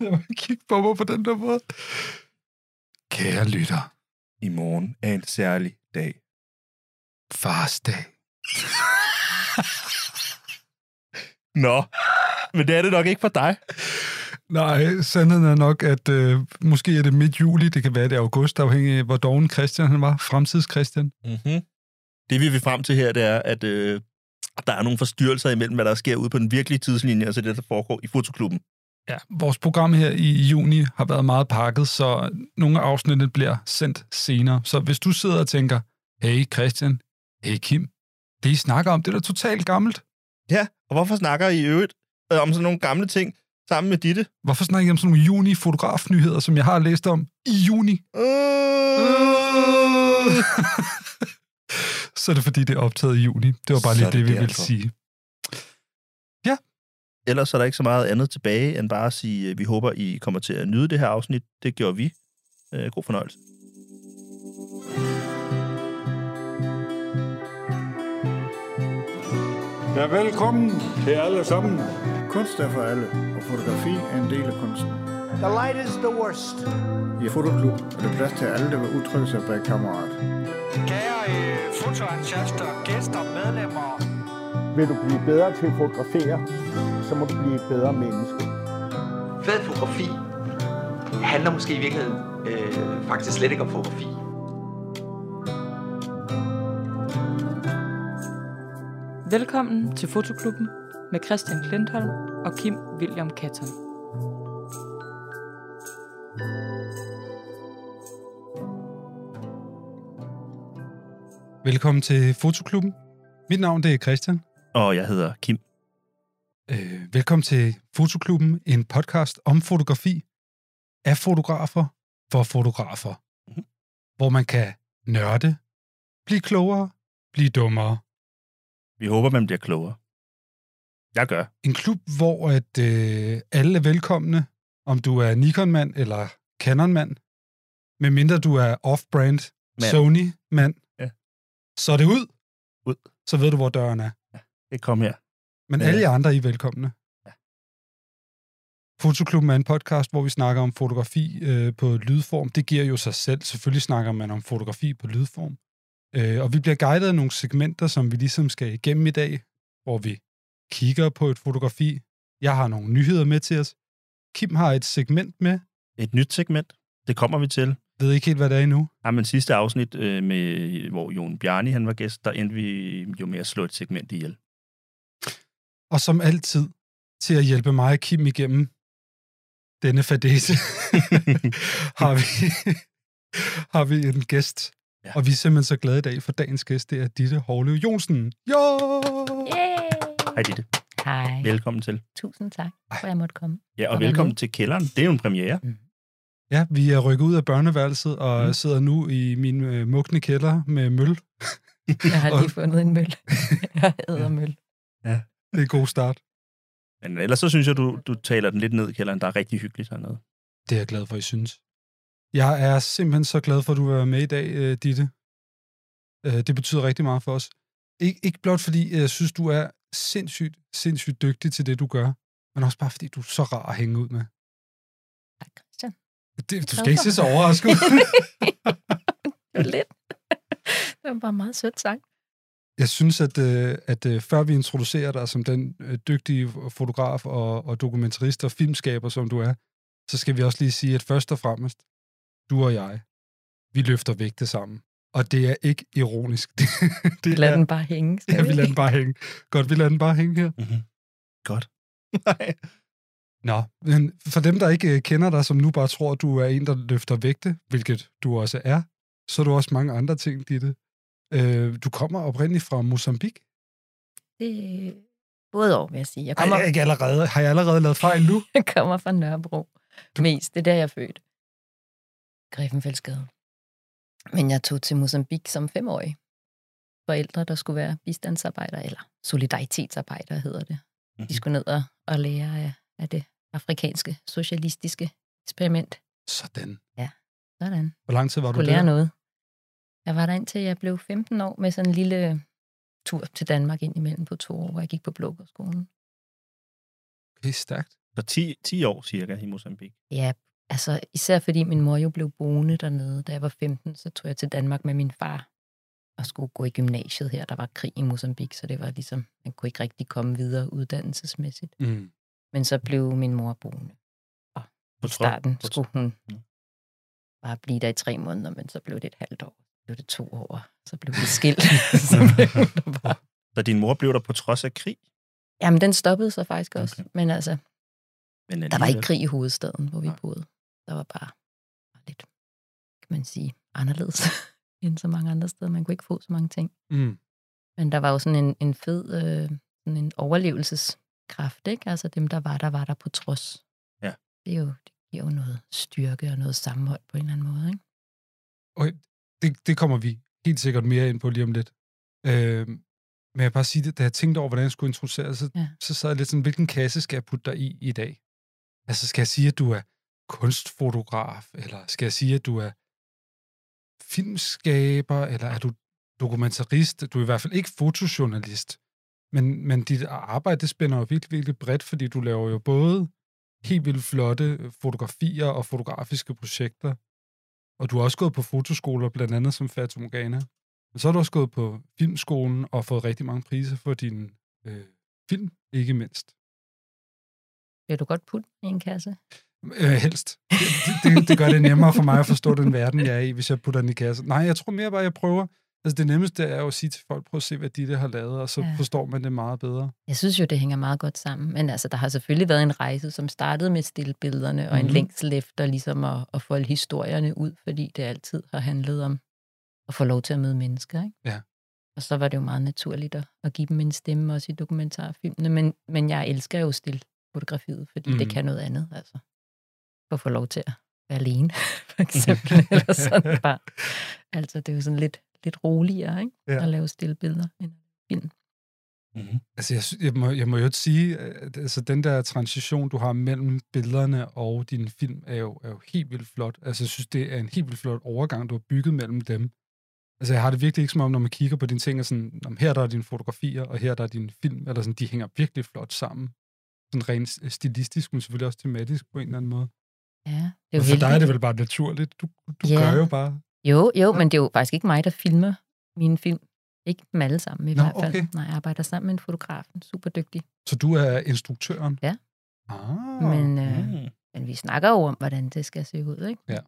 Lad mig kigge på mig på den der måde. Kære lytter, I morgen er en særlig dag. fars dag. Nå, men det er det nok ikke for dig. Nej, sandheden er nok, at øh, måske er det midt juli, det kan være det er august, afhængig af, hvor doven Christian han var, fremtids Christian. Mm-hmm. Det vi vil frem til her, det er, at øh, der er nogle forstyrrelser imellem, hvad der sker ude på den virkelige tidslinje, og så det, der foregår i fotoklubben. Ja, vores program her i juni har været meget pakket, så nogle af afsnittene bliver sendt senere. Så hvis du sidder og tænker, hey Christian, hey Kim, det I snakker om, det er da totalt gammelt. Ja, og hvorfor snakker I i øvrigt øh, om sådan nogle gamle ting sammen med Ditte? Hvorfor snakker I om sådan nogle juni-fotografnyheder, som jeg har læst om i juni? Øh. så er det fordi, det er optaget i juni. Det var bare Så lige er det, det altså. det, vi ville sige. derfor. Ellers er der ikke så meget andet tilbage, end bare at sige, øh, vi håber, I kommer til at nyde det her afsnit. Det gjorde vi. Øh, god fornøjelse. Ja, velkommen til alle sammen. Kunst er for alle, og fotografi er en del af kunsten. The light is the worst. I Fotoklub er der plads til alle, der vil udtrykke sig bag kammerat. Kære øh, fotoentusiaster, gæster, medlemmer. Vil du blive bedre til at fotografere, så må du blive et bedre menneske. Fed fotografi handler måske i virkeligheden øh, faktisk slet ikke om fotografi. Velkommen til Fotoklubben med Christian Klintholm og Kim William Katton. Velkommen til Fotoklubben. Mit navn det er Christian. Og jeg hedder Kim. Øh, velkommen til Fotoklubben, en podcast om fotografi af fotografer for fotografer, Mhm. mm-hmm. hvor man kan nørde, blive klogere, blive dummere. Vi håber, man bliver klogere. Jeg gør. En klub, hvor at, øh, alle er velkomne, om du er Nikon-mand eller Canon-mand, medmindre du er off-brand Mand. Sony-mand, Ja. så er det ud. Ud. Så ved du, hvor døren er. Det kom her. Men Ja. alle jer andre, I er velkomne. Fotoklubben er en podcast, hvor vi snakker om fotografi øh, på lydform. Det giver jo sig selv. Selvfølgelig snakker man om fotografi på lydform. Øh, og vi bliver guidet af nogle segmenter, som vi ligesom skal igennem i dag, hvor vi kigger på et fotografi. Jeg har nogle nyheder med til os. Kim har et segment med. Et nyt segment. Det kommer vi til. Ved ikke helt, hvad det er endnu. Ja, men sidste afsnit, øh, med, hvor Jon Bjarni han var gæst, der endte vi jo med at slå et segment ihjel. Og som altid, til at hjælpe mig og Kim igennem denne fadese, har vi, har vi en gæst. Ja. Ja. Og vi er simpelthen så glade i dag, for dagens gæst, det er Ditte Hårlev Jonsen. Jo! Yay! Hej Ditte, Hej. velkommen til. Tusind tak, for jeg måtte komme. Ja, og Og hvad velkommen nu? til kælderen. Det er jo en premiere. Ja, vi er rykket ud af børneværelset og Mm. mm. sidder nu i min øh, mugne kælder med møl. Jeg har lige fundet en møl. Jeg hedder møl. Det er en god start. Men ellers så synes jeg, du, du taler den lidt ned, kælderen. Der er rigtig hyggeligt hernede. Det er jeg glad for, I synes. Jeg er simpelthen så glad for, at du vil være med i dag, øh, Ditte. Øh, Det betyder rigtig meget for os. Ik- ikke blot fordi øh, jeg synes, du er sindssygt, sindssygt dygtig til det, du gør, men også bare fordi du er så rar at hænge ud med. Tak, Christian. Det, du glad skal ikke for. se så overrasket ud. Det var lidt. Det var bare meget sødt sagt. Jeg synes, at, øh, at øh, før vi introducerer dig som den øh, dygtige fotograf og, og dokumentarist og filmskaber, som du er, så skal vi også lige sige, at først og fremmest, du og jeg, vi løfter vægte sammen. Og det er ikke ironisk. Det, Vi det lader er, den bare hænge. skal ja, vi lader den bare hænge. Godt, vi lader den bare hænge her. Mm-hmm. Godt. Nej. Nå, men for dem, der ikke øh, kender dig, som nu bare tror, at du er en, der løfter vægte, hvilket du også er, så er du også mange andre ting, Ditte. Øh, du kommer oprindeligt fra Mozambique. Det er både år, vil jeg sige. Jeg kommer, Ej, ikke allerede. Har jeg allerede lavet fejl nu? jeg kommer fra Nørrebro. Mest, det er der, jeg er født. Griffenfeldsgade. Men jeg tog til Mozambique som femårig. Forældre, der skulle være bistandsarbejdere, eller solidaritetsarbejdere hedder det. Mhm. De skulle ned og, og lære af, af det afrikanske socialistiske eksperiment. Sådan. Sådan. Hvor lang tid var du Kunne lære der? noget. Jeg var der indtil jeg blev 15 år med sådan en lille tur til Danmark ind imellem på to år, hvor jeg gik på Blågårdsskolen. Okay, stærkt. Så 10, 10 år cirka i Mozambique. Ja, altså især fordi min mor jo blev boende dernede, da jeg var 15, så tog jeg til Danmark med min far og skulle gå i gymnasiet her. Der var krig i Mozambique, så det var ligesom, man kunne ikke rigtig komme videre uddannelsesmæssigt. Mm. Men så blev min mor boende. På I starten på skulle hun Ja. bare blive der i tre måneder, men så blev det et halvt år. Så blev det to år, så blev vi skilt. så blev hun der bare. Så din mor blev der på trods af krig. Jamen, den stoppede så faktisk også. Okay. Okay. Men altså, Men der var alligevel- ikke krig i hovedstaden, hvor vi Nej. boede. Der var bare bare lidt, kan man sige, anderledes end så mange andre steder. Man kunne ikke få så mange ting. Mm. Men der var jo sådan en, en fed øh, sådan en overlevelseskraft, ikke? Altså dem, der var der, var der på trods. Ja. Det, er jo, det giver jo noget styrke og noget sammenhold på en eller anden måde, ikke? Det, det kommer vi helt sikkert mere ind på lige om lidt. Øh, men jeg vil bare sige det, da jeg tænkte over, hvordan jeg skulle introducere det, så, ja. Ja. så sad jeg lidt sådan, hvilken kasse skal jeg putte dig i i dag? Altså, skal jeg sige, at du er kunstfotograf, eller skal jeg sige, at du er filmskaber, eller er du dokumentarist? Du er i hvert fald ikke fotojournalist. Men, men dit arbejde, det spænder jo virkelig, virkelig bredt, fordi du laver jo både helt vildt flotte fotografier og fotografiske projekter, og du har også gået på fotoskoler, blandt andet som Fata Morgana. Men så har du også gået på filmskolen og fået rigtig mange priser for din øh, film, ikke mindst. Vil du godt putte i en kasse? Øh, helst. Det, det, det gør det nemmere for mig at forstå den verden, jeg er i, hvis jeg putter den i kassen. Nej, jeg tror mere bare, jeg prøver. Altså det nemmeste er jo at sige til folk, prøv at se, hvad de der har lavet, og så ja. Ja. forstår man det meget bedre. Jeg synes jo, det hænger meget godt sammen. Men altså, der har selvfølgelig været en rejse, som startede med stillbillederne og en Mhm. længsel efter ligesom at, at folde historierne ud, fordi det altid har handlet om at få lov til at møde mennesker. Ikke? Ja. Og så var det jo meget naturligt at, at give dem en stemme, også i dokumentarfilmene. Men, men jeg elsker jo stillfotografiet, fordi mm. Mhm. det kan noget andet. Altså. At få lov til at være alene, Mhm. for eksempel. eller sådan bare. Altså, det er jo sådan lidt, lidt roligere ikke? Ja. Ja. at lave stillbilleder end Mhm. Altså jeg, sy- jeg, må, jeg må jo sige, at altså, den der transition, du har mellem billederne og din film, er jo, er jo helt vildt flot. Altså jeg synes, det er en helt vildt flot overgang, du har bygget mellem dem. Altså jeg har det virkelig ikke som om, når man kigger på dine ting, og sådan, om her der er dine fotografier, og her der er din film, eller sådan, de hænger virkelig flot sammen. Sådan rent s- stilistisk, men selvfølgelig også tematisk på en eller anden måde. Ja, det er Og jo for dig er heldigt. det vel bare naturligt. Du, du Ja. gør jo bare. Jo, jo, men det er jo faktisk ikke mig, der filmer mine film. Ikke dem alle sammen i Nå, hvert fald. okay. Nej, jeg arbejder sammen med en fotograf, en super dygtig. Så du er instruktøren? Ja. Ah, Men, øh, Mm. men vi snakker jo om, hvordan det skal se ud, ikke?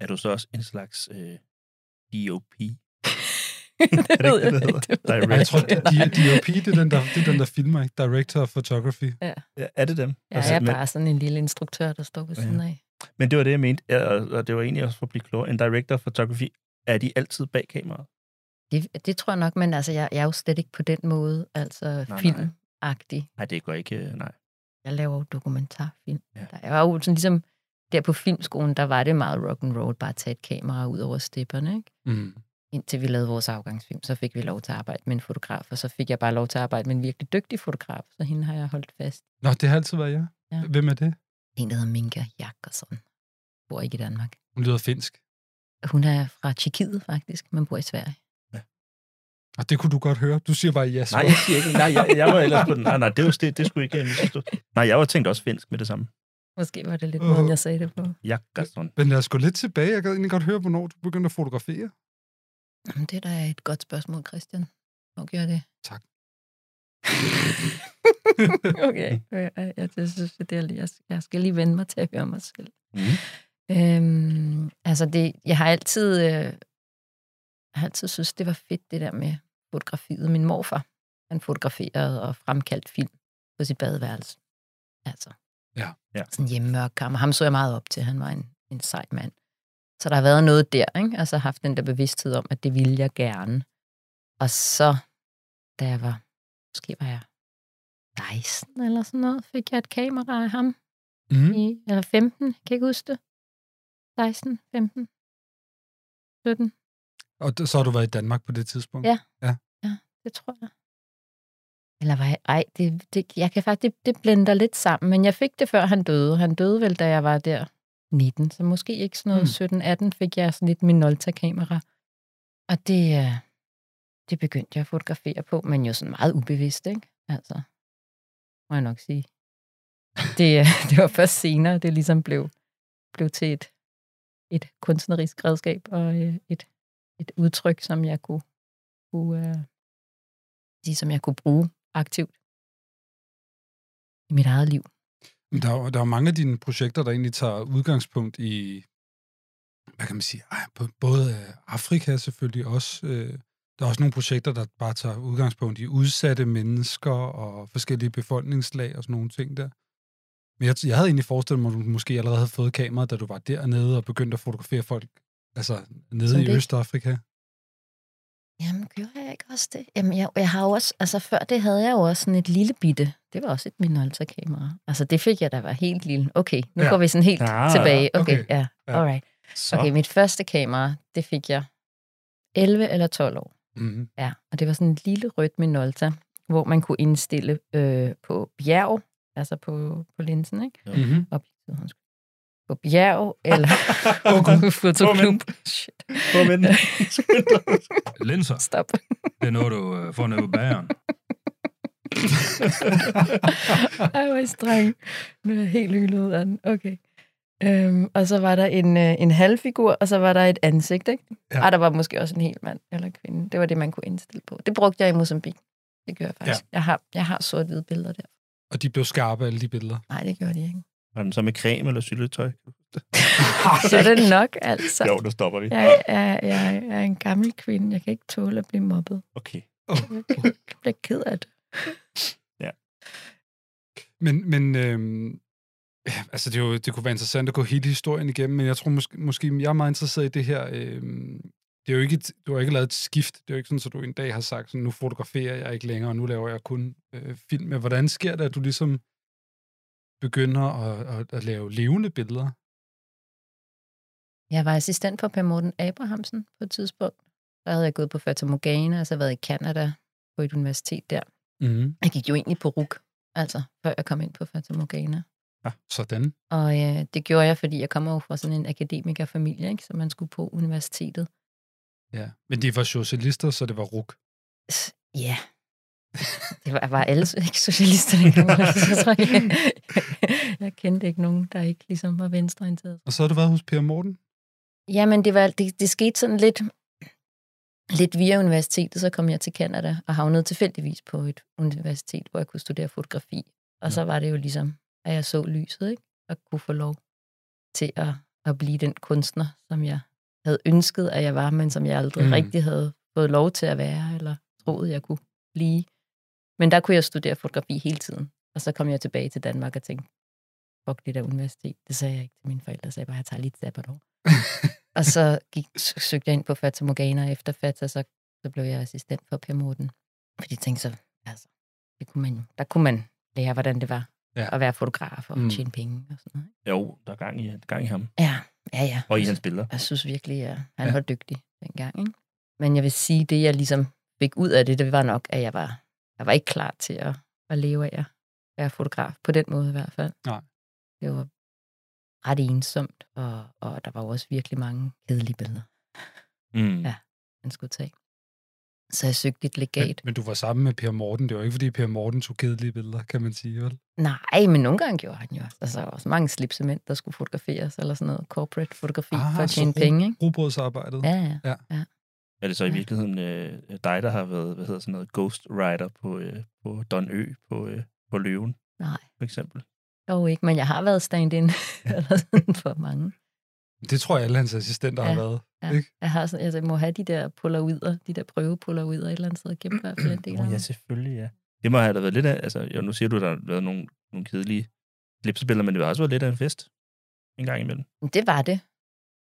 Er du så også en slags øh, DOP? det det ved jeg det hedder? ikke. Det ved Ej, jeg tror, ikke. D- DOP, det er den, der, det er den, der filmer, ikke? Director of Photography. Ja, er det dem? Jeg er Altså, men, bare sådan en lille instruktør, der står ved Ja. siden af. men det var det, jeg mente, ja, og og det var egentlig også for at blive klogere. En director of photography, er de altid bag kameraet? Det, det tror jeg nok, men altså, jeg, jeg er jo slet ikke på den måde, altså nej. filmagtig. Nej, det går ikke, øh, nej. Jeg laver jo dokumentarfilm. Ja. Ja. Der er jo sådan ligesom, der på filmskolen, der var det meget rock and roll, bare at tage et kamera ud over stepperne, ikke? Mm. indtil vi lavede vores afgangsfilm, så fik vi lov til at arbejde med en fotograf, og så fik jeg bare lov til at arbejde med en virkelig dygtig fotograf, så hende har jeg holdt fast. Nå, det har altid været jeg. Ja. Ja. Hvem er det? En, der hedder Minka Jakobsen, bor ikke i Danmark. Hun lyder finsk. Hun er fra Tjekkiet faktisk, men bor i Sverige. Og det kunne du godt høre. Du siger bare ja. Nej. Nej, jeg siger ikke. Nej, jeg, jeg var ellers på den. Nej, nej, det, var, det, det skulle ikke jeg misforstå. Nej, jeg var tænkt også finsk med det samme. Måske var det lidt Åh. måden, jeg sagde det på. Jakobsson. Men lad os gå lidt tilbage. Jeg kan egentlig godt høre, hvornår du begyndte at fotografere. Jamen, det er da et godt spørgsmål, Christian. Hvor gør det? Tak. okay, Øh, jeg, jeg, jeg synes, det er, lige- jeg, jeg skal lige vende mig til at høre mig selv. Mm. Øhm, altså, det, jeg har altid, øh, jeg har altid synes det var fedt, det der med fotografiet. Min morfar, han fotograferede og fremkaldte film på sit badeværelse. Altså, Ja, ja. sådan hjemmemørkammer. Ham så jeg meget op til, han var en, en sej mand. Så der har været noget der, ikke? Altså haft den der bevidsthed om, at det ville jeg gerne. Og så, da jeg var, måske var jeg 16 eller sådan noget, fik jeg et kamera af ham Mm. i, eller 15, jeg kan ikke huske det. 16, 15, 17, Og d- så har du været i Danmark på det tidspunkt. Ja. det tror jeg. Eller var jeg, ej, det, det, jeg kan faktisk, det, det blender lidt sammen, men jeg fik det før han døde. Han døde vel, da jeg var der 19, så måske ikke sådan Mm. noget mm. 17-18 fik jeg sådan lidt Minolta-kamera. Og det, øh, det begyndte jeg at fotografere på, men jo sådan meget ubevidst, ikke? Altså, må jeg nok sige. det, det var først senere, det ligesom blev, blev til et, et kunstnerisk redskab og øh, et, et udtryk, som jeg kunne, kunne, øh, sige, som jeg kunne bruge aktivt i mit eget liv. Men Der er, jo- der er jo mange af dine projekter, der egentlig tager udgangspunkt i, hvad kan man sige, ej, på- både øh, Afrika selvfølgelig også. Øh, der er også nogle projekter, der bare tager udgangspunkt i udsatte mennesker og forskellige befolkningslag og sådan nogle ting der. Men jeg, jeg havde egentlig forestillet mig, at du måske allerede havde fået kameraet, da du var dernede og begyndte at fotografere folk, altså nede Sådan i det. Østafrika. Jamen, gjorde jeg ikke også det? Jamen, jeg, jeg har jo også, altså før det havde jeg jo også sådan et lille bitte. Det var også et Minolta-kamera. Altså, det fik jeg, da jeg var helt lille. Okay, nu Ja. ja. går vi sådan helt Ja, ja, ja, tilbage. Okay, okay. okay, ja, Ja. alright. Så. Okay, mit første kamera, det fik jeg 11 eller 12 år. Mm-hmm. Ja, og det var sådan en lille rødt Minolta, hvor man kunne indstille øh, på bjerg, altså på, på linsen, ikke? Mhm. Mm-hmm. Objektivet, undskyld. På bjerg eller Åh, Gud. på fotoklub. Shit, Prøv med den. Linser, stop. det er noget, du øh, får ned på bageren. Ej, hvor er I streng. Nu er jeg helt hyldet ud af den. Okay. Øhm, og så var der en, øh, en halvfigur, og så var der et ansigt, ikke? Ja. Ja. Ej, der var måske også en hel mand eller kvinde. Det var det, man kunne indstille på. Det brugte jeg i Mozambique. Det gjorde jeg faktisk. Ja. Jeg har, jeg har sort-hvide billeder der. Og de blev skarpe, alle de billeder. Nej, det gjorde de ikke. Var den så med creme eller syltetøj? Så er det nok, altså. Jo, der stopper vi. Jeg, jeg, jeg, jeg er en gammel kvinde. Jeg kan ikke tåle at blive mobbet. Okay. Jeg kan- jeg bliver ked af det. Men, men øhm, ja, altså det, er jo, det kunne være interessant at gå hele historien igennem, men jeg tror måske, måske jeg er meget interesseret i det her. Øhm, det er jo ikke, et, du har ikke lavet et skift. Det er jo ikke sådan, at du en dag har sagt, sådan, nu fotograferer jeg ikke længere, og nu laver jeg kun øh, film. Men hvordan sker det, at du ligesom begynder at, at, at lave levende billeder? Jeg var assistent for Per Morten Abrahamsen på et tidspunkt. Der havde jeg gået på Fata Morgana, og så været i Kanada på et universitet der. Mm-hmm. Jeg gik jo egentlig på RUK, altså før jeg kom ind på Fata Morgana. Ja, sådan. Og øh, det gjorde jeg, fordi jeg kommer jo fra sådan en akademikerfamilie, ikke? så man skulle på universitetet. Ja. Men de var socialister, så det var ruk. S- Ja. Det var, var alle so- ikke socialister dengang. altså, Jeg, tror, jeg, jeg kendte ikke nogen, der ikke ligesom var venstreorienteret. Og så har du været hos Per Morten? Jamen, det, var, det, det skete sådan lidt, lidt via universitetet, så kom jeg til Kanada og havnede tilfældigvis på et universitet, hvor jeg kunne studere fotografi. Og så var det jo ligesom, at jeg så lyset, ikke? og kunne få lov til at, at blive den kunstner, som jeg havde ønsket, at jeg var, men som jeg aldrig Mm. mm. rigtig havde fået lov til at være, eller troede, jeg kunne blive. Men der kunne jeg studere fotografi hele tiden. Og så kom jeg tilbage til Danmark og tænkte, fuck det der universitet. Det sagde jeg ikke til mine forældre, så jeg bare, jeg tager lige et sabbatår. og så gik, s- søgte jeg ind på Fata Morgana, og efter Fata, så, så blev jeg assistent for Per Morten. Fordi jeg tænkte så, altså, det kunne man, jo- der kunne man lære, hvordan det var Ja. ja. at være fotograf og Mm. mm. tjene penge og sådan noget. Jo, der er gang i, gang i ham. Ja, ja, ja. Og i hans billeder. Jeg synes virkelig, at han Ja. ja. var dygtig dengang. Ikke? Men jeg vil sige, det jeg ligesom fik ud af det, det var nok, at jeg var, jeg var ikke klar til at, at leve af at være fotograf. På den måde i hvert fald. Nej. Det var ret ensomt, og, og der var jo også virkelig mange kedelige billeder, Mm. Ja. man skulle tage. Så jeg søgte et Men, legat. men du var sammen med Per Morten. Det var ikke, fordi Per Morten tog kedelige billeder, kan man sige, vel? Nej, men nogle gange gjorde han jo. også. Altså, der var også mange slipsemænd, der skulle fotograferes, eller sådan noget corporate fotografi ah, for at tjene penge. Ikke? Rugbrødsarbejdet. Ja, ja. Er det så i Ja. virkeligheden øh, dig, der har været, hvad hedder sådan noget, ghost rider på, øh, på Don Ø, på, øh, på Løven, Nej, for eksempel? dog ikke, men jeg har været stand-in eller sådan for mange. Det tror jeg, alle hans assistenter ja. har Ja. været. Ja, Ikke? jeg, har sådan, altså, jeg må have de der polaroider, de der prøvepollaroider et eller andet sted Mm, gennem hver flere del. Oh, ja, selvfølgelig, ja. Det må have da været lidt af, altså, jo, nu siger du, der har været nogle, nogle kedelige klipsebilleder, men det har også været lidt af en fest en gang imellem. Det var det.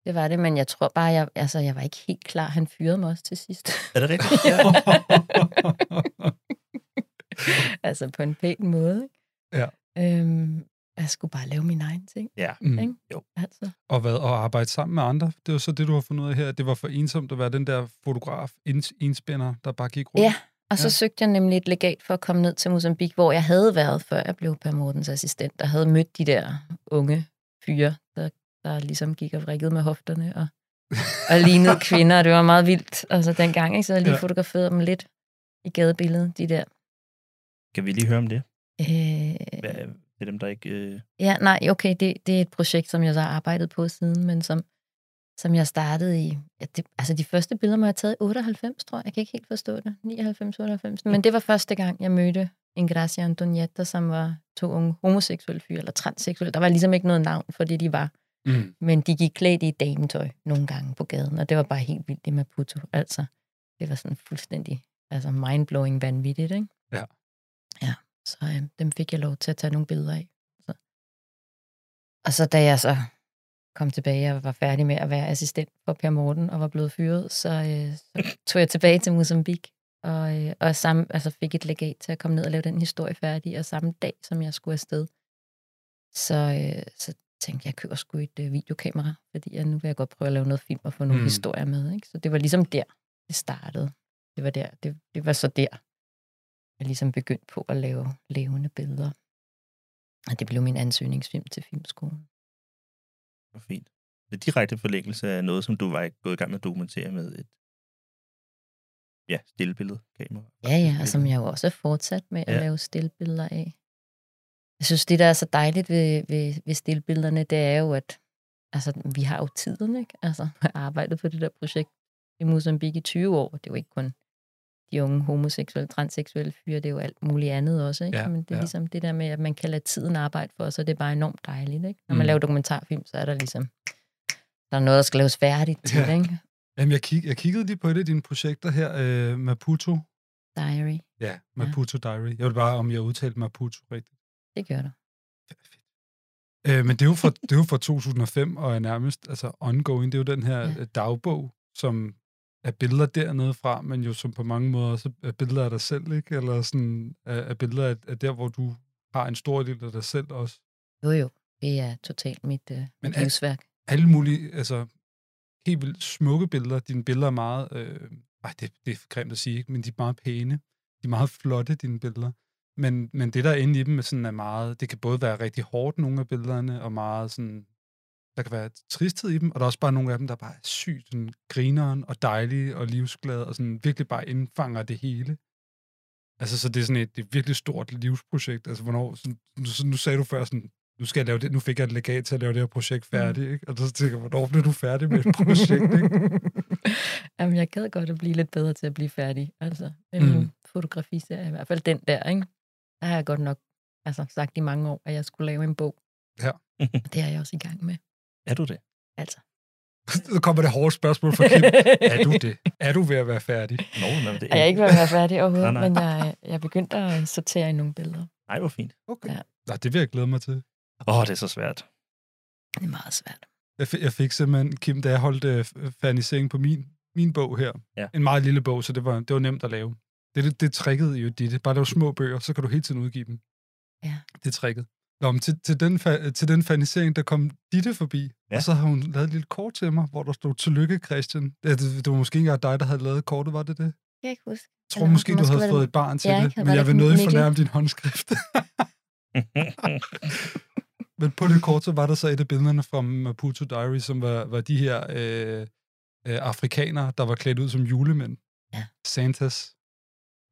Det var det, men jeg tror bare, jeg, altså, jeg var ikke helt klar. Han fyrede mig også til sidst. Er det rigtigt? altså på en pæn måde. Ikke? Ja. Øhm, jeg skulle bare lave min egen ting. Mm. Ikke? Jo. Altså, Og, hvad, og arbejde sammen med andre. Det var så det, du har fundet ud af her. at Det var for ensomt at være den der fotograf, ens, enspænder, der bare gik rundt. Ja. og så Ja. ja. søgte jeg nemlig et legat for at komme ned til Mozambique, hvor jeg havde været, før jeg blev Per Mortens assistent, og havde mødt de der unge fyre, der, der ligesom gik og vrikkede med hofterne og og lignede kvinder, og det var meget vildt. Og så dengang, ikke? så jeg lige Ja. ja. fotograferet dem lidt i gadebilledet, de der. Kan vi lige høre om det? Øh, Hvad, til dem, der ikke... Øh... Ja, nej, okay, det, det er et projekt, som jeg så har arbejdet på siden, men som, som jeg startede i... Ja, det, altså, de første billeder må jeg have taget i 98, tror jeg. Jeg kan ikke helt forstå det. 99, 98. Men det var første gang, jeg mødte Ingracia Antonietta, som var to unge homoseksuelle fyre, eller transseksuelle. Der var ligesom ikke noget navn for det, de var. Mm. Men de gik klædt i dametøj nogle gange på gaden, og det var bare helt vildt i Maputo. Altså, det var sådan fuldstændig altså mindblowing vanvittigt, ikke? Ja. Ja, så øh, dem fik jeg lov til at tage nogle billeder af. Så. Og så da jeg så kom tilbage og var færdig med at være assistent for Per Morten og var blevet fyret, så, øh, så tog jeg tilbage til Mozambique og, øh, og samme, altså fik et legat til at komme ned og lave den historie færdig, og samme dag, som jeg skulle afsted, så, øh, så tænkte jeg, jeg køber sgu et øh, videokamera, fordi jeg, nu vil jeg godt prøve at lave noget film og få nogle Mm. mm. historier med. Ikke? Så det var ligesom der, det startede. Det var, der, det, det var så der, jeg ligesom begyndte på at lave levende billeder. Og det blev min ansøgningsfilm til Filmskolen. Hvor fint. Det er direkte forlængelse af noget, som du var ikke gået i gang med at dokumentere med et ja, stillbilledkamera. Ja, ja, og som jeg jo også er fortsat med at Ja. ja. lave stillbilleder af. Jeg synes, det, der er så dejligt ved, ved, ved stillbillederne, det er jo, at altså, vi har jo tiden, ikke? Altså, jeg har arbejdet på det der projekt i Mozambique i 20 år. Det er jo ikke kun de unge homoseksuelle, transseksuelle fyre, det er jo alt muligt andet også, ikke? Ja, Men det er ja. ligesom det der med, at man kan lade tiden arbejde for os, og det er bare enormt dejligt, ikke? Når Mm. man mm. laver dokumentarfilm, så er der ligesom, der er noget, der skal laves færdigt til, Ja. ja. ikke? Jamen, jeg, kig, jeg kiggede lige på et af dine projekter her, øh, Maputo. Diary, Ja, Maputo Diary. Jeg vil bare, om jeg udtalte Maputo rigtigt. det gør der. Øh, men det er, jo fra, det er jo fra 2005, og er nærmest altså ongoing. Det er jo den her Ja. ja. dagbog, som er billeder dernede fra, men jo som på mange måder også er billeder af dig selv, ikke? Eller sådan er, er billeder af, af der, hvor du har en stor del af dig selv også. Jo, jo, det er totalt mit øh, Men Men er- livsværk. alle mulige, altså helt vildt smukke billeder. Dine billeder er meget, øh, ej, det, det er grimt at sige, ikke? men de er meget pæne. De er meget flotte, dine billeder. Men, men det, der er inde i dem, er sådan er meget, det kan både være rigtig hårdt, nogle af billederne, og meget sådan, der kan være tristhed i dem, og der er også bare nogle af dem, der bare er sygt sådan, grineren og dejlige og livsglade, og sådan virkelig bare indfanger det hele. Altså, så det er sådan et, det er et virkelig stort livsprojekt. Altså, hvornår, sådan, nu, så- nu sagde du før sådan, nu skal jeg lave det, nu fik jeg et legat til at lave det her projekt færdigt, ikke? Og så tænker jeg, hvornår blev du færdig med et projekt, ikke? Jamen, jeg gad godt at blive lidt bedre til at blive færdig, altså. Med Mm. mm. min fotografiserie, i hvert fald den der, ikke? Der har jeg godt nok altså, sagt i mange år, at jeg skulle lave en bog. Ja. Og det er jeg også i gang med, Er du det? altså. Så kommer det hårde spørgsmål fra Kim. Er du det? Er du ved at være færdig? Nå, nej, men det Og jeg er ikke ved at være færdig overhovedet, Nej, nej. men jeg, jeg begyndte at sortere i nogle billeder. Ej, hvor fint. Okay. Ja. Nej, det vil jeg glæde mig til. Åh, oh, det er så svært. Det er meget svært. Jeg, fi- jeg fik simpelthen, Kim, da jeg holdt øh, Fanny Seng på min, min bog her. Ja. En meget lille bog, så det var, det var nemt at lave. Det, det, det trickede jo dit. Bare lave små bøger, så kan du hele tiden udgive dem. Ja. Det er tricket. Nå, men til, til, den, fa- til den fanisering, der kom Ditte forbi, ja. Ja. og så har hun lavet et lille kort til mig, hvor der stod, tillykke Christian. Ja, Det, det var måske ikke engang dig, der havde lavet kortet, var det det? Jeg kan ikke huske. Jeg tror Eller måske, du måske havde var det- fået et barn til Ja, ja, ikke? det, Var men det jeg vil ikke nødig Mikkel? fornærme din håndskrift. Mm, men på det kort, så var der så et af billederne fra Maputo Diary, som var, var de her øh, øh, afrikanere, der var klædt ud som julemænd. Ja. Santas.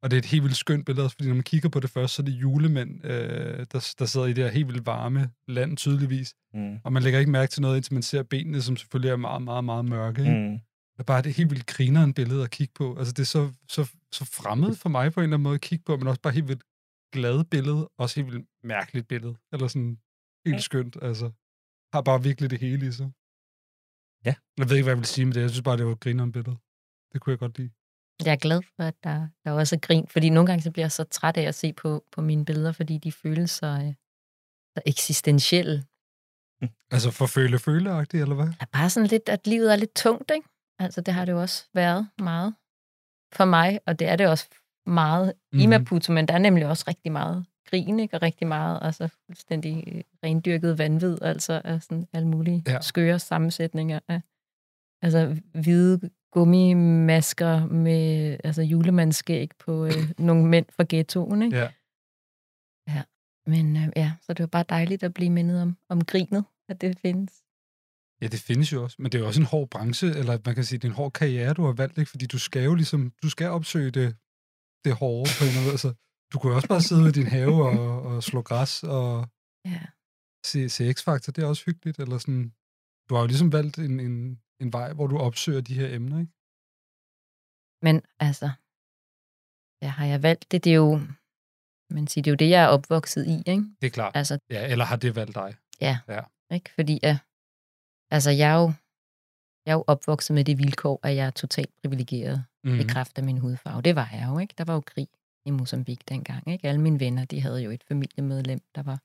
Og det er et helt vildt skønt billede, også, fordi når man kigger på det først, så er det julemænd, øh, der, der sidder i det her helt vildt varme land, tydeligvis. mm. Og man lægger ikke mærke til noget, indtil man ser benene, som selvfølgelig er meget, meget, meget mørke. Ikke? Mm. er bare det helt vildt grineren billede at kigge på. Altså, det er så, så, så fremmed for mig på en eller anden måde at kigge på, men også bare helt vildt glad billede, også helt vildt mærkeligt billede, eller sådan helt skønt, altså. Har bare virkelig det hele i sig. Ja. Jeg ved ikke, hvad jeg vil sige med det. Jeg synes bare, det var et grineren billede. Det kunne jeg godt lide. Jeg er glad for, at der, der også er grin, fordi nogle gange så bliver jeg så træt af at se på, på mine billeder, fordi de føles så, øh, så eksistentielle. Altså, for føle føle eller hvad? er bare sådan lidt, at livet er lidt tungt, ikke? Altså, det har det jo også været meget for mig, og det er det også meget mm-hmm. i Mhm. Maputo, men der er nemlig også rigtig meget grin, ikke? Og rigtig meget, altså fuldstændig øh, rendyrket vanvid, altså af sådan alle mulige Ja. ja. skøre sammensætninger af, altså hvide gummimasker med altså julemandskæg på øh, nogle mænd fra ghettoen, ikke? Ja. ja. Men øh, ja, så det var bare dejligt at blive mindet om, om grinet, at det findes. Ja, det findes jo også, men det er jo også en hård branche, eller man kan sige, det er en hård karriere, du har valgt, ikke? Fordi du skal jo ligesom, du skal opsøge det, det hårde på en eller anden måde. Altså, du kunne jo også bare sidde ved din have og, og slå græs og Ja. se, se X-Factor, det er også hyggeligt, eller sådan... Du har jo ligesom valgt en, en, en vej, hvor du opsøger de her emner, ikke? Men altså, ja, har jeg valgt det? Det er jo, man siger, det er jo det, jeg er opvokset i, ikke? Det er klart. Altså, Ja, eller har det valgt dig? Ikke? Fordi at, altså, jeg er, jo, jeg er jo opvokset med det vilkår, at jeg er totalt privilegeret mm. Mhm. i kraft af min hudfarve. Det var jeg jo, ikke? Der var jo krig i Mozambique dengang, ikke? Alle mine venner, de havde jo et familiemedlem, der var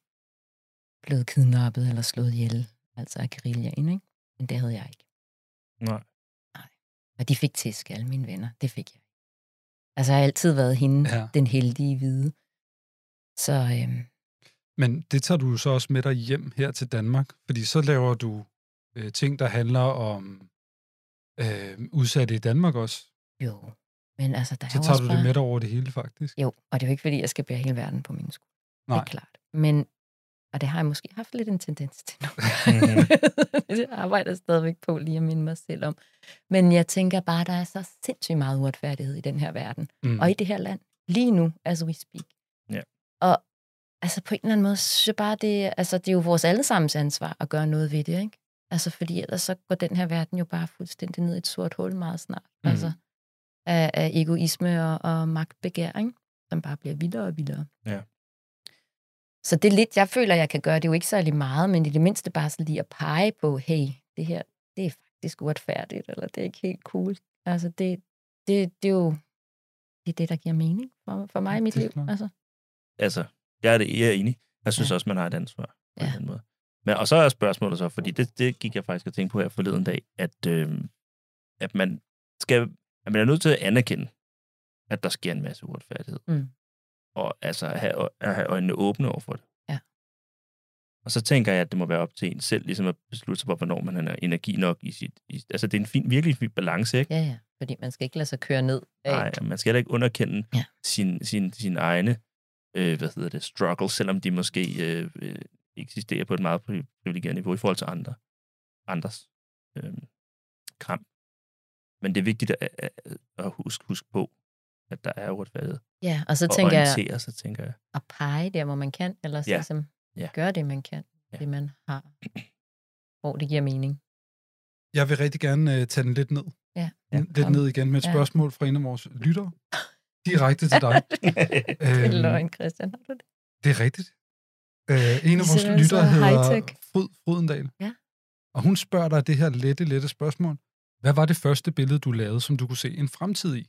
blevet kidnappet eller slået ihjel, altså af guerillaen, ikke? Men det havde jeg ikke. Nej. Nej. Og de fik tæsk, alle mine venner. Det fik jeg. Altså, jeg har altid været hende, Ja. ja. den heldige hvide. Så, øhm, Men det tager du jo så også med dig hjem her til Danmark, fordi så laver du øh, ting, der handler om øh, udsatte i Danmark også. jo. Men altså, der er Så jo tager også du bare... det med dig over det hele, faktisk. Jo, og det er jo ikke, fordi jeg skal bære hele verden på mine sko. Det Nej. er klart. Men, og det har jeg måske haft lidt en tendens til nu. Mm-hmm. Mhm. det arbejder jeg stadigvæk på lige at minde mig selv om. Men jeg tænker bare, der er så sindssygt meget uretfærdighed i den her verden. Mm. Og i det her land. Lige nu, as we speak. Ja. Og altså på en eller anden måde, synes jeg bare, det, altså, det er jo vores allesammens ansvar at gøre noget ved det, ikke? Altså, fordi ellers så går den her verden jo bare fuldstændig ned i et sort hul meget snart. Mm. Mm. Altså, af, af egoisme og, og magtbegær, ikke? som bare bliver vildere og vildere. Ja. Så det er lidt, jeg føler, jeg kan gøre. Det er jo ikke særlig meget, men i det mindste bare sådan lige at pege på, hey, det her, det er faktisk uretfærdigt, eller det er ikke helt cool. Altså, det, det, det er jo det, er det der giver mening for, for mig i mit Det er liv. klart. Altså. Altså, jeg er, det, jeg er enig. Jeg synes ja. Ja. også, man har et ansvar på ja. Ja. den måde. Men, og så er spørgsmålet så, fordi det, det gik jeg faktisk og tænkte på her forleden dag, at, øh, at man skal, at man er nødt til at anerkende, at der sker en masse uretfærdighed. Mm. Og altså at have, at have øjnene åbne over for det. Ja. Og så tænker jeg, at det må være op til en selv, ligesom at beslutte sig for, hvornår man har energi nok i sit... I, altså, det er en fin, virkelig en fin balance, ikke? Ja, ja, fordi man skal ikke lade sig køre ned af Nej, og man skal heller ikke underkende ja. Ja. sin, sin, sin egne øh, hvad hedder det, struggles, selvom de måske øh, øh, eksisterer på et meget pri- privilegeret niveau i forhold til andre, andres øh, kram. Men det er vigtigt at, at- at huske, huske på, at der er uretfærdighed. Ja, og så Og tænker jeg, orientere sig, tænker jeg. at pege der, hvor man kan, eller så Ja. ja. ligesom Ja. ja. gøre det, man kan, Ja. ja. det man har, hvor det giver mening. Jeg vil rigtig gerne øh, tage den lidt ned. Ja. Ja, Lidt ned igen med et Ja. spørgsmål fra en af vores lyttere. Direkte til dig. Det Øhm, er løgn, Christian. Har du det? Det er rigtigt. Øh, en af vores Vi sætter os lyttere over hedder high-tech. Fryd Frydendal. Ja. Og hun spørger dig det her lette, lette spørgsmål. Hvad var det første billede, du lavede, som du kunne se en fremtid i?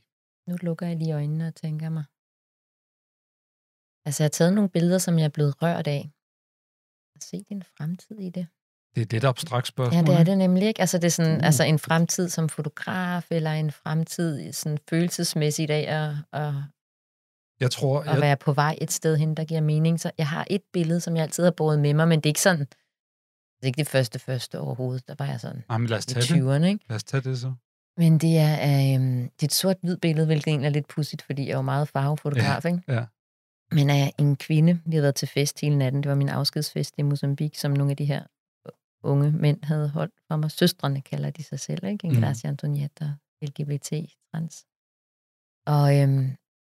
Nu lukker jeg lige øjnene og tænker mig. Altså, jeg har taget nogle billeder, som jeg er blevet rørt af. At se din fremtid i det. Det er et lidt abstrakt Ja, spørgsmål. det er ikke? det nemlig ikke. Altså, det er sådan, Mm. altså en fremtid som fotograf, eller en fremtid i sådan følelsesmæssigt af at, at, Jeg tror, at jeg, være på vej et sted hen, der giver mening. Så jeg har et billede, som jeg altid har båret med mig, men det er ikke sådan... Det er ikke det første første overhovedet. Der var jeg sådan Ej, men lad os i tage det. 20'erne, ikke? Lad os tage det så. Men det er, øh, det er et sort-hvid billede, hvilket egentlig er lidt pudsigt, fordi jeg er jo meget farvefotograf, ikke? ja. Men er en kvinde, vi havde været til fest hele natten, det var min afskedsfest i Mozambique, som nogle af de her øh, unge mænd havde holdt for mig. Søstrene kalder de sig selv, ikke? Mm. Inglacia mm. Antonietta, LGBT, trans. Og, øhm,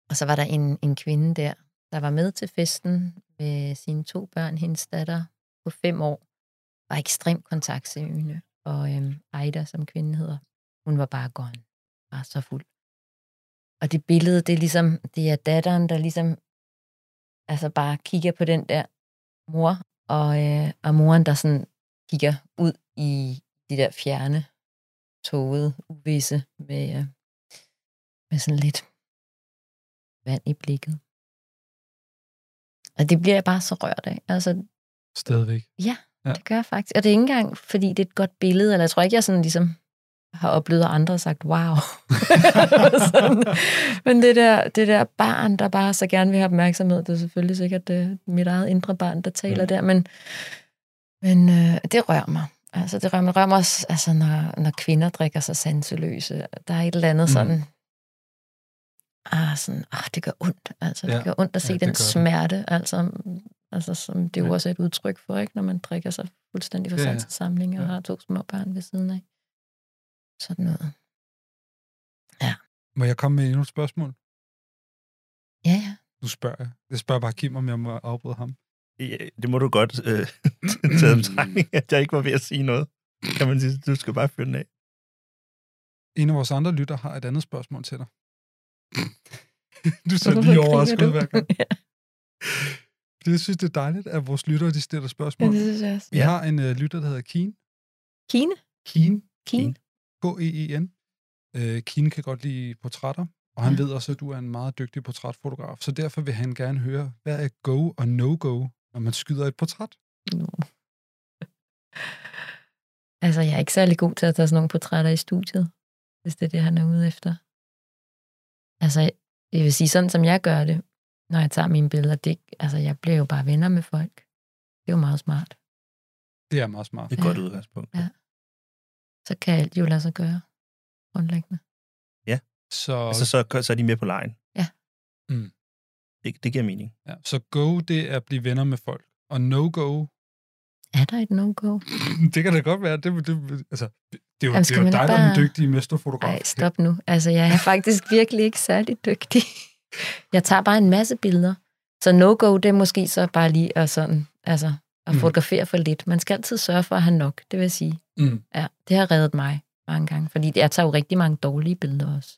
og så var der en, en kvinde der, der var med til festen med sine to børn, hendes datter på fem år, var ekstremt kontaktsøgende. Og øhm, Ida, som kvinden hedder, hun var bare gone. Bare så fuld. Og det billede, det er ligesom, det er datteren, der ligesom, altså bare kigger på den der mor, og, øh, og moren, der sådan kigger ud i de der fjerne, tågede, uvisse, med, øh, med sådan lidt vand i blikket. Og det bliver jeg bare så rørt af. Altså, Stadigvæk. Ja. det gør jeg faktisk. Og det er ikke engang, fordi det er et godt billede, eller jeg tror ikke, jeg sådan ligesom har oplevet, at andre har sagt, wow. sådan. Men det der, det der barn, der bare så gerne vil have opmærksomhed, det er selvfølgelig sikkert det, mit eget indre barn, der taler Mm. mm. der, men, men øh, det rører mig. Altså, det rører mig, rører mig også, altså, når, når kvinder drikker sig sanseløse. Der er et eller andet Mm. mm. sådan, ah, sådan, ah, det gør ondt. Altså, ja. Ja. det gør ondt at se Ja, ja, det den gør det. smerte, altså, altså, som det er jo Ja. også et udtryk for, ikke? når man drikker sig fuldstændig for Ja, ja. ja, samling og Ja. har to små børn ved siden af. Sådan noget. Må jeg komme med endnu et spørgsmål? Ja, ja. Nu spørger jeg. Jeg spørger bare Kim, om jeg må afbryde ham. Ja, det må du godt øh, tage betragtning, at jeg ikke var ved at sige noget. Kan man sige, du skal bare fyre den af. En af vores andre lytter har et andet spørgsmål til dig. du ser Hvorfor lige griner overrasket du? ud hver gang. ja, Fordi Jeg synes, det er dejligt, at vores lyttere de stiller spørgsmål. men det synes jeg også. Vi Ja. har en øh, lytter, der hedder Keen. Kine? Keen. Kine? K-E-E-N. Øh, Keen kan godt lide portrætter, og han ved også, at du er en meget dygtig portrætfotograf, så derfor vil han gerne høre, hvad er go og no-go, når man skyder et portræt? No. Altså, jeg er ikke særlig god til at tage sådan nogle portrætter i studiet, hvis det er det, han er ude efter. Altså, jeg vil sige, sådan som jeg gør det, når jeg tager mine billeder, det, er ikke- altså, jeg bliver jo bare venner med folk. Det er jo meget smart. Det er meget smart. Det er et godt udgangspunkt. Ja. Så kan alt jo lade sig gøre, grundlæggende. Så, Altså, så, så er de med på lejen. Ja. Mm. Det, det giver mening. ja. så go, det er at blive venner med folk. Og no-go, Er der et no-go? det kan da godt være. Det, det, altså, det er jo, Jamen, det skal er jo man dig, ikke der er den bare- dygtige mesterfotograf. Ej, stop nu. Altså, jeg er faktisk virkelig ikke særlig dygtig. Jeg tager bare en masse billeder. Så no-go, det er måske så bare lige at, sådan, altså, at Mm. fotografere for lidt. Man skal altid sørge for at have nok, det vil jeg sige. Mm. Ja, det har reddet mig mange gange, fordi jeg tager jo rigtig mange dårlige billeder også.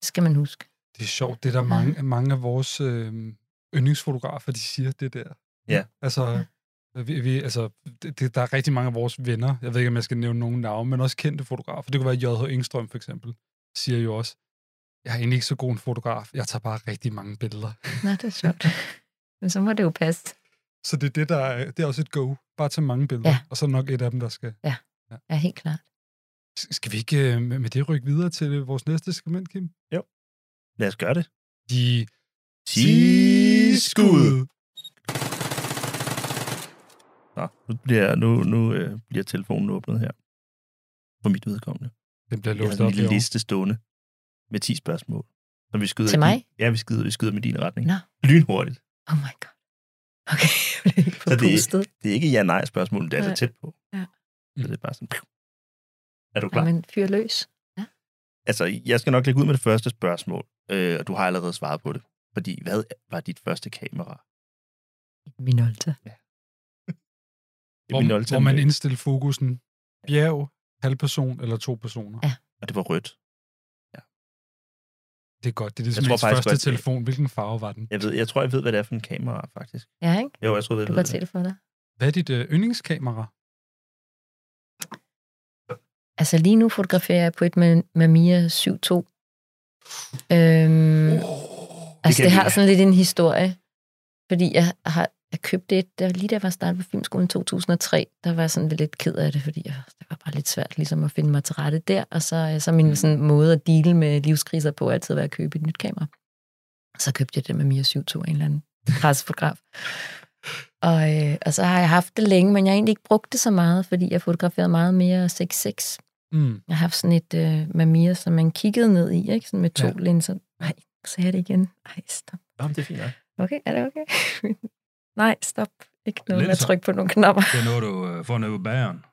Det skal man huske. Det er sjovt, det er der mange, mange af vores øh, yndlingsfotografer, de siger det der. Ja. Altså, vi, vi, altså det, det, der er rigtig mange af vores venner, jeg ved ikke, om jeg skal nævne nogen navne, men også kendte fotografer. Det kunne være J.H. Engstrøm for eksempel, siger jo også, jeg er egentlig ikke så god en fotograf, jeg tager bare rigtig mange billeder. Nå, det er sjovt. Men så må det jo passe. Så det er det, der er, det er også et go. Bare tage mange billeder, Ja. og så er nok et af dem, der skal. Ja, helt klart. S- Skal vi ikke øh, med med det rykke videre til øh, vores næste segment, Kim? Lad os gøre det. De Nå, nu bliver, nu, nu, øh, bliver telefonen åbnet her. For mit vedkommende. Den bliver Jeg har låst sådan op en lille herovre. liste stående med 10 spørgsmål. Så vi skyder Til i din- mig? Ja, vi skyder, vi skyder med din retning. Nå. Lynhurtigt. Oh my god. Okay, jeg blev helt Så det er- forpustet. Det er ikke ja-nej-spørgsmål, det er Nej. så tæt på. Ja. Så det er bare sådan... piu. Er du klar? Ja, men fyr løs. Altså, jeg skal nok lægge ud med det første spørgsmål, øh, og du har allerede svaret på det. Fordi, hvad var dit første kamera? Minolta. Det er min hvor, oldtid- hvor man indstiller fokusen bjerg, halvperson eller to personer. Ja. Ja. Og det var rødt. Det er godt. Det er ligesom tror ens faktisk første godt, det- telefon. Hvilken farve var den? Jeg, ved, jeg tror, jeg ved, hvad det er for en kamera, faktisk. Ja, ikke? Jo, jeg tror, jeg Du ved kan det. tælle for dig. Hvad er dit øh, yndlingskamera? Altså lige nu fotograferer jeg på et med, med Mia 72. Øhm, oh, altså kan det vi- har sådan lidt en historie, fordi jeg har jeg købte et, der, lige da jeg var startet på Filmskolen i 2003, der var jeg sådan lidt ked af det, fordi jeg, det var bare lidt svært ligesom at finde mig til rette der, og så er så min sådan, måde at deale med livskriser på altid været at købe et nyt kamera. Så købte jeg det med Mia 72, en eller anden pressefotograf. Og, øh, og så har jeg haft det længe, men jeg har egentlig ikke brugt det så meget, fordi jeg fotograferede meget mere 6.6 Mm. jeg har haft sådan et øh, mamia, som man kiggede ned i, ikke? Sådan med to Ja. ja. linser. Nej, nu sagde jeg det igen. Nej, stop. Jamen, det er fint nok. Okay, er det okay? Nej, stop. Ikke noget med at Linser. trykke på nogle knapper. Det er noget, du øh, får nede ved bageren.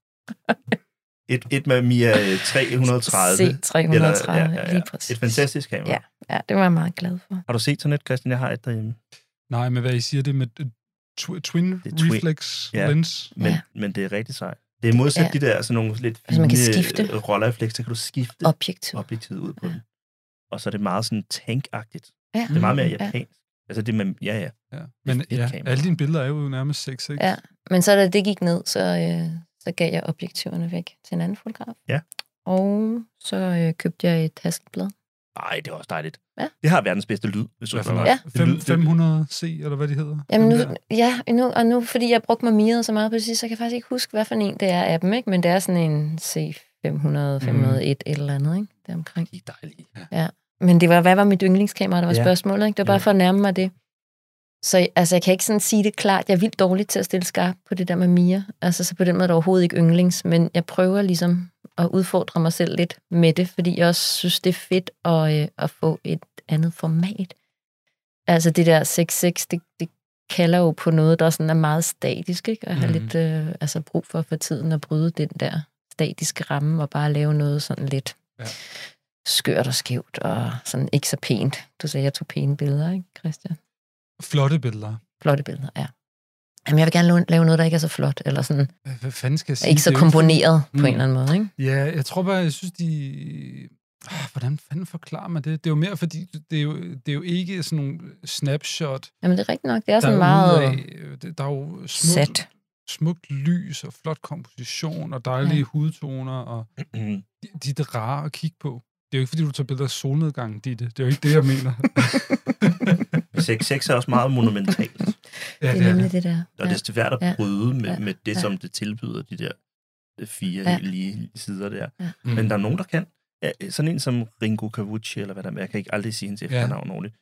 Et, et med Mia øh, 330. C330, Eller, ja, ja, ja. lige præcis. Et fantastisk kamera. Ja. Ja, det var jeg meget glad for. Har du set sådan et, Christian? Jeg har et derhjemme. Nej, men hvad I siger, det er med øh, tw- twin Det er twi- twin. reflex Ja. lens. Men, ja. men det er rigtig sejt. Det er modsat ja. Ja. de der sådan nogle lidt Altså, man kan fine, skifte. øh, roller i flex, så kan du skifte Objektiv. objektivet ud på ja. Ja. den. Og så er det meget sådan tankagtigt. Ja. Det er meget mere Ja. japansk. Altså det med, ja, ja. Ja. Men fedt ja, kamera. alle dine billeder er jo nærmest 6 ikke? Ja. Men så da det gik ned, så, øh, så gav jeg objektiverne væk til en anden fotograf. Ja. Og så øh, købte jeg et Hasselblad. Ej, det er også dejligt. Ja. Det har verdens bedste lyd. Hvis du Hvad for spørger noget? mig. Ja. Det lyder- det- 500 C, eller hvad de hedder? Jamen nu, Dem der. ja, nu, og nu, fordi jeg brugte Mamiya så meget på det sidste, så kan jeg faktisk ikke huske, hvad for en det er af dem, ikke? men det er sådan en C500, 501 mm. eller andet, ikke? Det omkring. De er dejlige. Men det var, hvad var mit yndlingskamera, der var Ja. ja. spørgsmålet, ikke? Det var Ja. bare for at nærme mig det. Så altså, jeg kan ikke sådan sige det klart. Jeg er vildt dårlig til at stille skarp på det der med Mia. Altså, så på den måde er det overhovedet ikke yndlings, men jeg prøver ligesom at udfordre mig selv lidt med det, fordi jeg også synes, det er fedt at, øh, at få et andet format. Altså, det der 6.6, det, det kalder jo på noget, der sådan er meget statisk, ikke? Og har Mhm. lidt øh, altså, brug for for tiden at bryde den der statiske ramme og bare lave noget sådan lidt Ja. ja. skørt og skævt og sådan ikke så pænt. Du sagde, jeg tog pæne billeder, ikke, Christian? Flotte billeder. Flotte billeder, ja. Jamen, jeg vil gerne lave- lave noget, der ikke er så flot, eller sådan, Hvad- Hvad fanden skal jeg sige? ikke så Det er jo komponeret på Mm. en eller anden måde, ikke? Ja, jeg tror bare, jeg synes, de... Ah, Hvordan fanden forklarer man det? Det er jo mere, fordi det er jo, det er jo ikke sådan nogle snapshot, Jamen, det er rigtigt nok. Det er der er, sådan meget øh, meget... af, der er jo sat. smukt, smukt lys og flot komposition og dejlige ja. Ja. hudtoner, og Mm. de, de er det rare at kigge på. Det er jo ikke, fordi du tager billeder af solnedgangen, det det. Det er jo ikke det, jeg mener. Sex, sex er også meget monumentalt, ja, Det er nemlig det der. og det er svært Ja. at bryde med, Ja. med det, Ja. som det tilbyder, de der øh, fire Ja. ja. lige sider der. Mm. Men der er nogen, der kan. Ja, sådan en som Ringo Cavucci, eller hvad der er, jeg kan ikke aldrig sige hendes efternavn ordentligt,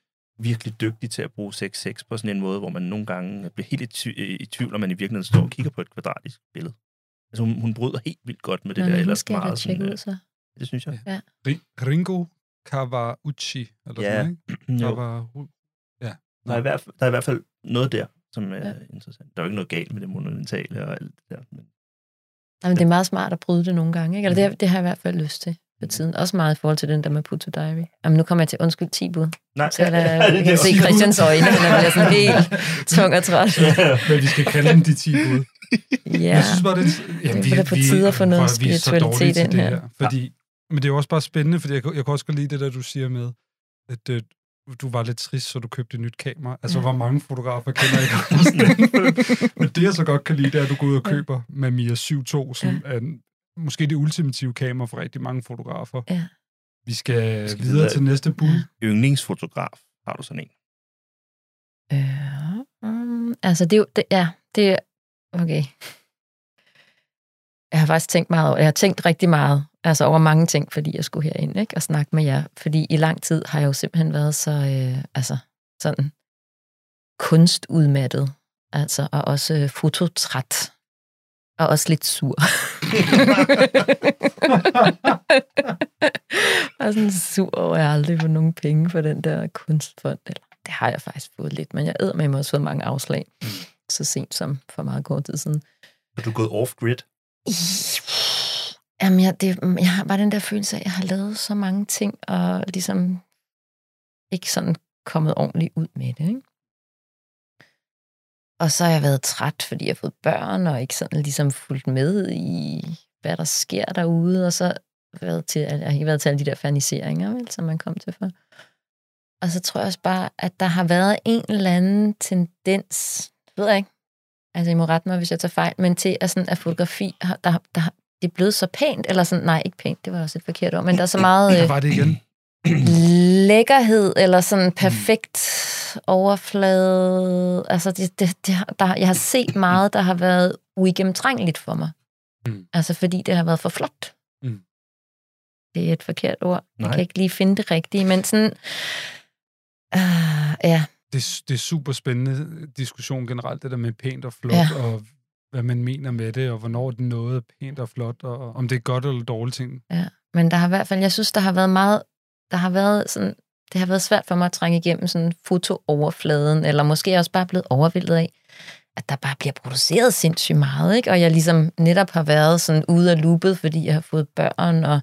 virkelig dygtig til at bruge 6-6 på sådan en måde, hvor man nogle gange bliver helt i, ty- øh, i tvivl, om man i virkeligheden står og kigger på et kvadratisk billede. Altså hun, hun bryder helt vildt godt med det Nå, der, men ellers skal jeg da meget tjekke sådan, ud, øh, så. det synes jeg. Ri- Ringo Kawauchi, eller Ja, sådan noget, ikke? Jo. Kawaru... Der, er i hvert fald, der er i hvert fald noget der, som er Ja. ja. interessant. Der er jo ikke noget galt med det monumentale og alt det der. Men Jamen, det er meget smart at bryde det nogle gange, ikke? Mm. Eller det, det har jeg i hvert fald lyst til for tiden. Også meget i forhold til den der med Puto Diary. Jamen, nu kommer jeg til, undskyld, 10 bud. nej, Så der, jeg det er kan se også- Christians øjne, han er blevet sådan helt tung og træt. Hvad vi skal kalde dem, de 10 bud. Ja. Jeg synes bare, det Det er på tide at få noget prøv at- vi er så dårlige spiritualitet til ind det her. Fordi, Men det er jo også bare spændende, fordi jeg, kan- jeg kan også godt lide det der, du siger med, at øh, du var lidt trist, så du købte et nyt kamera. Altså, Ja. hvor mange fotografer kender jeg også det? Men det, jeg så godt kan lide, det er, at du går ud og Ja. køber Mamiya 7.2, som ja. er en- måske det ultimative kamera for rigtig mange fotografer. Ja. Vi skal, Skal vi videre videre? til næste bud. Ja. Yndlingsfotograf har du sådan en. Øh, um, altså, det er jo... Det, ja, det er... Okay. Jeg har faktisk tænkt meget over... Jeg har tænkt rigtig meget, altså over mange ting, fordi jeg skulle herind ikke, og snakke med jer. Fordi i lang tid har jeg jo simpelthen været så... Øh, altså, sådan kunstudmattet. Altså, og også øh, fototræt. Og også lidt sur. og sådan sur over, at jeg aldrig får nogen penge for den der kunstfond. Eller, det har jeg faktisk fået lidt, men jeg æder med mig også fået mange afslag. Så sent som for meget kort tid siden. Er du gået off-grid? I- Jamen, jeg, det, jeg har bare den der følelse af, at jeg har lavet så mange ting, og ligesom ikke sådan kommet ordentligt ud med det, ikke? Og så har jeg været træt, fordi jeg har fået børn, og ikke sådan ligesom fulgt med i, hvad der sker derude, og så været til, jeg har ikke været til alle de der faniseringer, vel, som man kom til for. Og så tror jeg også bare, at der har været en eller anden tendens, ved jeg ikke, altså I må rette mig, hvis jeg tager fejl, men til at, sådan, at fotografi, har- der, der, det er blevet så pænt, eller sådan, nej, ikke pænt, det var også et forkert ord, men der er så meget Der øh, var det igen. lækkerhed, eller sådan perfekt overflade. Altså, det, det, det, har- der, jeg har set meget, der har været uigennemtrængeligt for mig. Mm. Altså, fordi det har været for flot. Mm. Det er et forkert ord. Nej. Nej. Jeg kan ikke lige finde det rigtige, men sådan... Uh, ja, det, det er super spændende diskussion generelt, det der med pænt og flot, ja. og hvad man mener med det, og hvornår det noget er pænt og flot, og om det er godt eller dårligt ting. men der har i hvert fald... Jeg synes, der har været meget... Der har været sådan... Det har været svært for mig at trænge igennem sådan fotooverfladen, eller måske er jeg også bare blevet overvældet af, at der bare bliver produceret sindssygt meget, ikke? Og jeg ligesom netop har været sådan ude af loopet, fordi jeg har fået børn, og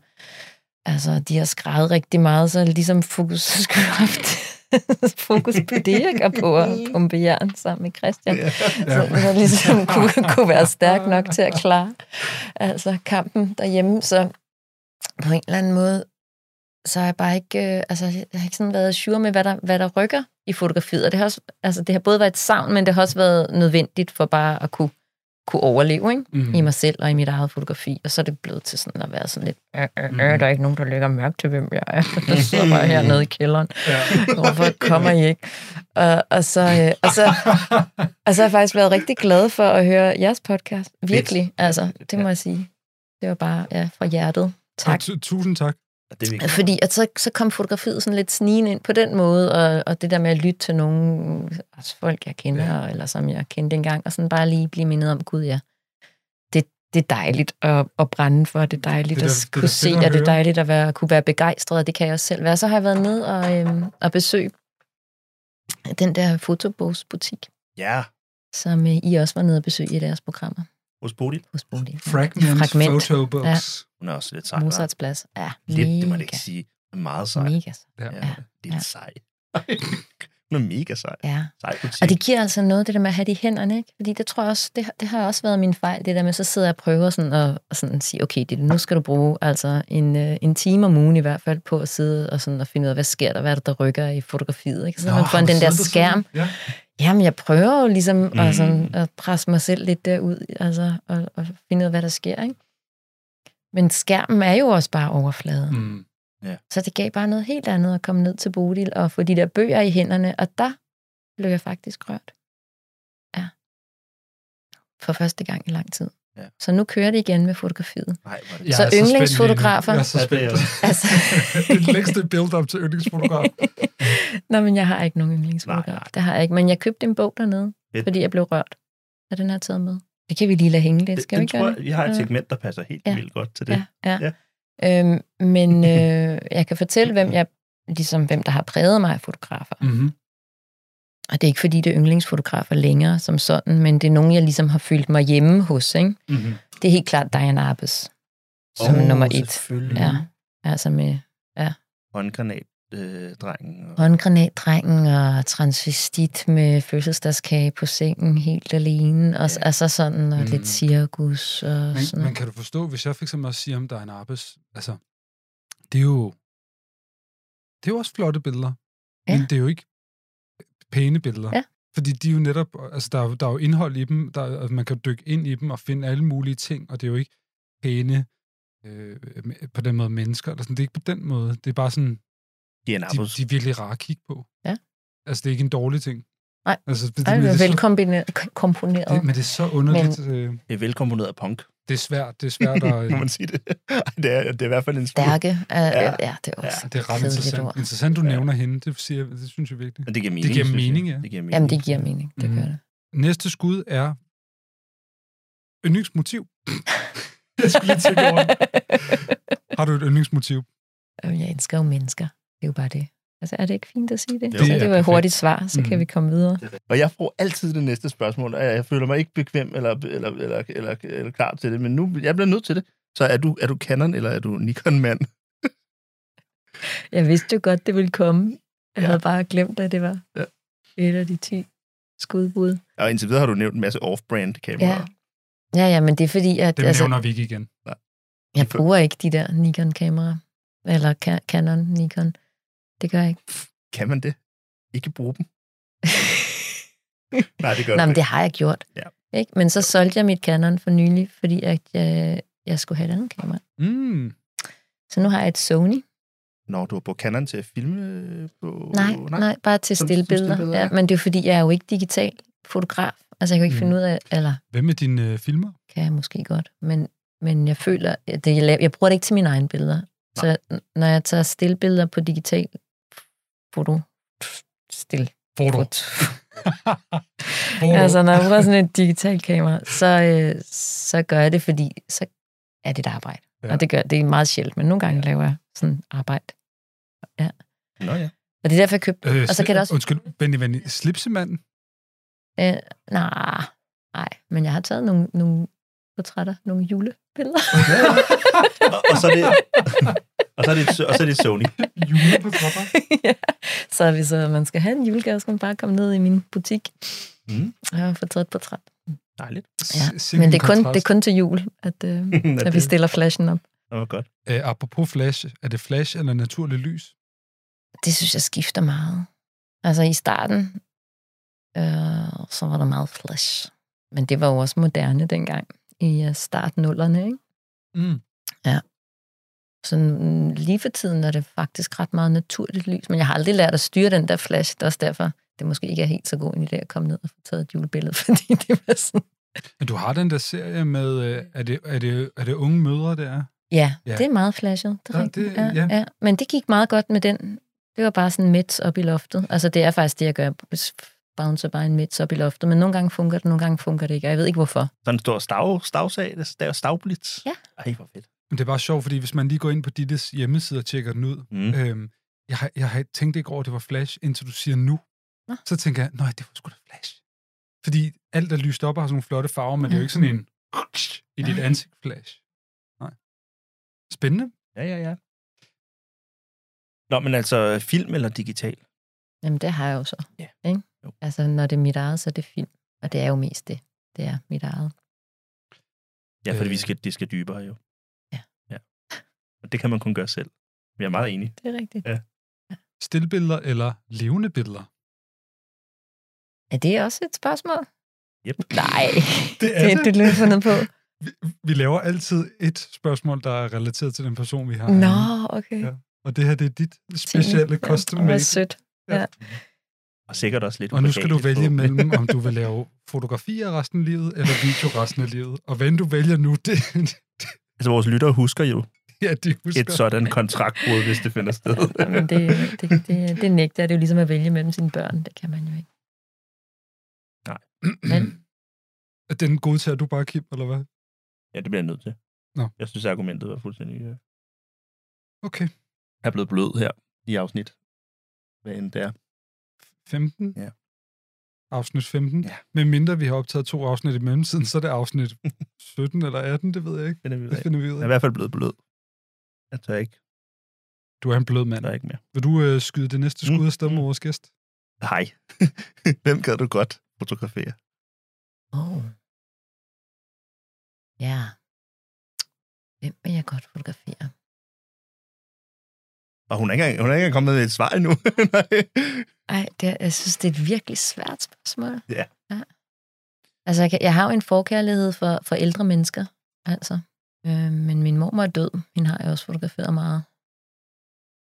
altså, de har skrevet rigtig meget, så ligesom fokus, så skulle jeg have haft fokus på det, ikke? Og på at pumpe jern sammen med Christian. Ja. Så jeg ligesom kunne, kunne være stærk nok til at klare altså kampen derhjemme. Så på en eller anden måde, så har jeg bare ikke, øh, altså, jeg har ikke sådan været sure med, hvad der, hvad der rykker i fotografiet. Og det har, også, altså, det har både været et savn, men det har også været nødvendigt for bare at kunne, kunne overleve ikke? Mm. i mig selv og i mit eget fotografi. Og så er det blevet til sådan at være sådan lidt, øh, øh, øh, der er ikke nogen, der lægger mærke til, hvem jeg er. Jeg sidder bare hernede i kælderen. Ja. Hvorfor kommer I ikke? Og, og, så, øh, og, så, og så har jeg faktisk været rigtig glad for at høre jeres podcast. Virkelig, altså, det må jeg sige. Det var bare ja, fra hjertet. Tak. Og tu- Tusind tak. Ja, Det er vigtigt. Fordi at så, så kom fotografiet sådan lidt snigende ind på den måde, og, og det der med at lytte til nogle altså folk, jeg kender, ja. eller som jeg kendte engang, og sådan bare lige blive mindet om, gud ja, det, det er dejligt at, at brænde for, det er dejligt Det er det da- at det er da kunne fedt se, at og det er høre. dejligt at være, kunne være begejstret, og det kan jeg også selv være. Så har jeg været nede og, øhm, og besøgt den der fotobogsbutik, Ja, som øh, I også var nede og besøge i deres programmer hos Bodil. hos Bodil. Fragments Fragment. Fragment. Photobooks. Hun er også lidt sej. hva'? Mozarts plads. Ja, Lidt, det må man mega, ikke sige. Meget sej. mega. Ja. Ja, det er Ja. sej. Hun er mega sej. Ja. Sej butik. Og det giver altså noget, det der med at have det i hænderne, ikke? Fordi det tror jeg også, det, har- det har også været min fejl, det der med, så sidder jeg og prøver sådan at, at sådan sige, okay, det, nu skal du bruge altså en, øh, en time om ugen i hvert fald på at sidde og, sådan at finde ud af, hvad sker der, hvad er det, der rykker i fotografiet, ikke? Så man får har du den der siddet og skærm. siddet? Ja. Jamen, jeg prøver jo ligesom mm. Mm. at, sådan, at presse mig selv lidt derud, altså, og, og finde ud af, hvad der sker, ikke? Men skærmen er jo også bare overfladen. Mm. Så det gav bare noget helt andet at komme ned til Bodil og få de der bøger i hænderne, og der blev jeg faktisk rørt. Ja. For første gang i lang tid. Ja. Så nu kører det igen med fotografiet. Nej, hvor er det Jeg Så er spændt lige nu. yndlingsfotografer? Jeg er så Ja, det er spændt. jeg Altså, det er den længste build-up til yndlingsfotograf. Nå, men jeg har ikke nogen yndlingsfotograf. Nej, Nej, nej. Det har jeg ikke. Men jeg købte en bog dernede, Fedt. fordi jeg blev rørt af den her taget med. Det kan vi lige lade hænge lidt. Skal vi den ikke gøre tror, det? jeg, vi har et Ja. segment, der passer helt ja. Ja. vildt godt til det. Ja, ja. Øhm, men øh, jeg kan fortælle, hvem jeg ligesom hvem der har præget mig af fotografer. Mm-hmm. Og det er ikke fordi, det er yndlingsfotografer længere som sådan, men det er nogen, jeg ligesom har følt mig hjemme hos. Ikke? Mm-hmm. Det er helt klart Diane Arbus, som Åh, oh, nummer et. Selvfølgelig. Ja, altså med Håndgranatdrengen. Øh, drengen og- håndgranatdrengen og transvestit med fødselsdagskage på sengen helt alene. Og, Ja. ja. Altså sådan, og Mm. mm. lidt cirkus og Men, sådan men noget. kan du forstå, hvis jeg fik så meget at sige om dig en arbejds... Altså, det er jo... Det er jo også flotte billeder, ja. Ja. men det er jo ikke pæne billeder. Ja. Fordi de er jo netop... Altså, der er, jo- der er jo indhold i dem, der, er- man kan jo dykke ind i dem og finde alle mulige ting, og det er jo ikke pæne øh, m- på den måde mennesker. Eller sådan. Det er ikke på den måde. Det er bare sådan, De er en de, abus. de er virkelig rare at kigge på. Ja. Altså, det er ikke en dårlig ting. Nej. altså, det, Ej, men det det er er så- velkomponeret. det, men komponeret. det er så underligt. Men, øh, Det er velkomponeret punk, det er svært, det er svært at... må man sige det. Ej, det, er, det er i hvert fald en smule. Stærke. Ja. Ja. ja, det er også Ja, det er ret kedeligt interessant. ord. Interessant, du Ja. nævner hende. Det, siger, jeg- det synes jeg virkelig. Men det giver mening. Det giver synes jeg. mening, ja. Det giver mening. Jamen, det giver mening. Det Mm. gør det. Næste skud er yndlingsmotiv. jeg skulle lige tænke over det. Har du et yndlingsmotiv? Jamen, jeg elsker jo mennesker. Det er jo bare det. Altså, er det ikke fint at sige det? Jo. Jo, så Det er det var et perfekt. hurtigt svar, så mm. Mhm. kan vi komme videre. Og jeg får altid det næste spørgsmål, og jeg føler mig ikke bekvem eller, eller, eller, eller, eller klar til det, men nu jeg bliver nødt til det. Så er du, er du Canon, eller er du Nikon-mand? Jeg vidste jo godt, det ville komme. Jeg Ja. ja. havde bare glemt, at det var Ja. ja. et af de 10 skudbud. Og indtil videre har du nævnt en masse off-brand kameraer. Ja. ja, ja, men det er fordi, at Det altså, altså, nævner vi ikke igen. jeg bruger ikke de der Nikon-kameraer. Eller Ca- Canon, Nikon. Det gør jeg ikke. Kan man det? Ikke bruge dem? Nej, det gør Nej, du men ikke. det har jeg gjort. Ja. Ikke? Men så solgte jeg mit Canon for nylig, fordi at jeg, jeg skulle have et andet kamera. Mm. Så nu har jeg et Sony. Når du har brugt Canon til at filme øh, på... Nej, nej, bare til Som- som stille billeder. stillbilleder, Ja, ja. men det er jo fordi, jeg er jo ikke digital fotograf. Altså, jeg kan jo ikke Mm. finde ud af, eller Hvem er dine øh, filmer? kan jeg måske godt, men, men jeg føler, at det, jeg, laver, jeg bruger det ikke til mine egne billeder. Så n- når jeg tager stille billeder på digital foto, stille Foto. foto. Foto. Altså, når jeg bruger sådan et digitalt kamera, så, øh, så gør jeg det, fordi så er det et arbejde. Ja. Ja. Og det, gør, det er meget sjældent, men nogle gange laver jeg sådan arbejde. Nå ja. Og det er derfor, jeg købte øh, og så kan det også- Undskyld, Benny, Benny, slipsemanden? Øh, nej, nej, men jeg har taget nogle, nogle portrætter, nogle julebilleder. Og, og, så er det, og, så er det, og så er det Sony. Juleportrætter? ja. Så hvis øh, man skal have en julegave, skal man bare komme ned i min butik Mm. og få taget et portræt. Dejligt. Ja, Men det er, kun, det er kun til jul, at, øh, at vi stiller flashen op. Det var godt. Æ, Øh, apropos flash, er det flash eller naturligt lys? Det synes jeg skifter meget. Altså i starten, øh, så var der meget flash. Men det var jo også moderne dengang, i øh, startnullerne, ikke? Mm. Så mm, lige for tiden er det faktisk ret meget naturligt lys, men jeg har aldrig lært at styre den der flash. Det er også derfor, det måske ikke er helt så god en idé at komme ned og få taget et julebillede, fordi det var sådan... Men du har den der serie med, øh, er det, er det, er det unge mødre, der er? Ja, Ja. ja. det er meget flashet. Det er Ja, ja, det- rigtigt. Det, ja. ja. Ja. Men det gik meget godt med den. Det var bare sådan midt op i loftet. Altså det er faktisk det, jeg gør. Jeg bouncer bare en midt op i loftet, men nogle gange fungerer det, nogle gange fungerer det ikke, og jeg ved ikke hvorfor. Sådan en stor stav, stavsag, der er stavblitz. Ja. Ej, hvor fedt. Men det er bare sjovt, fordi hvis man lige går ind på Dittes hjemmeside og tjekker den ud, Mm. Øhm, jeg, har, jeg har tænkt ikke over, at det var flash, indtil du siger nu. Nå. Nå. Så tænker jeg, nej, det var sgu da flash. Fordi alt er lyst op og har sådan nogle flotte farver, men det er jo ikke sådan en i dit Mm. Nej. ansigt flash. Nej. Spændende. Ja, ja, ja. Nå, men altså film eller digital? Jamen, det har jeg jo så. Ja. Ikke? Altså, når det er mit eget, så er det film. Og det er jo mest det. Det er mit eget. Ja, fordi Øh. vi skal, det skal dybere jo. Ja. ja. Og det kan man kun gøre selv. Jeg er meget enig. Det er rigtigt. Ja. Stilbilleder eller levende billeder? Er det også et spørgsmål? Yep. Nej, Det er det, det. det lød fundet på. Vi, vi laver altid et spørgsmål, der er relateret til den person, vi har. Nå, okay. Ja. Og det her, det er dit specielle Ja, costume. Det var make. sødt. Og sikkert også lidt Og nu skal du ubehageligt vælge på- mellem, om du vil lave fotografier resten af livet, eller video resten af livet. Og hvad end du vælger nu, det, Altså, vores lyttere husker jo ja, de husker. et sådan kontraktbrud, hvis det finder sted. Jamen, det, det, det, det nægter jeg. Det er jo ligesom at vælge mellem sine børn. Det kan man jo ikke. Men At Den godtager du bare, Kim, eller hvad? Ja, det bliver jeg nødt til. Nå. Jeg synes, argumentet var fuldstændig... øh, Okay. er blevet blød her i afsnit. Hvad end det er. 15? Ja. Afsnit 15? Ja. Men mindre vi har optaget to afsnit i mellemtiden, så er det afsnit 17 eller 18, det ved jeg ikke. Finder vi ud Det af. finder vi ud Jeg er af. i hvert fald blevet blød. Jeg tør ikke, Du er en blød mand. tør ikke mere. Vil du øh, skyde det næste skud af stemme Mm. vores gæst? Hej. Hvem gad du godt fotografere? Oh. Ja. Hvem vil jeg godt fotografere? Og hun er ikke engang, hun er ikke engang kommet med et svar endnu. Nej. Ej, det, er- jeg synes, det er et virkelig svært spørgsmål. Ja. ja. Altså, jeg, kan- jeg har jo en forkærlighed for, for ældre mennesker, altså. Øh, men min mormor er død. Hende har jeg også fotograferet meget.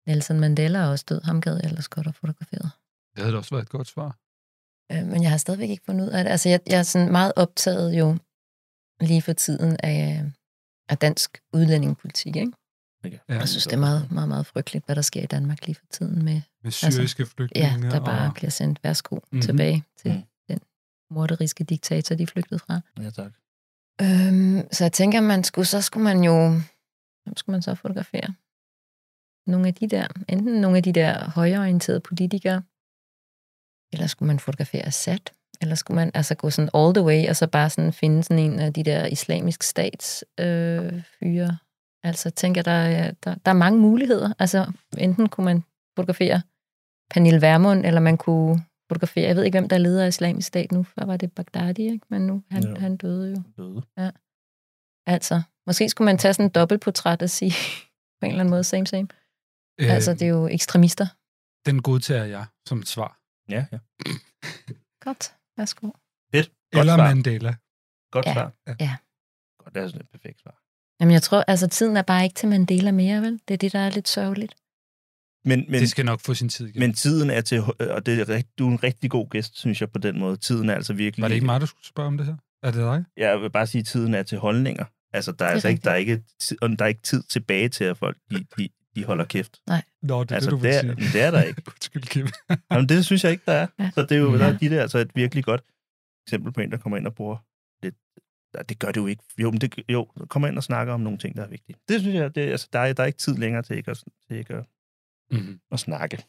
Nelson Mandela er også død. Ham gad jeg ellers godt have fotograferet. Det havde da også været et godt svar. Øh, men jeg har stadigvæk ikke fundet ud af det. Altså, jeg, jeg er sådan meget optaget jo lige for tiden af, af dansk udlændingepolitik, ikke? Ja, Jeg synes, det er meget, meget, meget frygteligt, hvad der sker i Danmark lige for tiden med med syriske altså, Ja, flygtninge. der bare og, bliver sendt værsgo mm-hmm. Mhm. tilbage til Mhm. mm. den morderiske diktator, de flygtede fra. Ja, tak. Øhm, så jeg tænker, man skulle, så skulle man jo... Hvem skulle man så fotografere? Nogle af de der, enten nogle af de der højreorienterede politikere, eller skulle man fotografere Assad, eller skulle man altså gå sådan all the way, og så bare sådan finde sådan en af de der islamisk stats øh, fyre. Altså tænker jeg, der, er- der, der er mange muligheder. Altså enten kunne man fotografere Pernille Vermund, eller man kunne fotografere, jeg ved ikke, hvem der leder af islamisk stat nu, før var det Baghdadi, ikke? men nu, han, Jo. ja. han døde jo. Døde. Altså, måske skulle man tage sådan en dobbeltportræt og sige på en eller anden måde same same. øh, Øh. Altså, det er jo ekstremister. Den godtager jeg som et svar. Ja, ja. Godt, værsgo. Godt eller svar. Mandela. Godt Ja. svar. Ja. Godt, det er sådan et perfekt svar. Jamen, jeg tror, altså, tiden er bare ikke til Mandela mere, vel? Det er det, der er lidt sørgeligt. Men, men, Men, det skal nok få sin tid igen. men tiden er til, og det er, rigt- du er en rigtig god gæst, synes jeg, på den måde. Tiden er altså virkelig... Var det ikke mig, der skulle spørge om det her? Er det dig? Jeg vil bare sige, at tiden er til holdninger. Altså, der er, Det er altså ikke, der er, ikke, tid- og der er ikke tid tilbage til, at folk de, de, de holder kæft. Nå, det er altså, det, du vil det, er- sige. men det er der ikke. Undskyld, Kim. Jamen, det synes jeg ikke, der er. Ja. Så det er jo, Ja. der er de der, altså et virkelig godt eksempel på en, der kommer ind og bruger lidt. Nej, det gør det jo ikke. Jo, men det, jo, kommer ind og snakker om nogle ting, der er vigtige. Det synes jeg, det, er- altså, der, er, der er ikke tid længere til ikke at, til ikke at, Mm-hmm. at snakke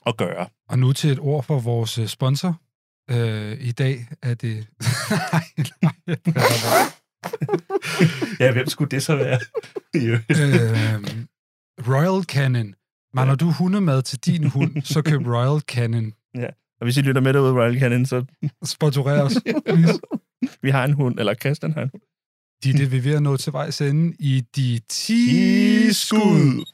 og gøre. Og nu til et ord for vores øh, sponsor. Øh, I dag er det... nej, nej. Ja, hvem skulle det så være? øhm, Royal Canin. Mangler du hundemad til din hund, så køb Royal Canin. og hvis I lytter med derude, Royal Canin, så Sponsorer os. please. vi har en hund, eller Christian har en hund. De er det, vi er ved at nå til vejs ende i de 10 skud.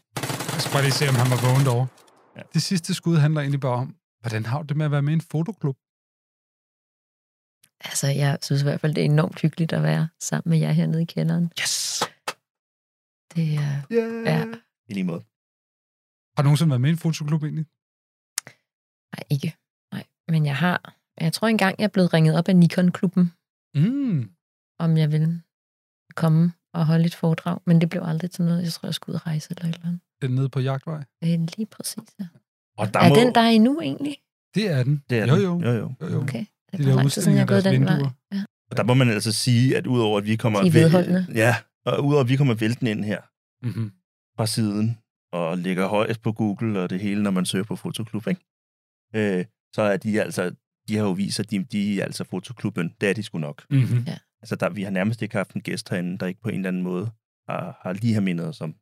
Jeg skal bare lige se, om han var vågen over. Ja. Ja. Det sidste skud handler egentlig bare om, hvordan har du det med at være med i en fotoklub? Altså, jeg synes i hvert fald, det er enormt hyggeligt at være sammen med jer hernede i kælderen. Yes! Det er... Yeah. Ja. I lige måde. Har du nogensinde været med i en fotoklub egentlig? Nej, ikke. Nej, men jeg har... Jeg tror engang, jeg er blevet ringet op af Nikon-klubben, Mm. om jeg ville komme og holde et foredrag. Men det blev aldrig til noget. Jeg tror, jeg skulle ud og rejse eller et eller andet. Den nede på jagtvej. Øh, Lige præcis, ja. Og Er den der endnu egentlig? Det er den. Det er jo, den. jo. jo, jo. jo, jo. Okay. Det De er der bare lang tid siden, udstillinger jeg er gået af den deres vej. vinduer. Ja. Og der må man altså sige, at udover at vi kommer... De er væl- vedholdende. Ja, og udover at vi kommer væltende ind her Mm-hmm. fra siden, og ligger højest på Google og det hele, når man søger på Fotoklub, ikke? Øh, så er de altså... De har jo vist, at de, de er altså Fotoklubben. Det er de sgu nok. Mm-hmm. Altså, der, vi har nærmest ikke haft en gæst herinde, der ikke på en eller anden måde har, har lige har mindet os om,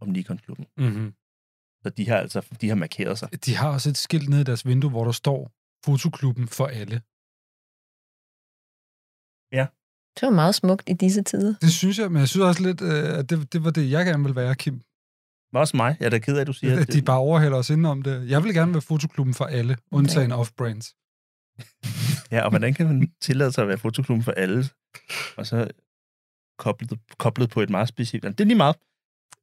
om Nikon-klubben. Mm-hmm. Så de har altså de har markeret sig. De har også et skilt nede i deres vindue, hvor der står fotoklubben for alle. Det var meget smukt i disse tider. Det synes jeg, men jeg synes også lidt, øh, at det, det var det, jeg gerne vil være, Kim. Men også mig. Jeg er da ked af, at du siger, Ja, at de bare overhælder os indenom det. Jeg vil gerne være fotoklubben for alle, undtagen off-brands. Ja, og hvordan kan man tillade sig at være fotoklubben for alle? Og så koblet, koblet på et meget specifikt... Det er lige meget.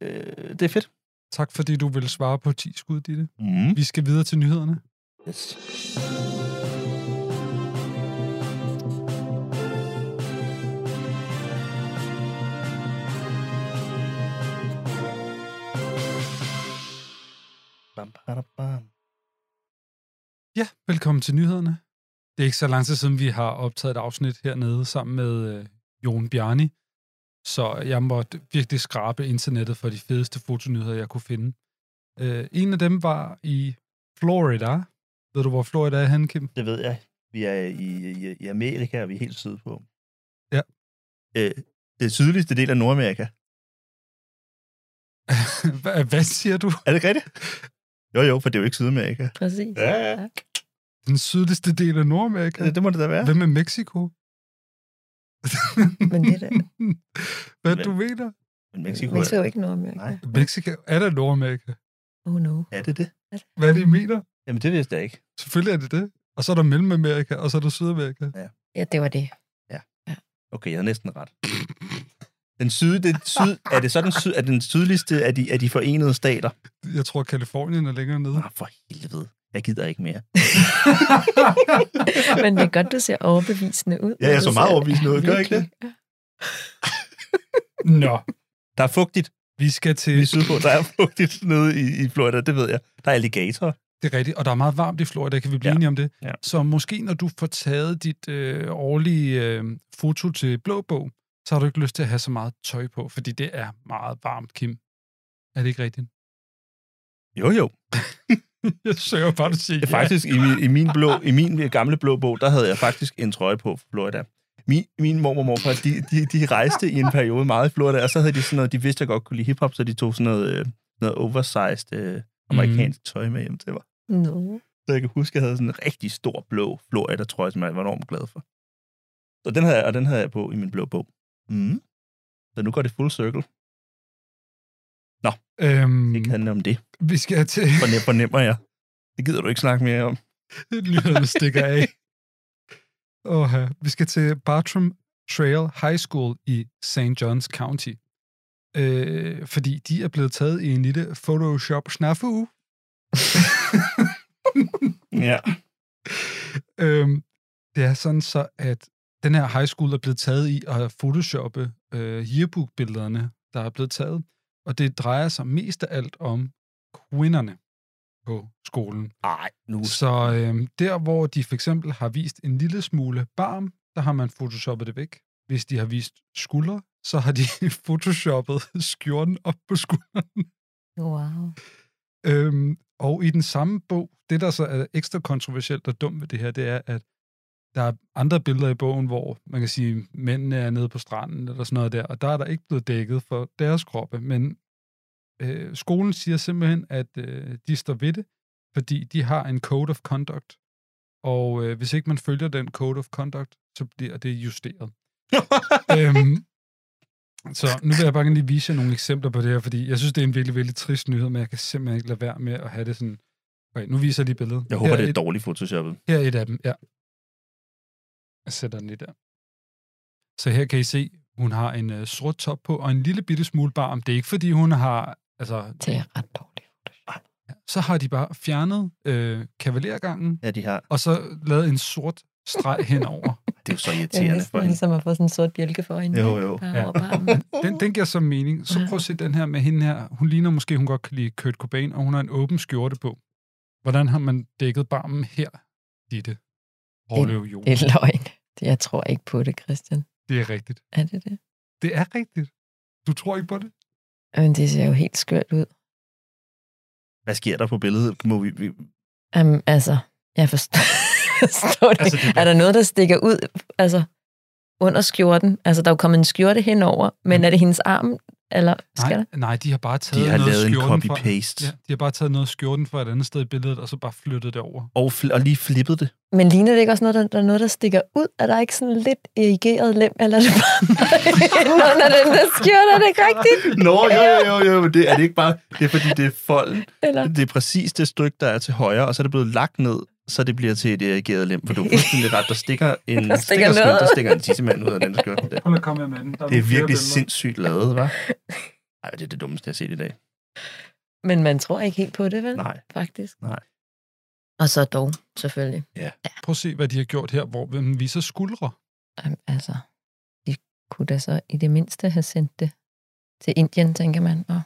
Øh, det er fedt. Tak fordi du ville svare på 10 skud, Ditte. Mm. Vi skal videre til nyhederne. Yes. Bam, bada, bam. Ja, velkommen til nyhederne. Det er ikke så lang tid siden, vi har optaget et afsnit hernede sammen med øh, Jon Bjarni, så jeg måtte virkelig skrabe internettet for de fedeste fotonyheder, jeg kunne finde. Øh, en af dem var i Florida. Ved du, hvor Florida er henne, Kim? Det ved jeg. Vi er i, i, i Amerika, og vi er helt syd på. Ja. Øh, det sydligste del af Nordamerika. Hva- Hvad siger du? Er det rigtigt? Jo, jo, for det er jo ikke Sydamerika. Præcis. Ja, ja. Den sydligste del af Nordamerika? Det, det må det da være. Hvad med Mexico? Men det er da... Hvad Men- du mener? Men Mexico, Man så er, ikke noget om Amerika. Nej. Mexico er da Nordamerika. Oh no. er det det? Hvad er det, I mener? Jamen, det vidste jeg ikke. Selvfølgelig er det det. Og så er der Mellemamerika, og så er der Sydamerika. Ja, det var det. Okay, jeg havde næsten ret. Den syd, det syd, er det så den, syd, er den sydligste af de, af de forenede stater? Jeg tror, Kalifornien er længere nede. Ah, for helvede. Jeg gider ikke mere. Men det er godt, du ser overbevisende ud. Ja, jeg så meget overbevisende ud, gør jeg ikke det? Nå. Der er fugtigt Vi skal til... i sydpå. Der er fugtigt nede i, i Florida, det ved jeg. Der er alligatorer. Det er rigtigt, og der er meget varmt i Florida, kan vi blive Ja. ja. enige om det. Ja. Så måske når du får taget dit øh, årlige øh, foto til blå bog, så har du ikke lyst til at have så meget tøj på, fordi det er meget varmt, Kim. Er det ikke rigtigt? Jo, jo. Jeg søger bare, at du siger Det er faktisk i min, i min, blå, i min gamle blå bog, der havde jeg faktisk en trøje på fra Florida. Min, min mormor og morfar, de, de, de rejste i en periode meget i Florida, og så havde de sådan noget, de vidste, jeg godt kunne lide hiphop, så de tog sådan noget, øh, noget oversized øh, amerikansk tøj med hjem til mig. No. Så jeg kan huske, jeg havde sådan en rigtig stor blå Florida-trøje, som jeg var enormt glad for. Så den havde, jeg- og den havde jeg på i min blå bog. Mm. Så nu går det full circle. ja. øhm, Ikke handler om det, Vi skal til fornem- fornemmer jeg. Det gider du ikke snakke mere om. nyhederne stikker af. Åh, ja. vi skal til Bartram Trail High School i St. John's County. Øh, fordi de er blevet taget i en lille Photoshop-snafu. Ja. Øhm, det er sådan så, at den her high school er blevet taget i at photoshoppe øh, yearbook-billederne, der er blevet taget. Og det drejer sig mest af alt om kvinderne på skolen. Ej, nu Så øh, der, hvor de for eksempel har vist en lille smule barm, der har man photoshoppet det væk. Hvis de har vist skulder, så har de photoshoppet skjorten op på skulderen. Wow. Øhm, og i den samme bog, det der så er ekstra kontroversielt og dumt ved det her, det er, at der er andre billeder i bogen, hvor man kan sige, mændene er nede på stranden eller sådan noget der, og der er der ikke blevet dækket for deres kroppe, men øh, skolen siger simpelthen, at øh, de står ved det, fordi de har en code of conduct, og øh, hvis ikke man følger den code of conduct, så bliver det justeret. øhm, så nu vil jeg bare gerne lige vise jer nogle eksempler på det her, fordi jeg synes, det er en virkelig, virkelig trist nyhed, men jeg kan simpelthen ikke lade være med at have det sådan... Okay, nu viser jeg lige billedet. Jeg håber, her det er et, dårligt photoshoppet. Her er et af dem, ja. Jeg sætter den lige der. Så her kan I se, hun har en øh, sort top på, og en lille bitte smule barm. Det er ikke, fordi hun har... Altså, Det er ret dårligt. så har de bare fjernet øh, kavalergangen, Ja, de har. og så lavet en sort streg henover. Det er jo så Det er irriterende for næsten hende. ligesom at få sådan en sort bjælke for hende. Jo, jo. Bare Ja. over barmen. Den, den giver så mening. Så prøv at se den her med hende her. Hun ligner måske, hun godt kan lide Kurt Cobain, og hun har en åben skjorte på. Hvordan har man dækket barmen her, Ditte? Hårløv Jon. Det er løgn. Det- Jeg tror ikke på det, Christian. Det er rigtigt. Er det det? Det er rigtigt. Du tror ikke på det? Men det ser jo helt skørt ud. Hvad sker der på billedet? Må vi, vi, Um, altså, jeg forstår, forstår det. Altså, Altså, det det er der noget, der stikker ud altså, under skjorten? Altså, der er jo kommet en skjorte henover, men er det hendes arm, Eller skal Nej, der? nej, de har bare taget De har noget lavet en skjorten fra- copy-paste. Ja, de har bare taget noget skjorten fra et andet sted i billedet, og så bare flyttet det over. Og, fl- og lige flippet det. Men ligner det ikke også noget, der, der er noget, der stikker ud? Er der ikke sådan lidt erigeret lem, eller er det bare inde under den der skjorte? Er det ikke rigtigt? Nå, jo, jo, jo, jo, men det er det ikke bare, det er fordi, det er folden. Eller- Det er præcis det stykke, der er til højre, og så er det blevet lagt ned, så det bliver til et erigeret lem, for du er fuldstændig ret, der stikker en Der stikker der stikker noget skjort, der ud. stikker en tissemand ud af den skjort. Der. Prøv at komme med den. Det er virkelig sindssygt lavet, hva'? Ej, det er det dummeste, jeg har set i dag. Men man tror ikke helt på det, vel? Nej. Faktisk. Nej. Og så dog, selvfølgelig. Ja. Prøv at se, hvad de har gjort her, hvor den viser skuldre. Jamen, altså, de kunne da så i det mindste have sendt det til Indien, tænker man. Og,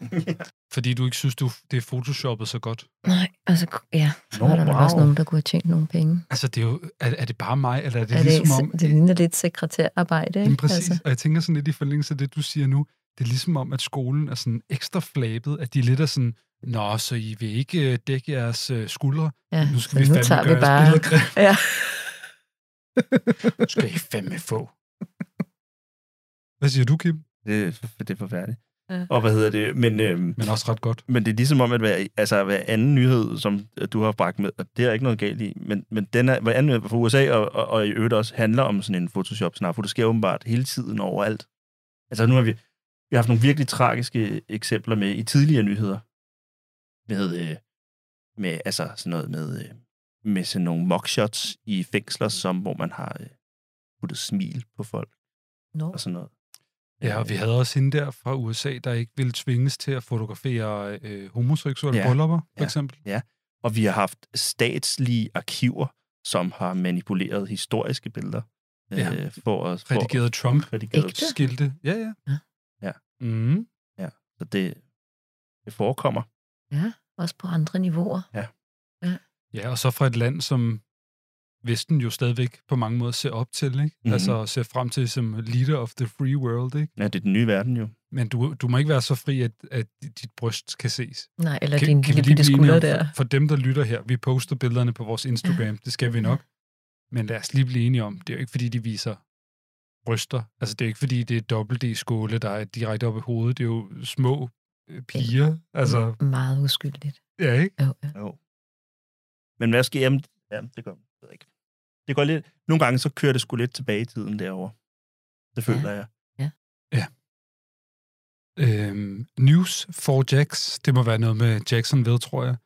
Fordi du ikke synes, du, det er photoshoppet så godt. nej, og så, ku- ja, så Nå, var der nok også wow. nogen, der kunne have tjent nogle penge. Altså, det er, jo, er, er det bare mig, eller er det er er det, ligesom ikke, om... om, det ligner lidt sekretærarbejde, Jamen, ikke? præcis. Altså. Og jeg tænker sådan lidt i forlængelse af det, du siger nu. Det er ligesom om, at skolen er sådan ekstra flabet, at de lidt er sådan, Nå, så I vil ikke øh, dække jeres øh, skuldre? Ja, så nu skal vi nu fandme tager vi gøre jeres bare- billeder grimme." Ja. nu skal I fandme få. Hvad siger du, Kim? Det, er for- det er forfærdeligt. Ja. Ja. Og hvad hedder det? Men, øhm, men også ret godt. Men det er ligesom om, at hver, altså, hver anden nyhed, som øh, du har bragt med, og det er ikke noget galt i, men, men den er, hver anden nyhed fra USA og, og, og, i øvrigt også handler om sådan en Photoshop snart, for det sker åbenbart hele tiden overalt. Altså nu har vi, vi har haft nogle virkelig tragiske eksempler med i tidligere nyheder. Med, øh, med altså sådan noget med, øh, med sådan nogle mockshots i fængsler, som, hvor man har øh, puttet smil på folk Nå. og Altså. sådan noget. Ja, og vi havde også hende der fra USA, der ikke ville tvinges til at fotografere øh, homoseksuelle ja. Ja. bryllupper, for Ja. eksempel. Ja, og vi har haft statslige arkiver, som har manipuleret historiske billeder. Ja. Øh, for at, for, Redigeret Trump. Redigeret Ægte? skilte. Ja, ja. Ja. Mm. ja. Så det, det forekommer. Ja, også på andre niveauer. Ja, og så fra et land, som Vesten jo stadigvæk på mange måder ser op til, ikke? Mm-hmm. Mhm. Altså ser frem til som leader of the free world, ikke? Ja, det er den nye verden jo. Men du, du må ikke være så fri, at, at dit bryst kan ses. Nej, eller Kan- din kan vi lille lige bitte blive skulder enige om, der. For, for dem, der lytter her, vi poster billederne på vores Instagram, det skal vi Mhm. nok. Men lad os lige blive enige om, det er jo ikke, fordi de viser bryster. Altså, det er jo ikke, fordi det er dobbelt D-skåle, der er direkte op i hovedet. Det er jo små øh, piger. Mhm. Altså, Meget uskyldigt. ja, ikke? Jo, ja. Jo. Men hvad sker? Jamen, ja, det gør det ikke. Det går lidt, nogle gange så kører det sgu lidt tilbage i tiden derovre. Det føler jeg. Øhm, News for Jax, det må være noget med Jacksonville, tror jeg.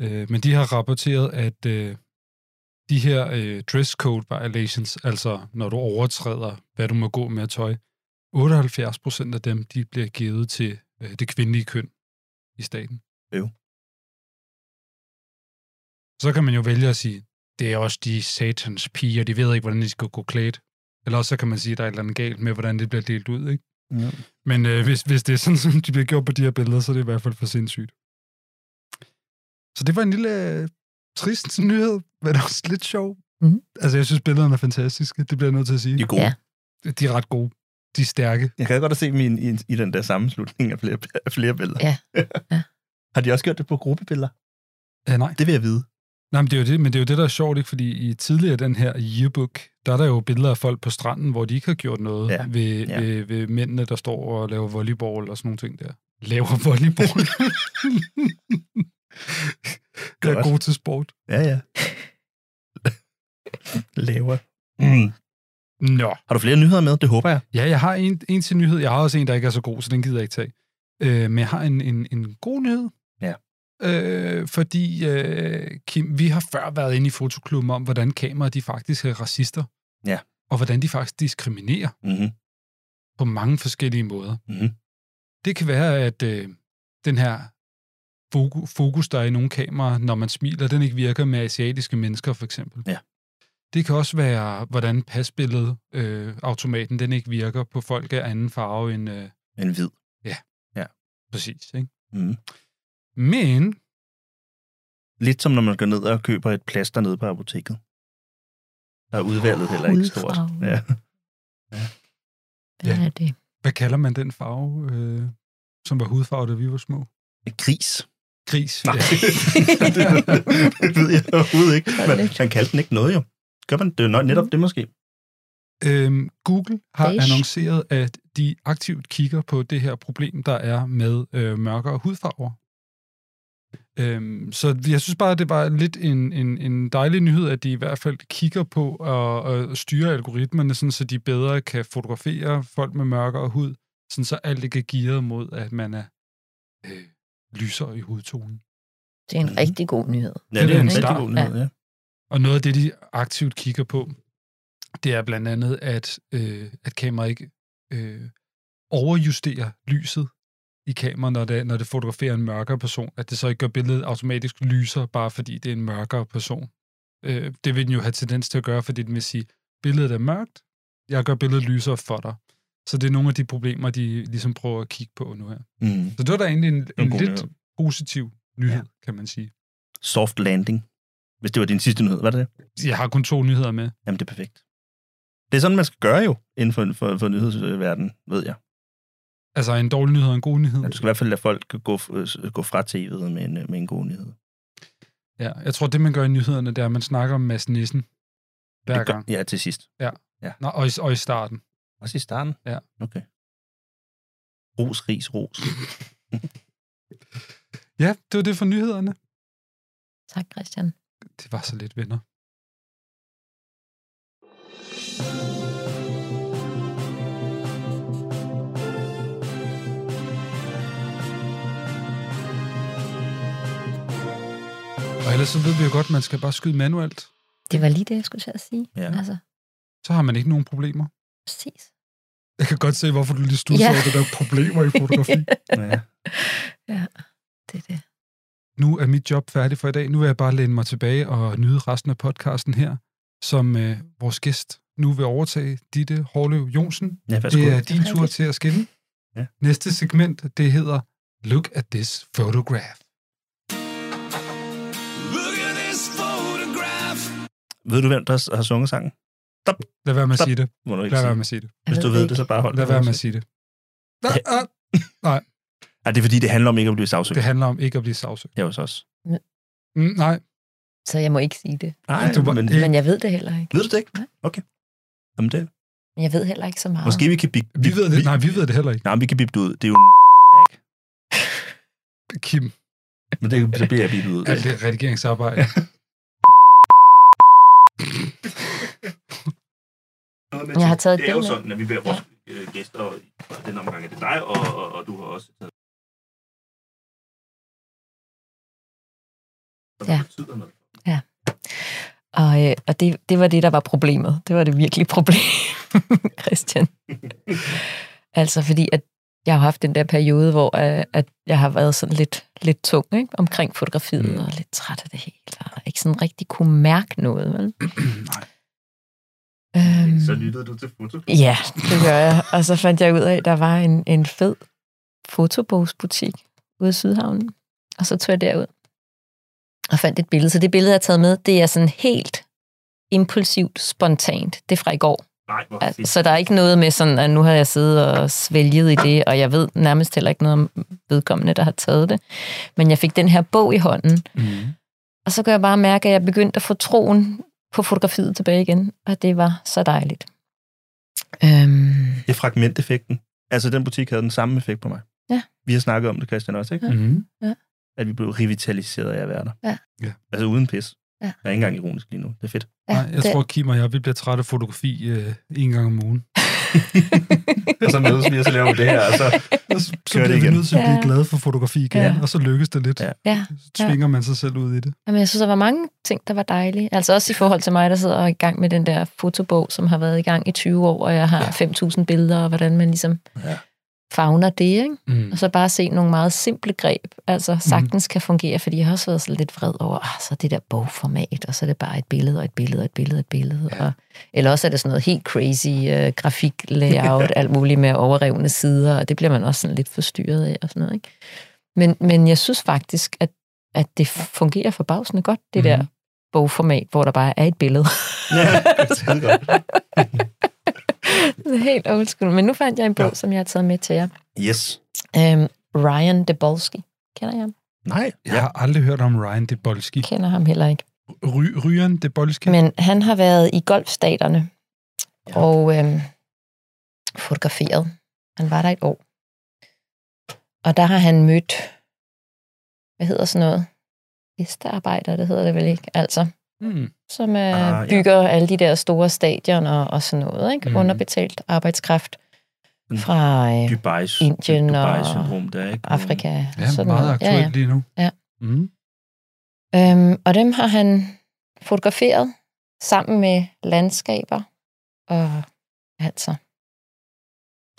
Øh, men de har rapporteret, at øh, de her øh, dress code violations, altså når du overtræder, hvad du må gå med af tøj, 78 procent af dem, de bliver givet til øh, det kvindelige køn i staten. Øv. Så kan man jo vælge at sige, det er også de satans piger, de ved ikke, hvordan de skal gå klædt. Eller også så kan man sige, at der er et eller andet galt med, hvordan det bliver delt ud, ikke? Ja. Men øh, hvis, hvis det er sådan, som de bliver gjort på de her billeder, så er det i hvert fald for sindssygt. Så det var en lille øh, trist nyhed, men også lidt sjov. Mhm. Altså, jeg synes, billederne er fantastiske. Det bliver jeg nødt til at sige. De er gode. Ja. Ja. De er ret gode. De er stærke. Jeg kan godt at se dem i, en- i, en- i den der sammenslutning af flere, af flere billeder. Ja. Ja. har de også gjort det på gruppebilleder? Ja, Øh, nej. Det vil jeg vide. nej men, det er jo det, men det er jo det, der er sjovt, ikke? Fordi i tidligere den her yearbook, der er der jo billeder af folk på stranden, hvor de ikke har gjort noget ja. Ja. Ved, ja. Ja. Ved, ved mændene, der står og laver volleyball og sådan nogle ting der. Laver volleyball. Jeg er Godt. god til sport. Ja, ja. Laver. Mm. Nå. Har du flere nyheder med? Det håber jeg. Ja, jeg har en, en til nyhed. Jeg har også en, der ikke er så god, så den gider jeg ikke tage. Øh, men jeg har en, en, en god nyhed. Ja. Øh, fordi, øh, Kim, vi har før været inde i fotoklubben om, hvordan kameraer de faktisk er racister. Ja. Og hvordan de faktisk diskriminerer Mm-hmm. på mange forskellige måder. Mhm. Det kan være, at øh, den her foku- fokus, der er i nogle kameraer, når man smiler, den ikke virker med asiatiske mennesker, for eksempel. Ja. Det kan også være, hvordan pasbilledet, øh, automaten, den ikke virker på folk af anden farve end øh, En hvid. præcis. Ikke? Mm. Men Lidt som når man går ned og køber et plaster nede på apoteket. Der er udvalget heller ikke stort. Hudfarve. Ja. Hvad Ja. er det? hvad kalder man den farve, øh, som var hudfarve, da vi var små? En gris. Gris. Nej, Ja. det ved jeg overhovedet ikke. Man, Sådan lidt. man kaldte den ikke noget jo. Gør man det er nok netop det måske? Øhm, Google har Beige. annonceret, at de aktivt kigger på det her problem, der er med øh, mørkere hudfarver. Øhm, så jeg synes bare, det var lidt en, en, en dejlig nyhed, at de i hvert fald kigger på at, at styre algoritmerne, sådan, så de bedre kan fotografere folk med mørkere hud, sådan, så alt ikke er gearet mod, at man er øh, lysere i hudtonen. Det er en rigtig god nyhed. Mm. Ja, det er en rigtig Ikke? god nyhed, ja. Og noget af det, de aktivt kigger på, det er blandt andet, at, øh, at kameraet ikke øh, overjusterer lyset i kameraet, når det, når det fotograferer en mørkere person. At det så ikke gør billedet automatisk lysere, bare fordi det er en mørkere person. Øh, det vil den jo have tendens til at gøre, fordi den vil sige, billedet er mørkt, jeg gør billedet lysere for dig. Så det er nogle af de problemer, de ligesom prøver at kigge på nu her. Mm. Så det var da egentlig en, en en god lidt nyhed. positiv nyhed, ja. kan man sige. Soft landing. Hvis det var din sidste nyhed, var det det? Jeg har kun to nyheder med. Jamen, det er perfekt. Det er sådan, man skal gøre jo, inden for, for, for nyhedsverdenen, ved jeg. Altså, en dårlig nyhed og en god nyhed. Ja, du skal i hvert fald lade folk gå, øh, gå fra tv'et med en, øh, med en god nyhed. Ja, jeg tror, det man gør i nyhederne, det er, at man snakker om Mads Nissen hver Det gør- gang. Ja, til sidst. Ja. Ja. Nå, og, i, og i starten. Også i starten? Ja. Okay. Ros, ris, ros. Ja, det var det for nyhederne. Tak, Christian. Det var så lidt, venner. Og ellers så ved vi jo godt, at man skal bare skyde manuelt. Det var lige det, jeg skulle til at sige. Ja. Altså, Så har man ikke nogen problemer. præcis. Jeg kan godt se, hvorfor du lige studser Ja. ja. over det der problemer i fotografi. ja. ja, det er det. nu er mit job færdig for i dag. Nu vil jeg bare læne mig tilbage og nyde resten af podcasten her, som øh, vores gæst nu vil overtage, Ditte Hårløv Jonsen. Ja, værsgo. det er din Det er tur rigtigt. til at skinne. Ja. Næste segment, det hedder Look at this photograph. Look at this photograph. Ved du, hvem der s- har sunget sangen? Stop. Lad være med at Stop. sige det. Må du ikke Lad sige. være med at sige det. Hvis du ved det, så bare hold Lad dig for være med dig at sige det. Nej, ah, nej, Nej, det er fordi, det handler om ikke at blive sagsøgt. det handler om ikke at blive sagsøgt. Det er hos os. Mm, nej, Så jeg må ikke sige det. Nej, du var- men... Øh. Men jeg ved det heller ikke. Ved du det ikke? Nej. Okay. Jamen det... Men jeg ved heller ikke så meget. Måske vi kan bip... vi ved det, nej, vi ved det heller ikke. Nej, men vi kan bippe det ud. Det er jo... Kim, Men det, så bliver jeg bippet ud. alt det redigeringsarbejde. Men jeg har taget det er jo det med. sådan, at vi beder vores øh, gæster, og og den omgang er det dig, og, og, og du har også taget... Som Ja. betyder noget. Og, øh, og det, det var det, der var problemet. Det var det virkelige problem, Christian. altså fordi, at jeg har haft den der periode, hvor øh, at jeg har været sådan lidt, lidt tung ikke? omkring fotografiet, mm. og lidt træt af det hele, og ikke sådan rigtig kunne mærke noget. Vel? øhm, Så lyttede du til foto. Ja, det gør jeg. Og så fandt jeg ud af, at der var en, en fed fotobogsbutik ude i Sydhavnen. Og så tog jeg derud og fandt et billede. Så det billede, jeg har taget med, det er sådan helt impulsivt, spontant. Det er fra i går. Nej, hvor Altså, fedt. Så der er ikke noget med sådan, at nu har jeg siddet og svælget i det, og jeg ved nærmest heller ikke noget om vedkommende, der har taget det. Men jeg fik den her bog i hånden, Mm. og så kunne jeg bare mærke, at jeg begyndte at få troen på fotografiet tilbage igen, og det var så dejligt. Øhm, Det er fragmenteffekten. Altså, den butik havde den samme effekt på mig. Ja. Vi har snakket om det, Christian, også, ikke? Mm-hmm. At vi blev revitaliseret af at være der. Ja. Ja. Altså, uden pis. Ja. Jeg er ikke engang ironisk lige nu. Det er fedt. Nej, jeg det- tror, Kim og jeg, vi bliver trætte af fotografi øh, en gang om ugen. Og så mødes vi, og så laver vi det altså- her, og så... Og så, så Gør det bliver vi igen. nødt til at blive Ja. glade for fotografi igen, Ja. ja. og så lykkes det lidt. Ja. Ja. Ja, Så tvinger man sig selv ud i det. Jamen, jeg synes, der var mange ting, der var dejlige. Altså også i forhold til mig, der sidder og er i gang med den der fotobog, som har været i gang i 20 år, og jeg har 5.000 billeder, og hvordan man ligesom Ja. fagner det, ikke? Mm. Og så bare se nogle meget simple greb, altså sagtens kan fungere, fordi jeg har også været så lidt vred over, ah, så er det der bogformat, og så er det bare et billede, og et billede, og et billede, og et billede. Ja. Og, eller også er det sådan noget helt crazy øh, grafik-layout, alt muligt med overrevne sider, og det bliver man også sådan lidt forstyrret af og sådan noget, ikke? Men, men jeg synes faktisk, at, at det fungerer forbavsende godt, det mm. der bogformat, hvor der bare er et billede. Ja, det er godt. Det er helt old school. Men nu fandt jeg en bog, ja. som jeg har taget med til jer. Yes. Øhm, Ryan Debolski. Kender jeg ham? Nej. Jeg har aldrig hørt om Ryan Debolski. Kender ham heller ikke. Ry- Ryan Debolski? Men han har været i golfstaterne ja. og øhm, fotograferet Han var der et år. Og der har han mødt, hvad hedder sådan noget? Hestearbejder, det hedder det vel ikke, altså. Mm. Som øh, Ah, ja. ah, bygger ja. alle de der store stadion og, og sådan noget, ikke? Mhm. Mm. Underbetalt arbejdskraft Mm. fra øh, Dubai, Indien Dubai-syndrom, der, ikke? og Afrika. Ja, meget aktuelt lige nu. Ja. Mm. Øhm, og dem har han fotograferet sammen med landskaber og altså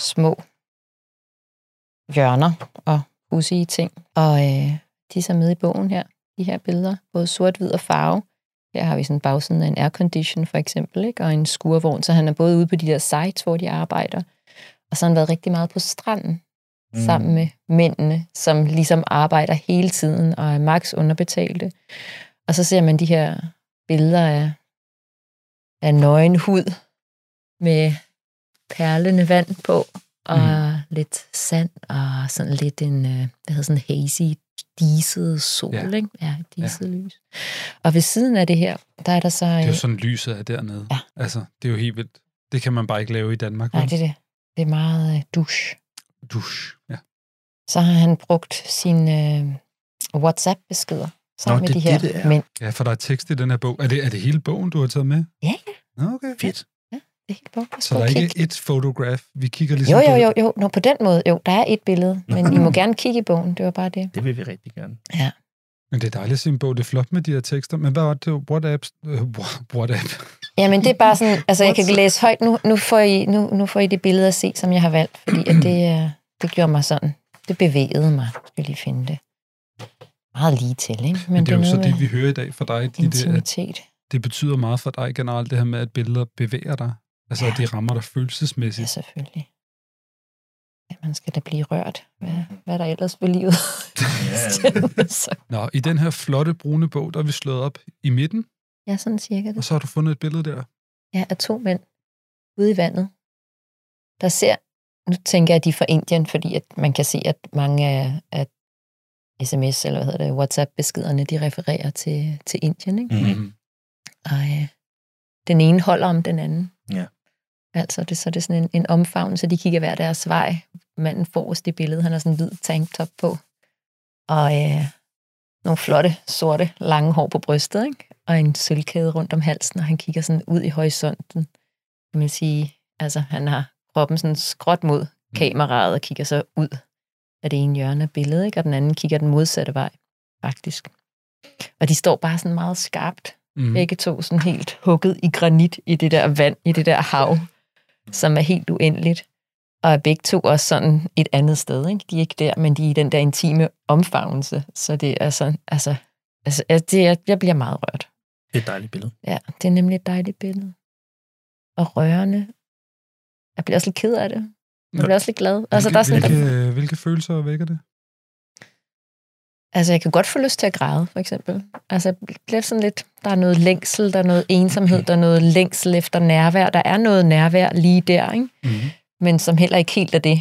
små hjørner og husige ting. Og øh, de er så med i bogen her, de her billeder, både sort, hvid og farve. Her har vi sådan bagsiden af en aircondition for eksempel, ikke? og en skurvogn, så han er både ude på de der sites, hvor de arbejder, og så har han været rigtig meget på stranden Mm. mm. sammen med mændene, som ligesom arbejder hele tiden og er max underbetalte. Og så ser man de her billeder af, af nøgen hud med perlende vand på, og mm. lidt sand, og sådan lidt en, øh, hvad hedder sådan en hazy, diset sol, Ja. ja. ikke? Ja, et diset ja. lys. Og ved siden af det her, der er der så... Det er øh, jo sådan, lyset er dernede. Ja. Altså, det er jo helt vildt. Det kan man bare ikke lave i Danmark. Nej, vel? det er det. Det er meget øh, douche. Dusch, ja. så har han brugt sine øh, WhatsApp-beskeder sammen med de her mænd. Ja, for der er tekst i den her bog. Er det, er det hele bogen, du har taget med? Ja, ja. Nå, okay. Fedt. Det er helt bort. Så der er ikke et fotograf. Vi kigger ligesom Jo, jo, på- jo, jo. Nå, på den måde, jo, der er et billede, men I må gerne kigge i bogen, det var bare det. Det vil vi rigtig gerne. Ja. Men det er dejligt at se en bog. Det er flot med de her tekster. Men hvad var det? What apps? Uh, what app? Jamen, det er bare sådan, altså jeg kan What's- ikke læse højt, nu, nu, får I, nu, nu får I det billede at se, som jeg har valgt, fordi at det, øh, det gjorde mig sådan, det bevægede mig, Nu skal jeg lige finde det. Meget lige til, ikke? Men, Men det er jo noget så det, med vi hører i dag fra dig. De der, at intimitet. det betyder meget for dig generelt, det her med, at billeder bevæger dig. Altså, ja. at de rammer dig følelsesmæssigt. Ja, selvfølgelig. at man skal da blive rørt, hvad, hvad der ellers ved livet. så, Nå, i den her flotte brune bog, der er vi slået op i midten, ja, Mm. sådan cirka og det. så har du fundet et billede der. Ja, af to mænd ude i vandet, der ser, nu tænker jeg, at de er fra Indien, fordi at man kan se, at mange af, af sms, eller hvad hedder det, WhatsApp-beskederne, de refererer til, til Indien, ikke? Mm-hmm. Og øh, den ene holder om den anden. Ja. Altså, det, så det er sådan en, en omfavnelse, de kigger hver deres vej. Manden forrest i billedet, han har sådan en hvid tanktop på. Og øh, nogle flotte, sorte, lange hår på brystet, ikke? Og en sølvkæde rundt om halsen, og han kigger sådan ud i horisonten. Kan man sige, altså han har kroppen sådan skråt mod kameraet og kigger så ud af det ene hjørne af billedet, ikke? Og den anden kigger den modsatte vej, faktisk. Og de står bare sådan meget skarpt, Mhm. mm. Mm-hmm. begge to sådan helt hugget i granit i det der vand, i det der hav, som er helt uendeligt. Og er begge to også sådan et andet sted, ikke? De er ikke der, men de er i den der intime omfavnelse. Så det er sådan, altså, altså altså, det er, jeg bliver meget rørt. Det er et dejligt billede. Ja, det er nemlig et dejligt billede. Og rørende. Jeg bliver også lidt ked af det. Jeg bliver også lidt glad. Altså, der er sådan, hvilke, hvilke, hvilke følelser vækker det? Altså, jeg kan godt få lyst til at græde, for eksempel. Altså, jeg bliver sådan lidt, der er noget længsel, der er noget ensomhed, der er noget længsel efter nærvær. Der er noget nærvær lige der, ikke? Mm-hmm. men som heller ikke helt er det.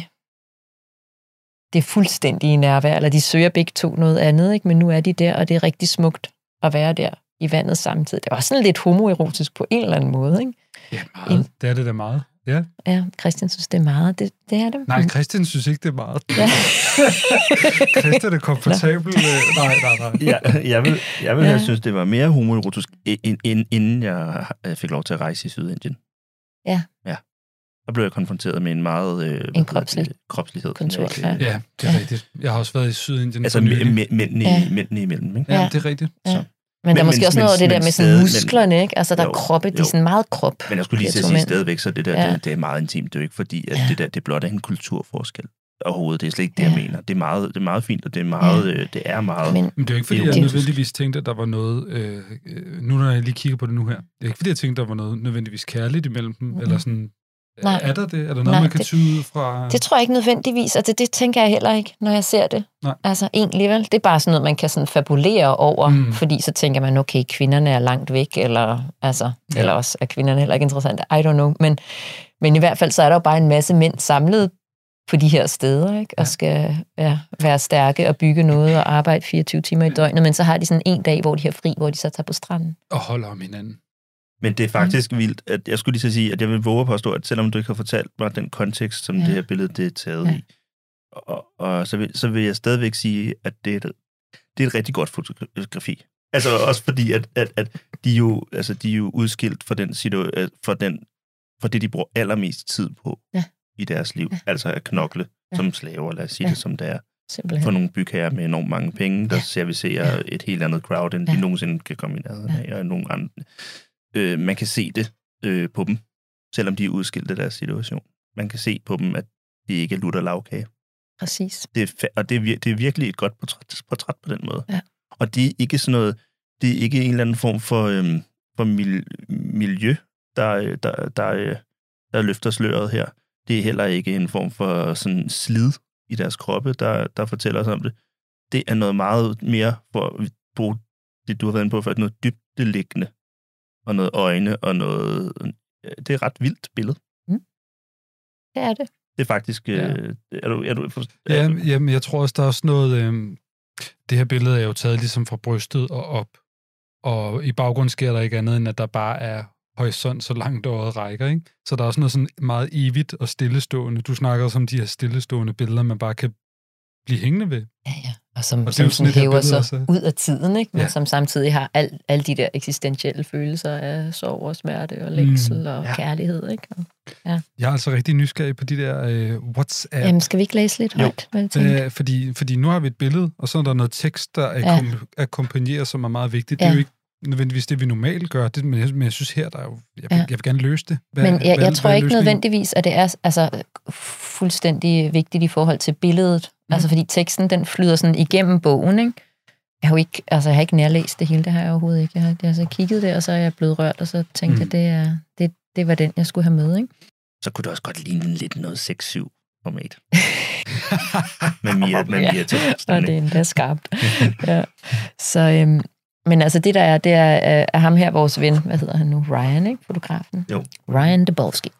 Det er fuldstændige nærvær, eller de søger begge to noget andet, ikke? men nu er de der, og det er rigtig smukt at være der i vandet samtidig. Det er også sådan lidt homoerotisk på en eller anden måde. Ikke? Ja, meget. Det er det da meget. Ja. Ja, Christian synes, det er meget. Det, det er det. Nej, Christian synes ikke, det er meget. Mm. Ja. Christian er komfortabel. øh, Nej, nej, nej. jeg, jeg vil, jeg vil Ja. ja. have synes, det var mere homoerotisk, i- ind- ind- inden jeg øh, fik lov til at rejse i Sydindien. Ja. Ja. Der blev jeg konfronteret med en meget... Øh, hvad hedder det, kropslig- kropslighed. som kontur, jeg ikke- Ja, det er ja. rigtigt. Jeg har også været i Sydindien Altså for nylig. mæ- mæ- mændene, Ja. ja. mændene imellem, ikke? Ja, det er rigtigt. Ja. Men der er måske også noget af det der med sådan musklerne, ikke? Altså, der er kroppe, de er sådan meget krop. Men jeg skulle lige de til at to sige mænd. stadigvæk, så det der, Ja. ja. det, det, er meget intimt. Det er jo ikke fordi, at Ja. ja. det der, det blot er en kulturforskel overhovedet. Det er slet ikke det, jeg mener. Det er meget, det er meget fint, og det er meget... Øh, det er meget... Men, Men det er jo ikke, fordi jeg nødvendigvis tænkte, at der var noget... Øh, øh, nu når jeg lige kigger på det nu her. Det er ikke, fordi jeg tænkte, der var noget nødvendigvis kærligt imellem dem. Mm-hmm. Eller sådan... Nej. Nej. Er der det? Er der noget, Nej, Nej, man kan det- tyde ud fra... Det tror jeg ikke nødvendigvis, og det, det tænker jeg heller ikke, når jeg ser det. Nej. Altså egentlig vel, det er bare sådan noget, man kan sådan fabulere over, Mm. mm. fordi så tænker man, okay, kvinderne er langt væk, eller, altså, Ja. ja. eller også er kvinderne heller ikke interessante, I don't know. Men, men i hvert fald så er der jo bare en masse mænd samlet på de her steder, ikke? og skal ja, være stærke og bygge noget og arbejde 24 timer i døgnet, men så har de sådan en dag, hvor de har fri, hvor de så tager på stranden. Og holder om hinanden. Men det er faktisk mm. vildt, at jeg skulle lige så sige, at jeg vil våge at påstå, at selvom du ikke har fortalt mig den kontekst, som ja. det her billede det er taget ja. i, og, og så, vil, så vil jeg stadigvæk sige, at det er, et- det er et rigtig godt fotografi. Altså også fordi, at, at, at de, jo, altså, de er jo udskilt for, den, situ- øh, for, den, for det, de bruger allermest tid på Ja. i deres liv. Ja. Altså at knokle Ja. ja. som slaver, lad os sige Ja. ja. det som det er. Simpelthen. For nogle bygherrer med enormt mange penge, der ja. servicerer ja. et helt andet crowd, end ja. Ja. de nogensinde kan komme i nærheden Ja. af. Og nogen andre. Øh, man kan se det øh, på dem, selvom de er udskilt af deres situation. Man kan se på dem, at de ikke er lutter lavkage Præcis. det er, fa- og det er, vir- det er virkelig et godt portræt, portræt på den måde. Ja. Og det er ikke sådan noget, det er ikke en eller anden form for, øhm, for mil- miljø, der, øh, der, der, øh, der løfter sløret her. Det er heller ikke en form for sådan slid i deres kroppe, der, der fortæller os om det. Det er noget meget mere, for at bruge det, du har været inde på før, noget dybdeliggende, og noget øjne, og noget... øh, Det er et ret vildt billede. Det er det. Det er faktisk... Ja. Øh, er du, er du, er, Ja, jamen, jeg tror også, der er sådan noget... Øh, det her billede er jo taget ligesom fra brystet og op. Og i baggrunden sker der ikke andet, end at der bare er horisont, så langt øjet rækker. Ikke? Så der er også noget sådan meget evigt og stillestående. Du snakker også om de her stillestående billeder, man bare kan blive hængende ved. Ja, ja. Og som, Og det er og jo som sådan sådan et her hæver billede sig også. ud af tiden, ikke? men Ja. ja. som samtidig har al, alle de der eksistentielle følelser af sorg og smerte og længsel Mm, mm, og ja. ja. kærlighed. Ikke? Og, Jeg er altså rigtig nysgerrig på de der øh, WhatsApp. Jamen, skal vi ikke læse lidt Jo. højt? Hvad jeg tænker? Øh, fordi, fordi nu har vi et billede, og så er der noget tekst, der Ja. ja. akkompagnerer, som er meget vigtigt. Det er Ja. jo ikke nødvendigvis det, vi normalt gør, det, men, jeg, men jeg synes her, der er jo, jeg, ja. Ja. jeg vil gerne løse det. men jeg, jeg tror er ikke løsningen? nødvendigvis, at det er altså, fuldstændig vigtigt i forhold til billedet. Mm. Altså fordi teksten, den flyder sådan igennem bogen. Ikke? Jeg, har jo ikke, altså, jeg har ikke nærlæst det hele, det har jeg overhovedet ikke. Jeg har, jeg har så kigget der, og så er jeg blevet rørt, og så tænkte Mm. mm. jeg, det, er, det, det var den, jeg skulle have med. Ikke? så kunne det også godt ligne lidt noget 6-7 format. med Mia, med Mia til og det er endda skarpt. ja. Så, øhm, men altså det der er, det er, øh, er ham her, vores ven, hvad hedder han nu, Ryan, ikke? fotografen? Jo. Ryan Dabolski.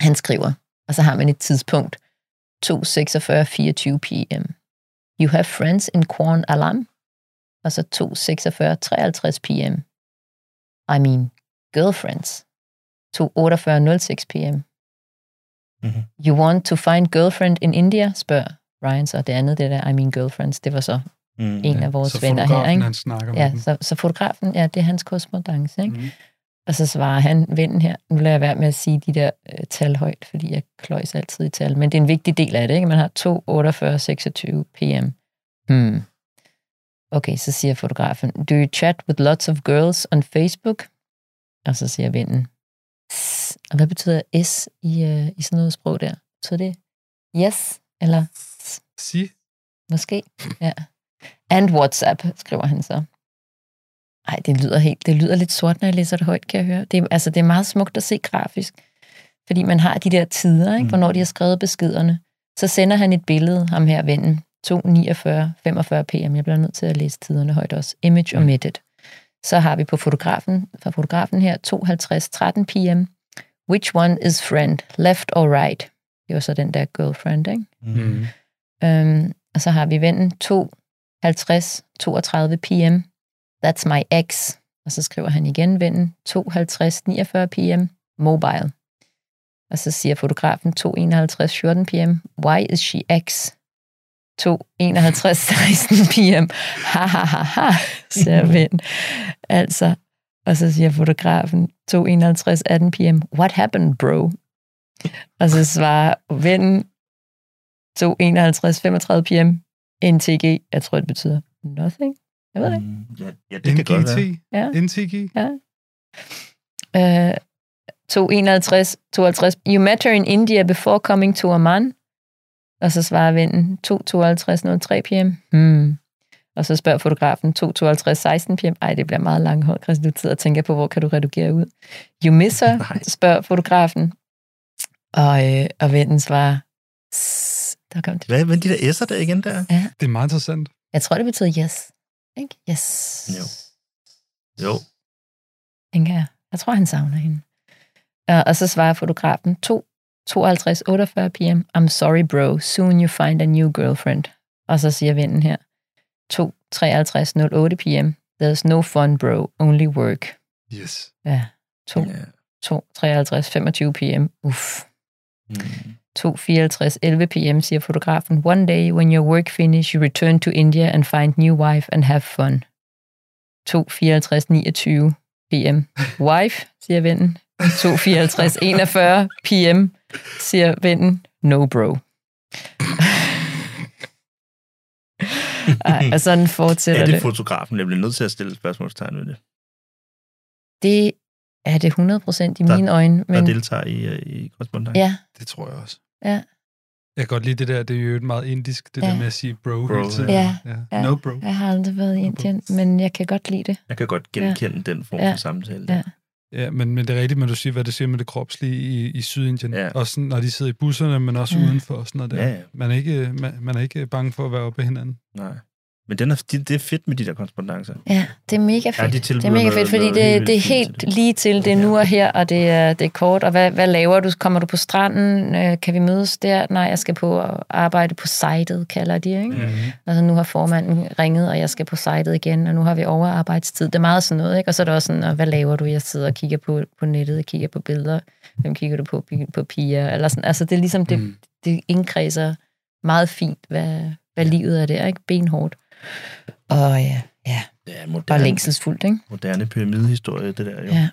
Han skriver, og så har man et tidspunkt, 2.46.24 p.m. You have friends in Quan Alam, og så 2.46.53 p.m. I mean, girlfriends. 2.48.06 p.m. Mhm. You want to find girlfriend in India? spørger Ryan så. Det andet, det der I mean girlfriends, det var så Mm. en af vores så venner her. fotografen, Ikke? han snakker med Mhm. Ja, dem. så, så fotografen, ja, det er hans korrespondence. Ikke? Mm. Og så svarer han, vennen her, nu lader jeg være med at sige de der øh, tal højt, fordi jeg kløjs altid i tal, men det er en vigtig del af det, ikke? Man har 2, 48, 26 p.m. Hmm. Okay, så siger fotografen, do you chat with lots of girls on Facebook? Og så siger vennen, "S." og hvad betyder S i, øh, i sådan noget sprog der? Betyder det yes, eller s? Sig. Måske, ja. And WhatsApp, skriver han så. Ej, det lyder, helt, det lyder lidt sort, når jeg læser det højt, kan jeg høre. Det er, altså, det er meget smukt at se grafisk, fordi man har de der tider, ikke? Mm. hvornår de har skrevet beskederne. Så sender han et billede, ham her vennen, 249, 45 pm. Jeg bliver nødt til at læse tiderne højt også. Image Mm. omitted. Så har vi på fotografen, fra fotografen her, 52, 13 pm. Which one is friend, left or right? Det var så den der girlfriend, ikke? Mm. Øhm, og så har vi vennen 2, 50, 32 p.m. That's my ex. Og så skriver han igen vennen 2, 50, 49 p.m. Mobile. Og så siger fotografen 2, 51, 14 p.m. Why is she ex? 2, 51, 16 p.m. Ha, ha, ha, ha, siger ven. Altså, og så siger fotografen 2, 51, 18 p.m. What happened, bro? Og så svarer vennen 2.51.35 pm. NTG, jeg tror, det betyder nothing. Jeg ved det ikke. Ja, ja, det kan godt være. NGT. Ja. NTG. Øh, 2.51.52. You met her in India before coming to Amman. Og så svarer vennen 2.52.03 pm. Hmm. Og så spørger fotografen 2.52.16 pm. Ej, det bliver meget lang hold, Christian. Du sidder og tænker på, hvor kan du redigere ud? You miss her, Nej. spørger fotografen. Og, øh, og vennen svarer, "S-" der kom det. Hvad med de der S'er der igen der? Det er meget interessant. Jeg tror, det betyder yes. Ikke? Yes. Jo. Jo. tænker jeg. Jeg tror, han savner hende. Og, og så svarer fotografen 2, 52, 48 p.m. I'm sorry, bro. Soon you find a new girlfriend. Og så siger vennen her 2, 53, 08 p.m. There's no fun, bro. Only work. Yes. Ja, 2, Ja. 2, 53, 25 p.m. Uff. Mm. 2.54, 11 p.m., siger fotografen. One day, when your work finish, you return to India and find new wife and have fun. 2.54, 29 p.m. Wife, siger vennen. 2.54, 41 p.m., siger vennen. No bro. Ej, og sådan fortsætter er det. det. fotografen, der bliver nødt til at stille et spørgsmålstegn ved det, Det er det 100% i mine øjne. der Men, deltager i, øh, i korrespondancen? ja, Det tror jeg også. ja. Jeg kan godt lide det der, det er jo et meget indisk, det Ja. ja. der med at sige bro, Bro, hele tiden. Ja, ja. ja. No bro. Jeg har aldrig været i Indien, men jeg kan godt lide det. Jeg kan godt genkende ja. den form Ja. for samtale. Ja. Ja, men, men det er rigtigt, men du siger, hvad det siger med det kropslige i, i Sydindien. Ja. Ja. Også sådan, når de sidder i busserne, men også Ja. ja. udenfor og sådan noget der. Ja, ja. Man, er ikke, man, man er ikke bange for at være oppe af hinanden. Nej. Men den er, det, det er fedt med de der korrespondancer. Ja, det er mega fedt. Ja, de det tilbyder er mega fedt, noget- fordi noget det, helt det er vildt fint helt lige til. Det er nu og her, og det er, det er kort. Og hvad, hvad laver du? Kommer du på stranden? Øh, Kan vi mødes der? Nej, jeg skal på at arbejde på sitet, kalder de, ikke? Mm-hmm. Altså, nu har formanden ringet, og jeg skal på sitet igen, og nu har vi overarbejdstid. Det er meget sådan noget, ikke? Og så er det også sådan, og hvad laver du? Jeg sidder og kigger på, på nettet, og kigger på billeder. Hvem kigger du på? På piger? Eller sådan. Altså, det er ligesom, det, Mm. det indkredser meget fint, hvad, hvad livet er der, ikke? Benhårdt. Og ja, ja. Det er Og moderne, længselsfuldt, ikke? moderne pyramidehistorie, det der jo. Ja.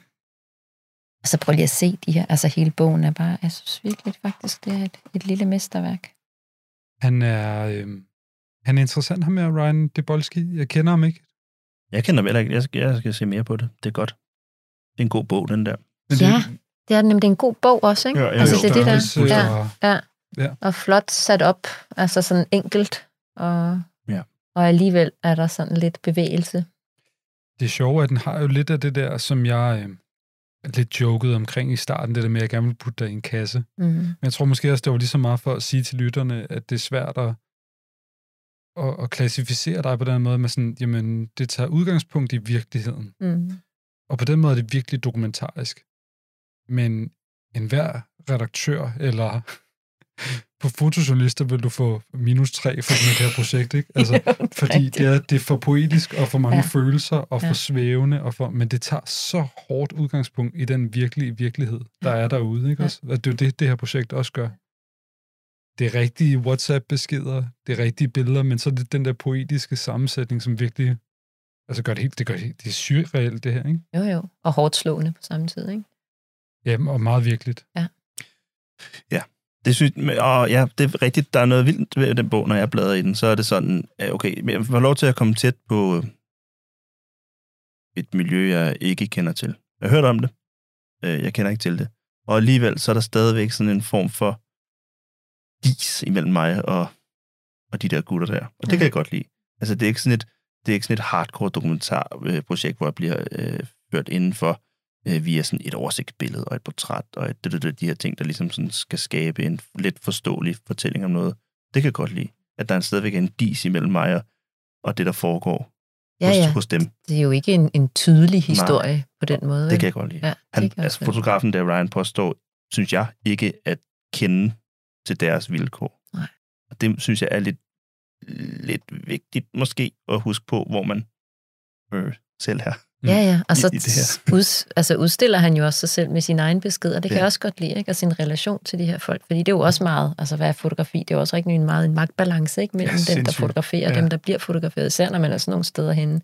Og så prøv lige at se de her. Altså hele bogen er bare, jeg synes virkelig faktisk, det er et, et lille mesterværk. Han er, øh, han er interessant, ham her, Ryan Debolski. Jeg kender ham ikke. Jeg kender vel ikke, jeg skal, jeg skal se mere på det. Det er godt. Det er en god bog, den der. Men Ja, det er nemlig det er en god bog også, ikke? Ja, ja, altså jo. det er det Størrelse der. Ja, og- ja. Ja. Og flot sat op, altså sådan enkelt. Og, Ja. og alligevel er der sådan lidt bevægelse. det sjove er, at den har jo lidt af det der, som jeg øh, lidt jokede omkring i starten, det der med, at jeg gerne vil putte dig i en kasse. Mm. Men jeg tror måske også, det var lige så meget for at sige til lytterne, at det er svært at, at, at klassificere dig på den måde, med sådan, jamen, det tager udgangspunkt i virkeligheden. Mm. Og på den måde er det virkelig dokumentarisk. Men enhver redaktør eller på fotojournalister vil du få minus tre for sådan et her projekt, ikke? Altså, Jo, fordi det er, det er for poetisk og for mange Ja. ja. følelser og for Ja. ja. svævende, og for, men det tager så hårdt udgangspunkt i den virkelige virkelighed, der er derude. Ikke? Ja. Ja. Også? Og det er jo det, det her projekt også gør. Det er rigtige WhatsApp-beskeder, det er rigtige billeder, men så er det den der poetiske sammensætning, som virkelig altså gør det helt, det gør det, helt- det er surrealt det her, ikke? Jo, jo. Og hårdt slående på samme tid, ikke? Ja, og meget virkeligt. Det synes, men- og ja, det er rigtigt, der er noget vildt ved den bog, når jeg bladrer i den, så er det sådan, ja, okay, men jeg får lov til at komme tæt på øh, et miljø, jeg ikke kender til. Jeg har hørt om det, øh, jeg kender ikke til det. Og alligevel, så er der stadigvæk sådan en form for dis imellem mig og, og de der gutter der. Og det Ja. kan jeg godt lide. Altså, det er ikke sådan et, det er ikke sådan et hardcore dokumentarprojekt, hvor jeg bliver øh, ført indenfor øh, via sådan et oversigtsbillede og et portræt og et, det, det, det, de her ting, der ligesom sådan skal skabe en lidt forståelig fortælling om noget. Det kan jeg godt lide. At der er stadigvæk en dis imellem mig og, og det, der foregår Ja, hos, ja. hos dem. Det er jo ikke en, en tydelig historie Nej, på den måde. Det vel? kan jeg godt lide. Ja, Han, det kan altså jeg også godt lide. fotografen der, Ryan, påstår, synes jeg, ikke at kende til deres vilkår. Nej. Og det synes jeg er lidt, lidt vigtigt måske at huske på, hvor man øh, selv er. Ja, ja, og i- så i det her. uds, altså udstiller han jo også sig selv med sine egne beskeder, det Ja. kan ja. jeg også godt lide, ikke? og sin relation til de her folk, fordi det er jo også meget, altså hvad er fotografi, det er jo også rigtig en meget en magtbalance ikke? Ja, mellem ja, dem, der sindssygt. fotograferer og Ja. dem, der bliver fotograferet, især når man er sådan nogle steder henne,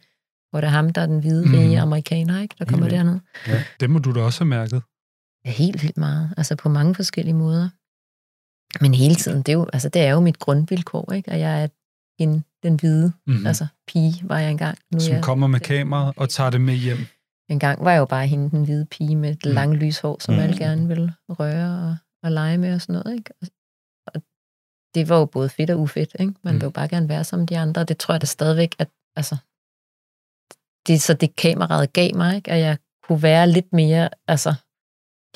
hvor det er ham, der er den hvide Mhm. rige amerikaner, ikke? der kommer vildt. derned. Ja. Det må du da også have mærket. Ja, helt vildt meget, altså på mange forskellige måder. Men hele tiden, det er jo, altså, det er jo mit grundvilkår, ikke? og jeg er en, den hvide, Mm-hmm. Mhm. mm. altså pige var jeg engang. Nu er som jeg kommer med det- kameraet og tager det med hjem. En gang var jeg jo bare hende, den hvide pige med det Mm. lange lyshår, som Mm. mm. alle gerne ville røre og, og lege med og sådan noget. Ikke? Og, og det var jo både fedt og ufedt. Ikke? Man mm. Mm. vil jo bare gerne være som de andre, og det tror jeg da stadigvæk, at altså, det er så det kameraet gav mig, ikke? at jeg kunne være lidt mere altså,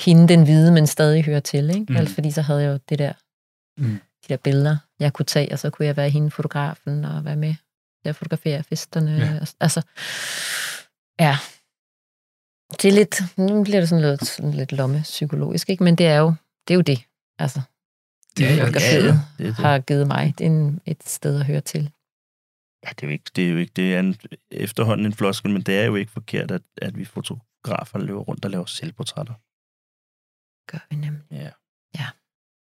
hende den hvide, men stadig høre til. Ikke? Mm. Mm. Altså, fordi så havde jeg jo det der, Mm. de der billeder, jeg kunne tage, og så kunne jeg være hende fotografen og være med til at fotografere festerne. Ja. Ja. Altså, ja. Det er lidt, nu bliver det sådan lidt, sådan lidt lomme psykologisk, ikke? men det er jo det, er jo det altså, Det Ja, ja. Fotografiet det, er det. har givet mig det er en, et sted at høre til. Ja, det er jo ikke, det er jo ikke, det er en, efterhånden en floskel, men det er jo ikke forkert, at, at vi fotograferer fotografer, der løber rundt og laver selvportrætter. Gør vi nemlig. Ja.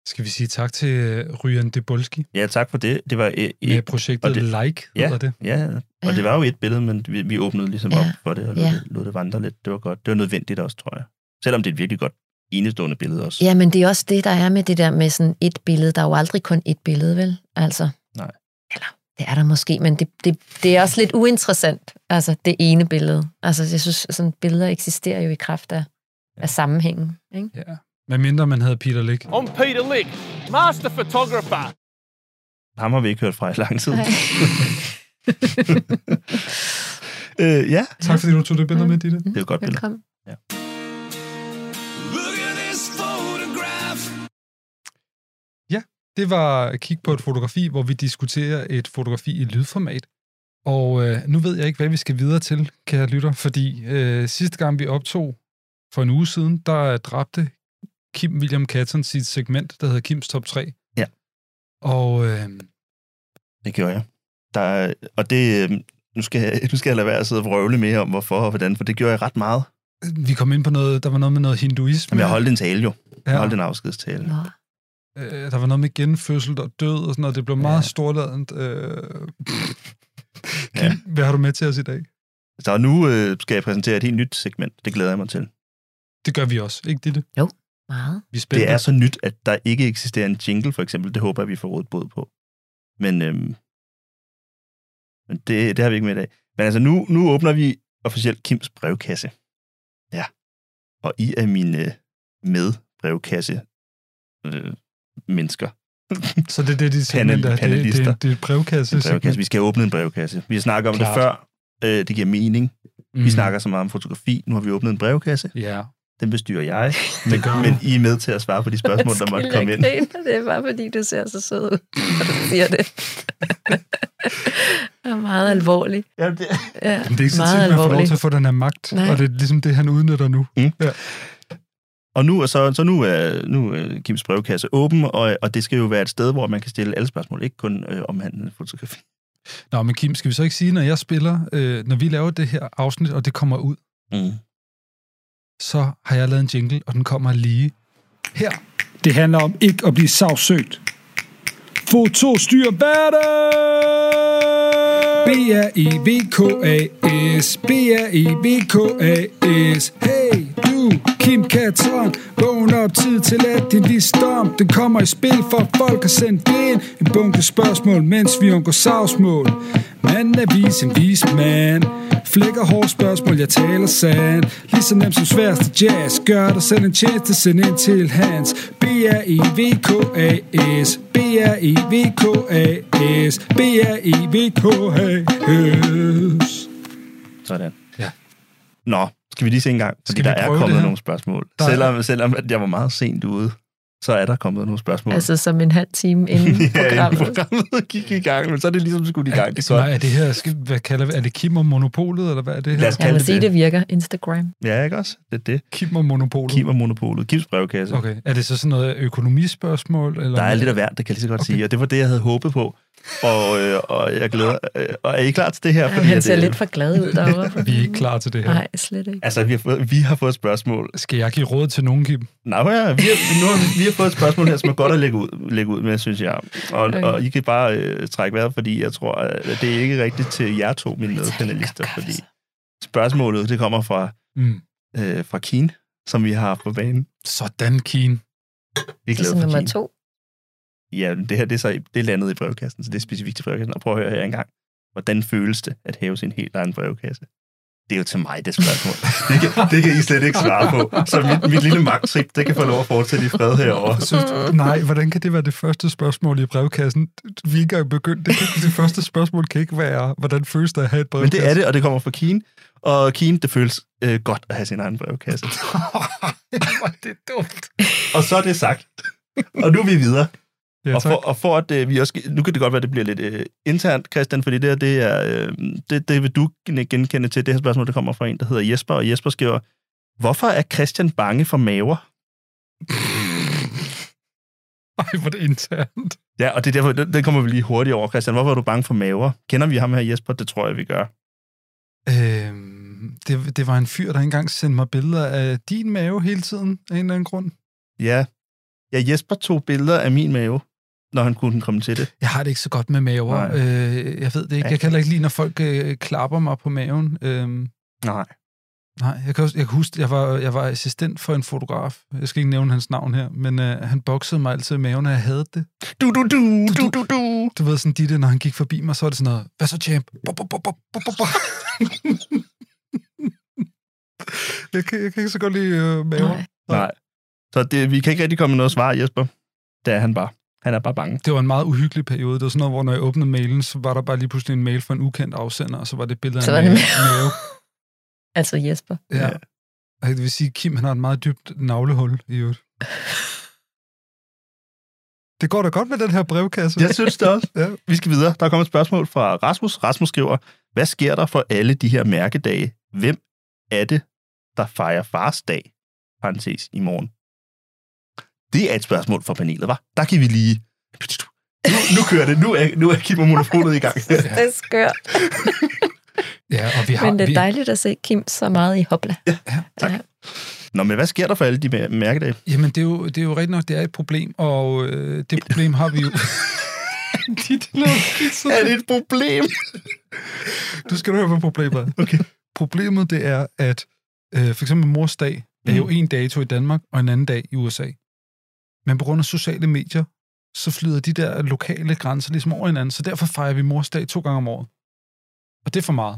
Skal vi sige tak til øh, Ryan Debolski Ja, tak for det. Det var øh, et, med projektet og det- Like, hedder det. Ja, og det var jo et billede, men vi, vi åbnede ligesom Ja. op for det og lod, Ja. det, lod det vandre lidt. Det var godt. Det var nødvendigt også, tror jeg. Selvom det er et virkelig godt enestående billede også. Ja, men det er også det, der er med det der med sådan et billede. Der er jo aldrig kun et billede, vel? Altså, Nej. Eller, det er der måske, men det, det, det er også lidt uinteressant, altså det ene billede. Altså, jeg synes, sådan billeder eksisterer jo i kraft af, af sammenhængen, ikke? Ja. Hvad mindre man havde Peter Lick. I'm Peter Lick, master photographer. Ham har vi ikke hørt fra i lang tid. øh, ja. Tak fordi du tog det billede med, Ditte. Det er et godt billede. Velkommen. Look at this photograph. Det var at kigge på et fotografi, hvor vi diskuterer et fotografi i lydformat. Og øh, nu ved jeg ikke, hvad vi skal videre til, kære lytter, fordi øh, sidste gang vi optog for en uge siden, der dræbte Kim William Catton sit segment, der hedder Kims Top 3. Ja. Og øh, Det gjorde jeg. Der, er- og det, øh, nu skal, jeg, nu skal jeg lade være at sidde og vrøvle mere om, hvorfor og hvordan, for det gjorde jeg ret meget. vi kom ind på noget, der var noget med noget hinduisme. Men jeg holdt en tale jo. Jeg Ja. holdt en afskedstale. Nå. Øh, der var noget med genfødsel og død og sådan noget. Det blev meget ja. storladent. Øh, Ja. hvad har du med til os i dag? Så nu øh, skal jeg præsentere et helt nyt segment. Det glæder jeg mig til. Det gør vi også, ikke det? Meget. Vi spiller. Det er så nyt, at der ikke eksisterer en jingle, for eksempel. Det håber jeg, vi får rådet bod på. Men, øhm, men det, det har vi ikke med i dag. Men altså, nu, nu åbner vi officielt Kims brevkasse. Ja. Og I er mine øh, medbrevkasse øh, mennesker. Så det er det, de Panel- segment er. Det, det, panelister. det, det er et brevkasse. En brevkasse. Vi skal åbne en brevkasse. Vi har snakket om Klart. det før. Øh, det giver mening. Mm. Mm. Vi snakker så meget om fotografi. Nu har vi åbnet en brevkasse. Ja. Den bestyrer jeg. Men, gør men I er med til at svare på de spørgsmål, der måtte komme ind. Det er bare, fordi du ser så sød ud, når du siger det. det er meget alvorligt. Ja, det... Ja, Men det er ikke så tit, man får lov til at få den her magt. Nej. Nej. Og det er ligesom det, han udnytter nu. Og nu er, så, så nu er, nu er Kims brevkasse åben, og, og det skal jo være et sted, hvor man kan stille alle spørgsmål, ikke kun øh, om handel fotografi. Nå, men Kim, skal vi så ikke sige, når jeg spiller, øh, når vi laver det her afsnit, og det kommer ud, Mm. så har jeg lavet en jingle, og den kommer lige her. Det handler om ikke at blive savsøgt. Foto styr hverdag! B-R-E-V-K-A-S E B-R-E-V-K-A-S Hey, du, Kim Katron Vågn op tid til at din visdom Den kommer i spil, for folk har sendt ind En bunke spørgsmål, mens vi undgår savsmål Manden er vis, en vis mand Flækker hårdt spørgsmål, jeg taler sand Ligeså nemt som sværeste jazz Gør dig selv en tjeneste, send ind til hans E B-R-E-V-K-A-S E B-R-E-V-K-A-S E B-R-E-V-K-A-S Sådan. Ja. Nå, skal vi lige se en gang, fordi Skal vi der er prøve kommet det her? nogle spørgsmål. Der er- Der... Selvom, selvom at jeg var meget sent ude, så er der kommet nogle spørgsmål. Altså som en halv time inden ja, inden programmet. programmet gik i gang, men så er det ligesom skudt i gang. Det er Nej, godt. er det her, skal, hvad kalder vi, er det Kim og Monopolet, eller hvad er det her? Lad os Jeg må kalde sige, det det. det virker. Instagram. Ja, ikke også? Det er det. Kim og Monopolet. Kim og Monopolet. Kims brevkasse. Okay, er det så sådan noget økonomispørgsmål? Eller Der er lidt af hvert, det kan jeg lige så godt okay. sige, og det var det, jeg havde håbet på. Og, øh, og jeg glæder... Øh, og er I klar til det her? Jamen, han at, ser øh, lidt for glad ud derovre. Vi er ikke klar til det her. Nej, slet ikke. Altså, vi har, fået, vi har fået et spørgsmål. Skal jeg give råd til nogen, Kim? Nej, ja, vi, har, nu har, vi- vi har fået et spørgsmål her, som er godt at lægge ud, lægge ud med, synes jeg. Og, okay. og I kan bare øh, trække vejret, fordi jeg tror, at det er ikke rigtigt til jer to, mine medpanelister, fordi altså. spørgsmålet, det kommer fra, Mm. øh, fra Keen, som vi har på banen. Sådan, Keen. Vi er Det er glade så for nummer Keen. to. Ja, men det her det er, så, det er landet i brevkassen, så det er specifikt til brevkassen. Og prøv at høre her engang. Hvordan føles det at have sin helt egen brevkasse? Det er jo til mig, det spørgsmål. Det kan, det kan I slet ikke svare på. Så mit, mit lille magttrip, det kan få lov at fortsætte i fred herovre. Synes du, nej, hvordan kan det være det første spørgsmål i brevkassen? Vi er ikke engang begyndt. Det, kan, det første spørgsmål kan ikke være, hvordan føles det at have et Men brevkasse? det er det, og det kommer fra Keen. Og Keen, det føles øh, godt at have sin egen brevkasse. det er dumt. Og så er det sagt. Og nu er vi videre. Ja, og, tak. for, og for at øh, vi også... Nu kan det godt være, at det bliver lidt øh, internt, Christian, fordi det her, det er... Øh, det, det vil du gen- genkende til. Det her spørgsmål, det kommer fra en, der hedder Jesper, og Jesper skriver, hvorfor er Christian bange for maver? Ej, hvor er det internt. Ja, og det er derfor, den, den kommer vi lige hurtigt over, Christian. Hvorfor er du bange for maver? Kender vi ham her, Jesper? Det tror jeg, vi gør. Øhm, det, det var en fyr, der engang sendte mig billeder af din mave hele tiden, af en eller anden grund. Ja. Ja, Jesper tog billeder af min mave, når han kunne komme til det. Jeg har det ikke så godt med maver. Nej. Øh, jeg ved det ikke. Ja. Jeg kan heller ikke lide, når folk øh, klapper mig på maven. Øh, Nej. Nej, jeg kan, også, jeg kan huske, jeg var, jeg var assistent for en fotograf. Jeg skal ikke nævne hans navn her, men øh, han boksede mig altid i maven, og jeg havde det. Du, du, du, du, du, du. Du ved sådan, de der, når han gik forbi mig, så var det sådan noget, hvad så, champ? Bop, bop, bop, bop, bop, bop, bop. jeg, kan, jeg kan ikke så godt lide øh, maven. Nej. Nej. Så det, vi kan ikke rigtig komme med noget svar, Jesper. Det er han bare. Han er bare bange. Det var en meget uhyggelig periode. Det var sådan noget, hvor når jeg åbnede mailen, så var der bare lige pludselig en mail fra en ukendt afsender, og så var det billeder Så af var en det mave. med. mave. altså Jesper. Ja. Og Det vil sige, at Kim han har et meget dybt navlehul i øvrigt. Det går da godt med den her brevkasse. Jeg synes det også. ja. Vi skal videre. Der er kommet et spørgsmål fra Rasmus. Rasmus skriver, hvad sker der for alle de her mærkedage? Hvem er det, der fejrer fars dag? Parenthes i morgen. Det er et spørgsmål fra panelet, var. Der kan vi lige... Nu, nu kører det. Nu er, nu er Kim og monofonet i gang. Det er skørt. Ja, og vi har... Men det er vi- dejligt at se Kim så meget i hopla. Nå, men hvad sker der for alle de mær- mærkedage? Jamen, det er, jo, det er jo rigtigt nok, det er et problem, og øh, det problem har vi jo... Dit lort, Er det et problem? du skal høre, hvad problemet er. Okay. Problemet, det er, at øh, for eksempel mors dag er jo en dato i Danmark, og en anden dag i USA. Men på grund af sociale medier, så flyder de der lokale grænser ligesom over hinanden, så derfor fejrer vi mors dag to gange om året. Og det er for meget.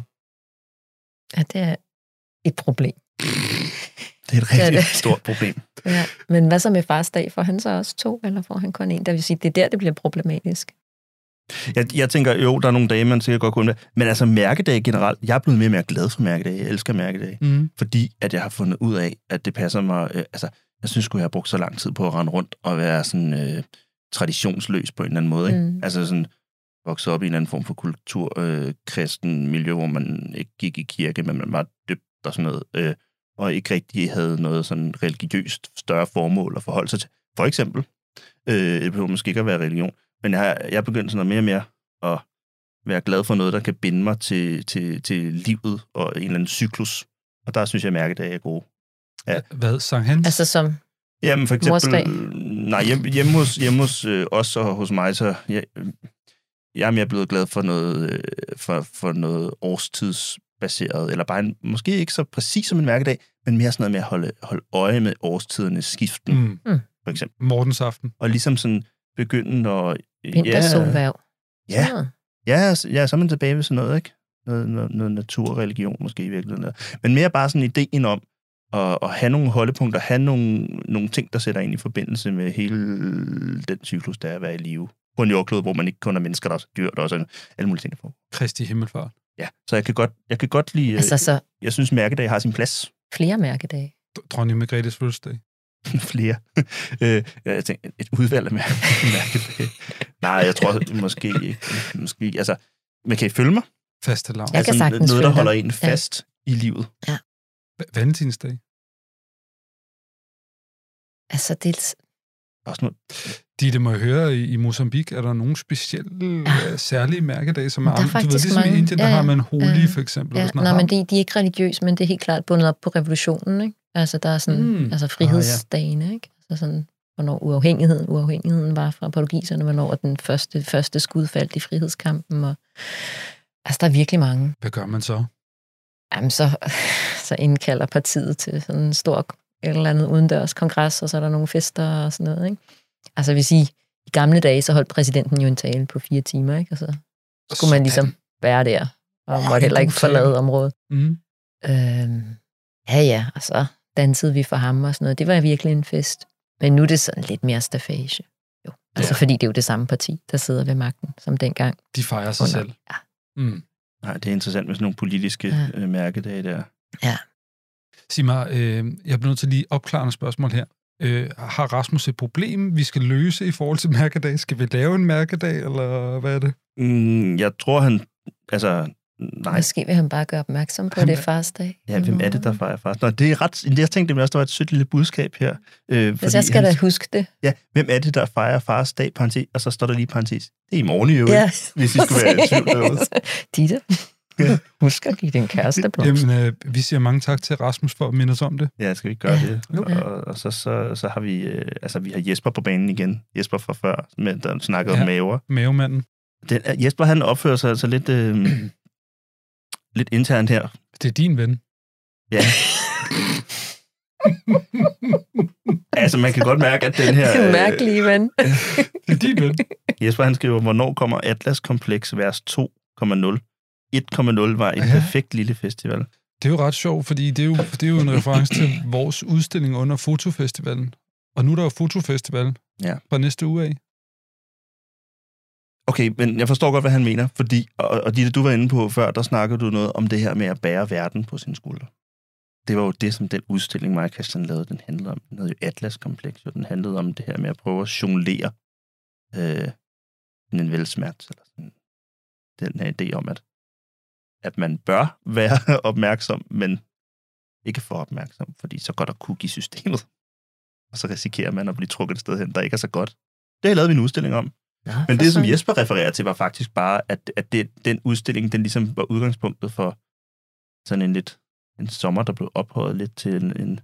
Ja, det er et problem. Det er et Ja, rigtig det- stort problem. Ja. Men hvad så med fars dag? Får han så også to, eller får han kun en? Der vil sige, det er der, det bliver problematisk. Jeg, jeg tænker, jo, der er nogle dage, man sikkert godt kunne undvære. Men altså mærkedage generelt, jeg er blevet mere og mere glad for mærkedage. Jeg elsker mærkedage. Mm. Fordi at jeg har fundet ud af, at det passer mig. Øh, altså, jeg synes sgu, jeg har brugt så lang tid på at rende rundt og være sådan øh, traditionsløs på en eller anden måde. Ikke? Mm. Altså sådan vokset op i en eller anden form for kultur, øh, kristen miljø, hvor man ikke gik i kirke, men man var døbt og sådan noget, øh, og ikke rigtig havde noget sådan religiøst større formål at forholde sig til. For eksempel, øh, det behøver måske ikke at være religion, men jeg, har- jeg er begyndt sådan noget mere og mere at være glad for noget, der kan binde mig til, til, til livet og en eller anden cyklus. Og der synes jeg, at mærkedage er gode. Ja. Hvad, Sankt Hans? Altså som... Jamen for Mors eksempel... dag. Nej, hjemme, hjemme hos, hjemme hos øh, os og hos mig, så jeg, jeg er mere blevet glad for noget, øh, for, for noget årstidsbaseret, eller bare en, måske ikke så præcis som en mærkedag, men mere sådan noget med at holde, holde øje med årstidernes skiften, Mm. Mm. for eksempel. Mortens aften. Og ligesom sådan begynde at... Vintersolværv. Ja, Ah. ja, s- ja, så er man tilbage ved sådan noget, ikke? Noget, noget, noget naturreligion måske i virkeligheden. Men mere bare sådan ideen om at, at have nogle holdepunkter, have nogle, nogle ting, der sætter ind i forbindelse med hele den cyklus, der er at være i live. På en jordklode, hvor man ikke kun er mennesker, der er også dyr, der også er alle mulige ting. Der Kristi Himmelfart. Ja, så jeg kan godt, jeg kan godt lide... Altså, så- Jeg synes, mærkedag har sin plads. Flere mærkedage. Dronning Margrethes fødselsdag. Flere. øh, jeg tænkte, et udvalg af mær- mærkedage. Nej, jeg tror måske ikke. Måske, altså, men kan I følge mig? Faste lav. Jeg kan Altså, sagtens noget, der følge dig. holder en Ja. fast i livet. Ja. Valentinsdag. Altså, dels... Også noget. De, det må jeg høre, i, i Mozambique er der nogle specielle, ja. særlige mærkedage, som er, Men der er andre- du ved, faktisk ligesom mange. mange. i Indien, der Ja, ja, ja. har man holi, Ja. for eksempel. Ja, og sådan nej, noget. men de, de er ikke religiøse, men det er helt klart bundet op på revolutionen, ikke? Altså, der er sådan, Mm. mm. altså frihedsdagene, ikke? Altså sådan, hvornår uafhængigheden, uafhængigheden var fra portugiserne, hvornår den første, første skud faldt i frihedskampen, og altså, der er virkelig mange. Hvad gør man så? Jamen, så, så indkalder partiet til sådan en stor et eller andet udendørs kongres, og så er der nogle fester og sådan noget, ikke? Altså, jeg vil sige, i gamle dage, så holdt præsidenten jo en tale på fire timer, ikke? Og så skulle man ligesom være der, og Åh, måtte heller en ikke god tale. forlade området. Mm. Øhm, ja, ja, og så dansede vi for ham og sådan noget. Det var virkelig en fest. Men nu er det sådan lidt mere stafage. Jo. Altså, fordi det er jo det samme parti, der sidder ved magten, som dengang. De fejrer sig Under- selv. Ja. Mm. Nej, det er interessant med sådan nogle politiske Ja. ja. mærkedage der. Sig mig, øh, jeg bliver nødt til lige at opklare nogle spørgsmål her. Øh, har Rasmus et problem, vi skal løse i forhold til mærkedag? Skal vi lave en mærkedag, eller hvad er det? Mm, jeg tror, han... Altså, nej. Måske vil han bare gøre opmærksom på, at det er fars dag. Ja, hvem er det, der fejrer fars? Nå, det er ret... Jeg tænkte, det også, der var et sødt lille budskab her. Øh, Hvis jeg skal da huske det. Ja, hvem er det, der fejrer fars dag, parentes, og så står der lige parentes. Det er i morgen i øvrigt, Ja, hvis I skulle være i tvivl derude. Ditte. skal huske at give din kæreste blomst. Jamen, øh, vi siger mange tak til Rasmus for at minde os om det. Ja, skal vi ikke gøre Ja, det? nu. Og, og så, så, så har vi, øh, altså, vi har Jesper på banen igen. Jesper fra før, men der snakkede ja. Ja. om maver. Mavemanden. Den, er- Jesper, han opfører sig altså lidt, øh, lidt internt her. Det er din ven. Ja. altså, man kan godt mærke, at den her... Det er øh, mærkelige, ven. Det er din ven. Jesper, han skriver, hvornår kommer Atlas Kompleks vers 2,0? 1,0 var en perfekt lille festival. Det er jo ret sjovt, fordi det er jo, det er jo en reference til vores udstilling under Fotofestivalen. Og nu er der jo Fotofestival Ja. fra næste uge af. Okay, men jeg forstår godt, hvad han mener, fordi, og, og det du var inde på før, der snakkede du noget om det her med at bære verden på sine skuldre. Det var jo det, som den udstilling, mig og Christian lavede, den handlede om. Den hed jo Atlas Kompleks, og den handlede om det her med at prøve at jonglere øh, en velsmert, eller sådan, den her idé om, at, at man bør være opmærksom, men ikke for opmærksom, fordi så går der kuk i systemet, og så risikerer man at blive trukket et sted hen, der ikke er så godt. Det lavede vi en udstilling om. Nå, Men for det, som søren. Jesper refererer til, var faktisk bare, at, at det, den udstilling, den ligesom var udgangspunktet for sådan en lidt en sommer, der blev ophøjet lidt til en, en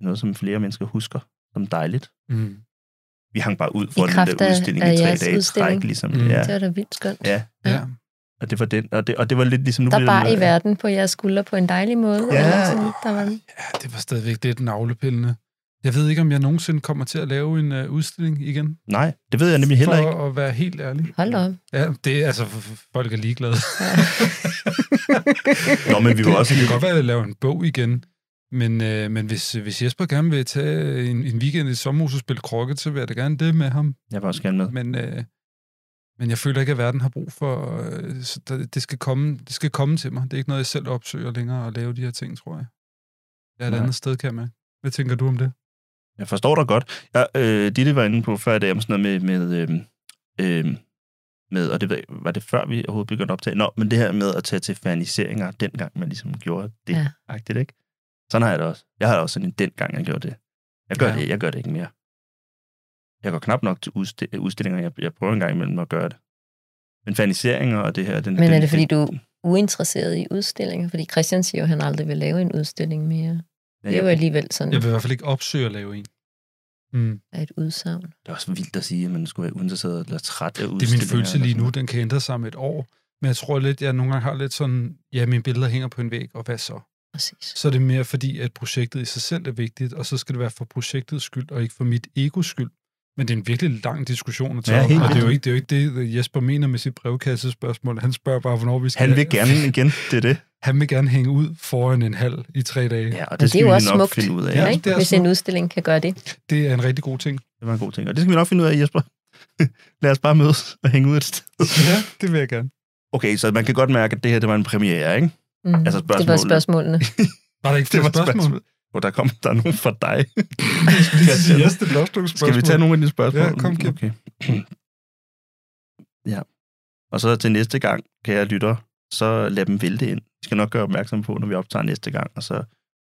noget, som flere mennesker husker som dejligt. Mm. Vi hang bare ud I for den kraft der af- udstilling af i tre jeres dage i udstilling. træk, ligesom. Mm. Ja, Det var da vildt skønt. ja. Ja. Og det var den, og det, og det var lidt ligesom... Nu Der bliver det bar i noget- verden på jeres skuldre på en dejlig måde. Ja. eller sådan. Der var, ja, det var stadigvæk lidt navlepillende. Jeg ved ikke, om jeg nogensinde kommer til at lave en uh, udstilling igen. Nej, det ved jeg nemlig heller for ikke. at være helt ærlig. hold da op. Ja, det er altså, f- f- folk er ligeglade. Nå, men vi var også... Det kan godt være, at jeg laver en bog igen. Men, øh, men hvis, hvis Jesper gerne vil tage en, en weekend i et sommerhus og spille krokket, så vil jeg da gerne det med ham. Jeg var også gerne med. Men, øh, men jeg føler ikke, at verden har brug for... Øh, så der, det, skal komme, det skal komme til mig. Det er ikke noget, jeg selv opsøger længere at lave de her ting, tror jeg. Jeg er et Nej. andet sted, kan jeg mærke. Hvad tænker du om det? Jeg forstår dig godt. Jeg, øh, Ditte var inde på før i dag om sådan noget med, med, øh, øh, med og det ved jeg- var det før, vi overhovedet begyndte at optage. Nå, men det her med at tage til faniseringer, dengang man ligesom gjorde det. Ja. Ja. Agtigt, ikke? Sådan har jeg det også. Jeg har det også sådan en dengang, jeg gjorde det. Jeg gør, Ja. ja. det, jeg gør det ikke mere. Jeg går knap nok til udsti- udstillinger. Jeg, jeg prøver en gang imellem at gøre det. Men faniseringer og det her... Den, Men den, er det, fordi den, du er uinteresseret i udstillinger? Fordi Christian siger jo, at han aldrig vil lave en udstilling mere. Ja, Det er jo jeg- alligevel sådan Jeg vil i hvert fald ikke opsøge at lave en. Mm. et udsagn. Det er også vildt at sige, at man skulle være uinteresseret eller træt af Det er udstillinger. min følelse eller lige sådan nu. Den kan ændre sig om et år. Men jeg tror lidt, jeg nogle gange har lidt sådan... Ja, mine billeder hænger på en væg, og hvad så? Præcis. så er det mere fordi, at projektet i sig selv er vigtigt, og så skal det være for projektets skyld, og ikke for mit egos skyld. Men det er en virkelig lang diskussion at tage Ja, op, helt og det er, jo vildt. ikke, det er jo ikke det, øh, Jesper mener med sit brevkassespørgsmål. Han spørger bare, hvornår vi skal... Han vil gerne igen, det er det. Han vil gerne hænge ud foran en halv i tre dage. Ja, og det, det er det skal jo vi også nok smukt, finde ud af. Ja, Ja, det ikke? er Hvis sådan- en udstilling kan gøre det. Det er en rigtig god ting. Det var en god ting, og det skal vi nok finde ud af, Jesper. Lad os bare mødes og hænge ud et sted. Ja, det vil jeg gerne. Okay, så man kan godt mærke, at det her det var en premiere, ikke? Mm. Altså det var spørgsmålet. spørgsmålene. Var der ikke flere spørgsmål? Og der kom der er nogen fra dig. Christian, jeg stiller også nogle spørgsmål. Skal vi tage nogle af dine spørgsmål? Ja, kom, Kim. Okay. ja. Og så til næste gang, kære lytter, så lad dem vælte ind. Vi skal nok gøre opmærksom på, når vi optager næste gang, og så,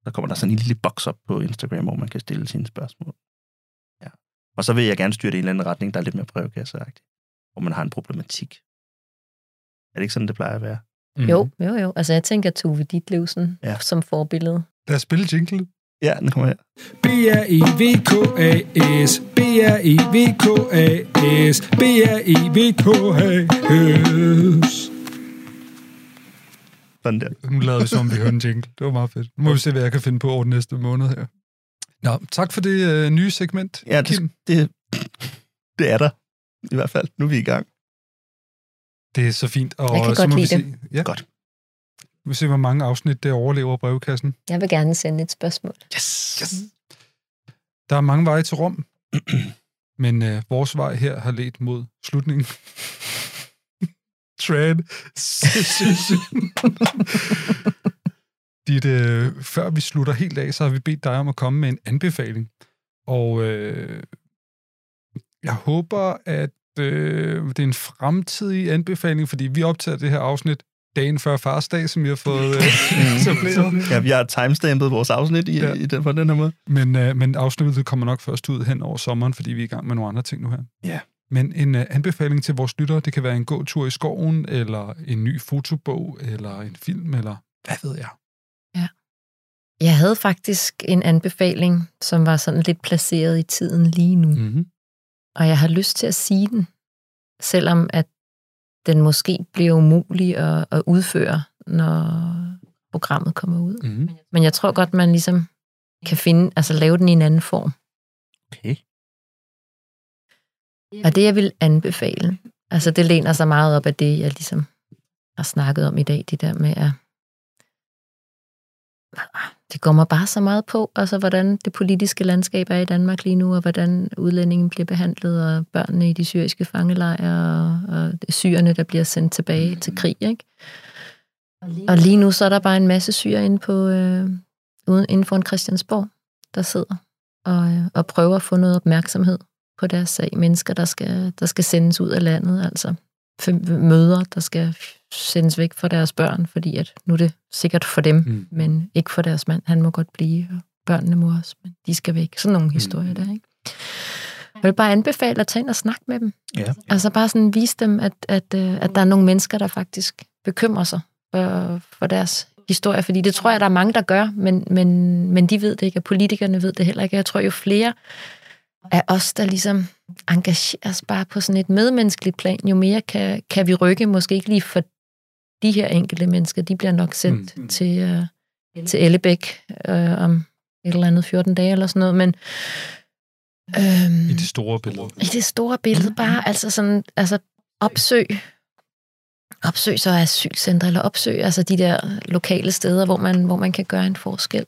så kommer der sådan en lille boks op på Instagram, hvor man kan stille sine spørgsmål. Ja. Og så vil jeg gerne styre det i en eller anden retning, der er lidt mere prøvekasseagtig, hvor man har en problematik. Er det ikke sådan, det plejer at være? Mm. Jo, jo, jo. Altså, jeg tænker Tove Ditlevsen Ja. ja. som forbillede. Lad os spille jingle. Ja, den kommer her. B-R-E-V-K-A-S B-R-E-V-K-A-S B-R-E-V-K-A-S Sådan der. Nu lavede vi som, vi hørte en jingle. Det var meget fedt. Nu må vi se, hvad jeg kan finde på over den næste måned her. Nå, tak for det øh, nye segment, Ja, det, Kim. det, det er der. I hvert fald. Nu er vi i gang. Det er så fint. Og Jeg kan så godt må vi lide se, Ja. Godt. Vi må se, hvor mange afsnit, der overlever brevkassen. Jeg vil gerne sende et spørgsmål. Yes! yes. Der er mange veje til Rom, men øh, vores vej her har ledt mod slutningen. Transition. Dit, øh, før vi slutter helt af, så har vi bedt dig om at komme med en anbefaling. Og øh, jeg håber, at øh, det er en fremtidig anbefaling, fordi vi optager det her afsnit dagen før farsdag, som vi har fået øh, etableret. Ja, vi har timestampet vores afsnit i, Ja. ja. i den, på den her måde. Men, øh, men afsnittet kommer nok først ud hen over sommeren, fordi vi er i gang med nogle andre ting nu her. Ja. Men en øh, anbefaling til vores lyttere, det kan være en gåtur i skoven, eller en ny fotobog, eller en film, eller hvad ved jeg. Jeg havde faktisk en anbefaling, som var sådan lidt placeret i tiden lige nu. Mm-hmm. Og jeg har lyst til at sige den, selvom at den måske bliver umulig at, at udføre, når programmet kommer ud. Mm-hmm. Men jeg tror godt, man ligesom kan finde, altså lave den i en anden form. Okay. Og det, jeg vil anbefale, altså det læner sig meget op af det, jeg ligesom har snakket om i dag, det der med at det går mig bare så meget på, altså hvordan det politiske landskab er i Danmark lige nu, og hvordan udlændingen bliver behandlet, og børnene i de syriske fangelejre, og, og syrerne, der bliver sendt tilbage mm. til krig. Ikke? Og lige nu så er der bare en masse syre inde, på, øh, uden, inde foran Christiansborg, der sidder og, øh, og prøver at få noget opmærksomhed på deres sag. Mennesker, der skal, der skal sendes ud af landet, altså Fem- mødre, der skal sendes væk fra deres børn, fordi at nu er det sikkert for dem, Mm. men ikke for deres mand. Han må godt blive, og børnene må også, men de skal væk. Sådan nogle historier der, ikke? Jeg vil bare anbefale at tage ind og snakke med dem. Ja. Altså bare sådan vise dem, at, at, øh, at der er nogle mennesker, der faktisk bekymrer sig for, for deres historie. Fordi det tror jeg, der er mange, der gør, men, men, men de ved det ikke, og politikerne ved det heller ikke. Jeg tror, jo flere af os, der ligesom engageres bare på sådan et medmenneskeligt plan, jo mere kan, kan vi rykke, måske ikke lige for de her enkelte mennesker, de bliver nok sendt mm. til, øh, til Ellebæk øh, om et eller andet 14 dage eller sådan noget, men øhm, I det store billede. i det store billede bare, altså sådan, altså opsøg, opsøg så asylcenter, eller opsøg altså de der lokale steder, hvor man, hvor man kan gøre en forskel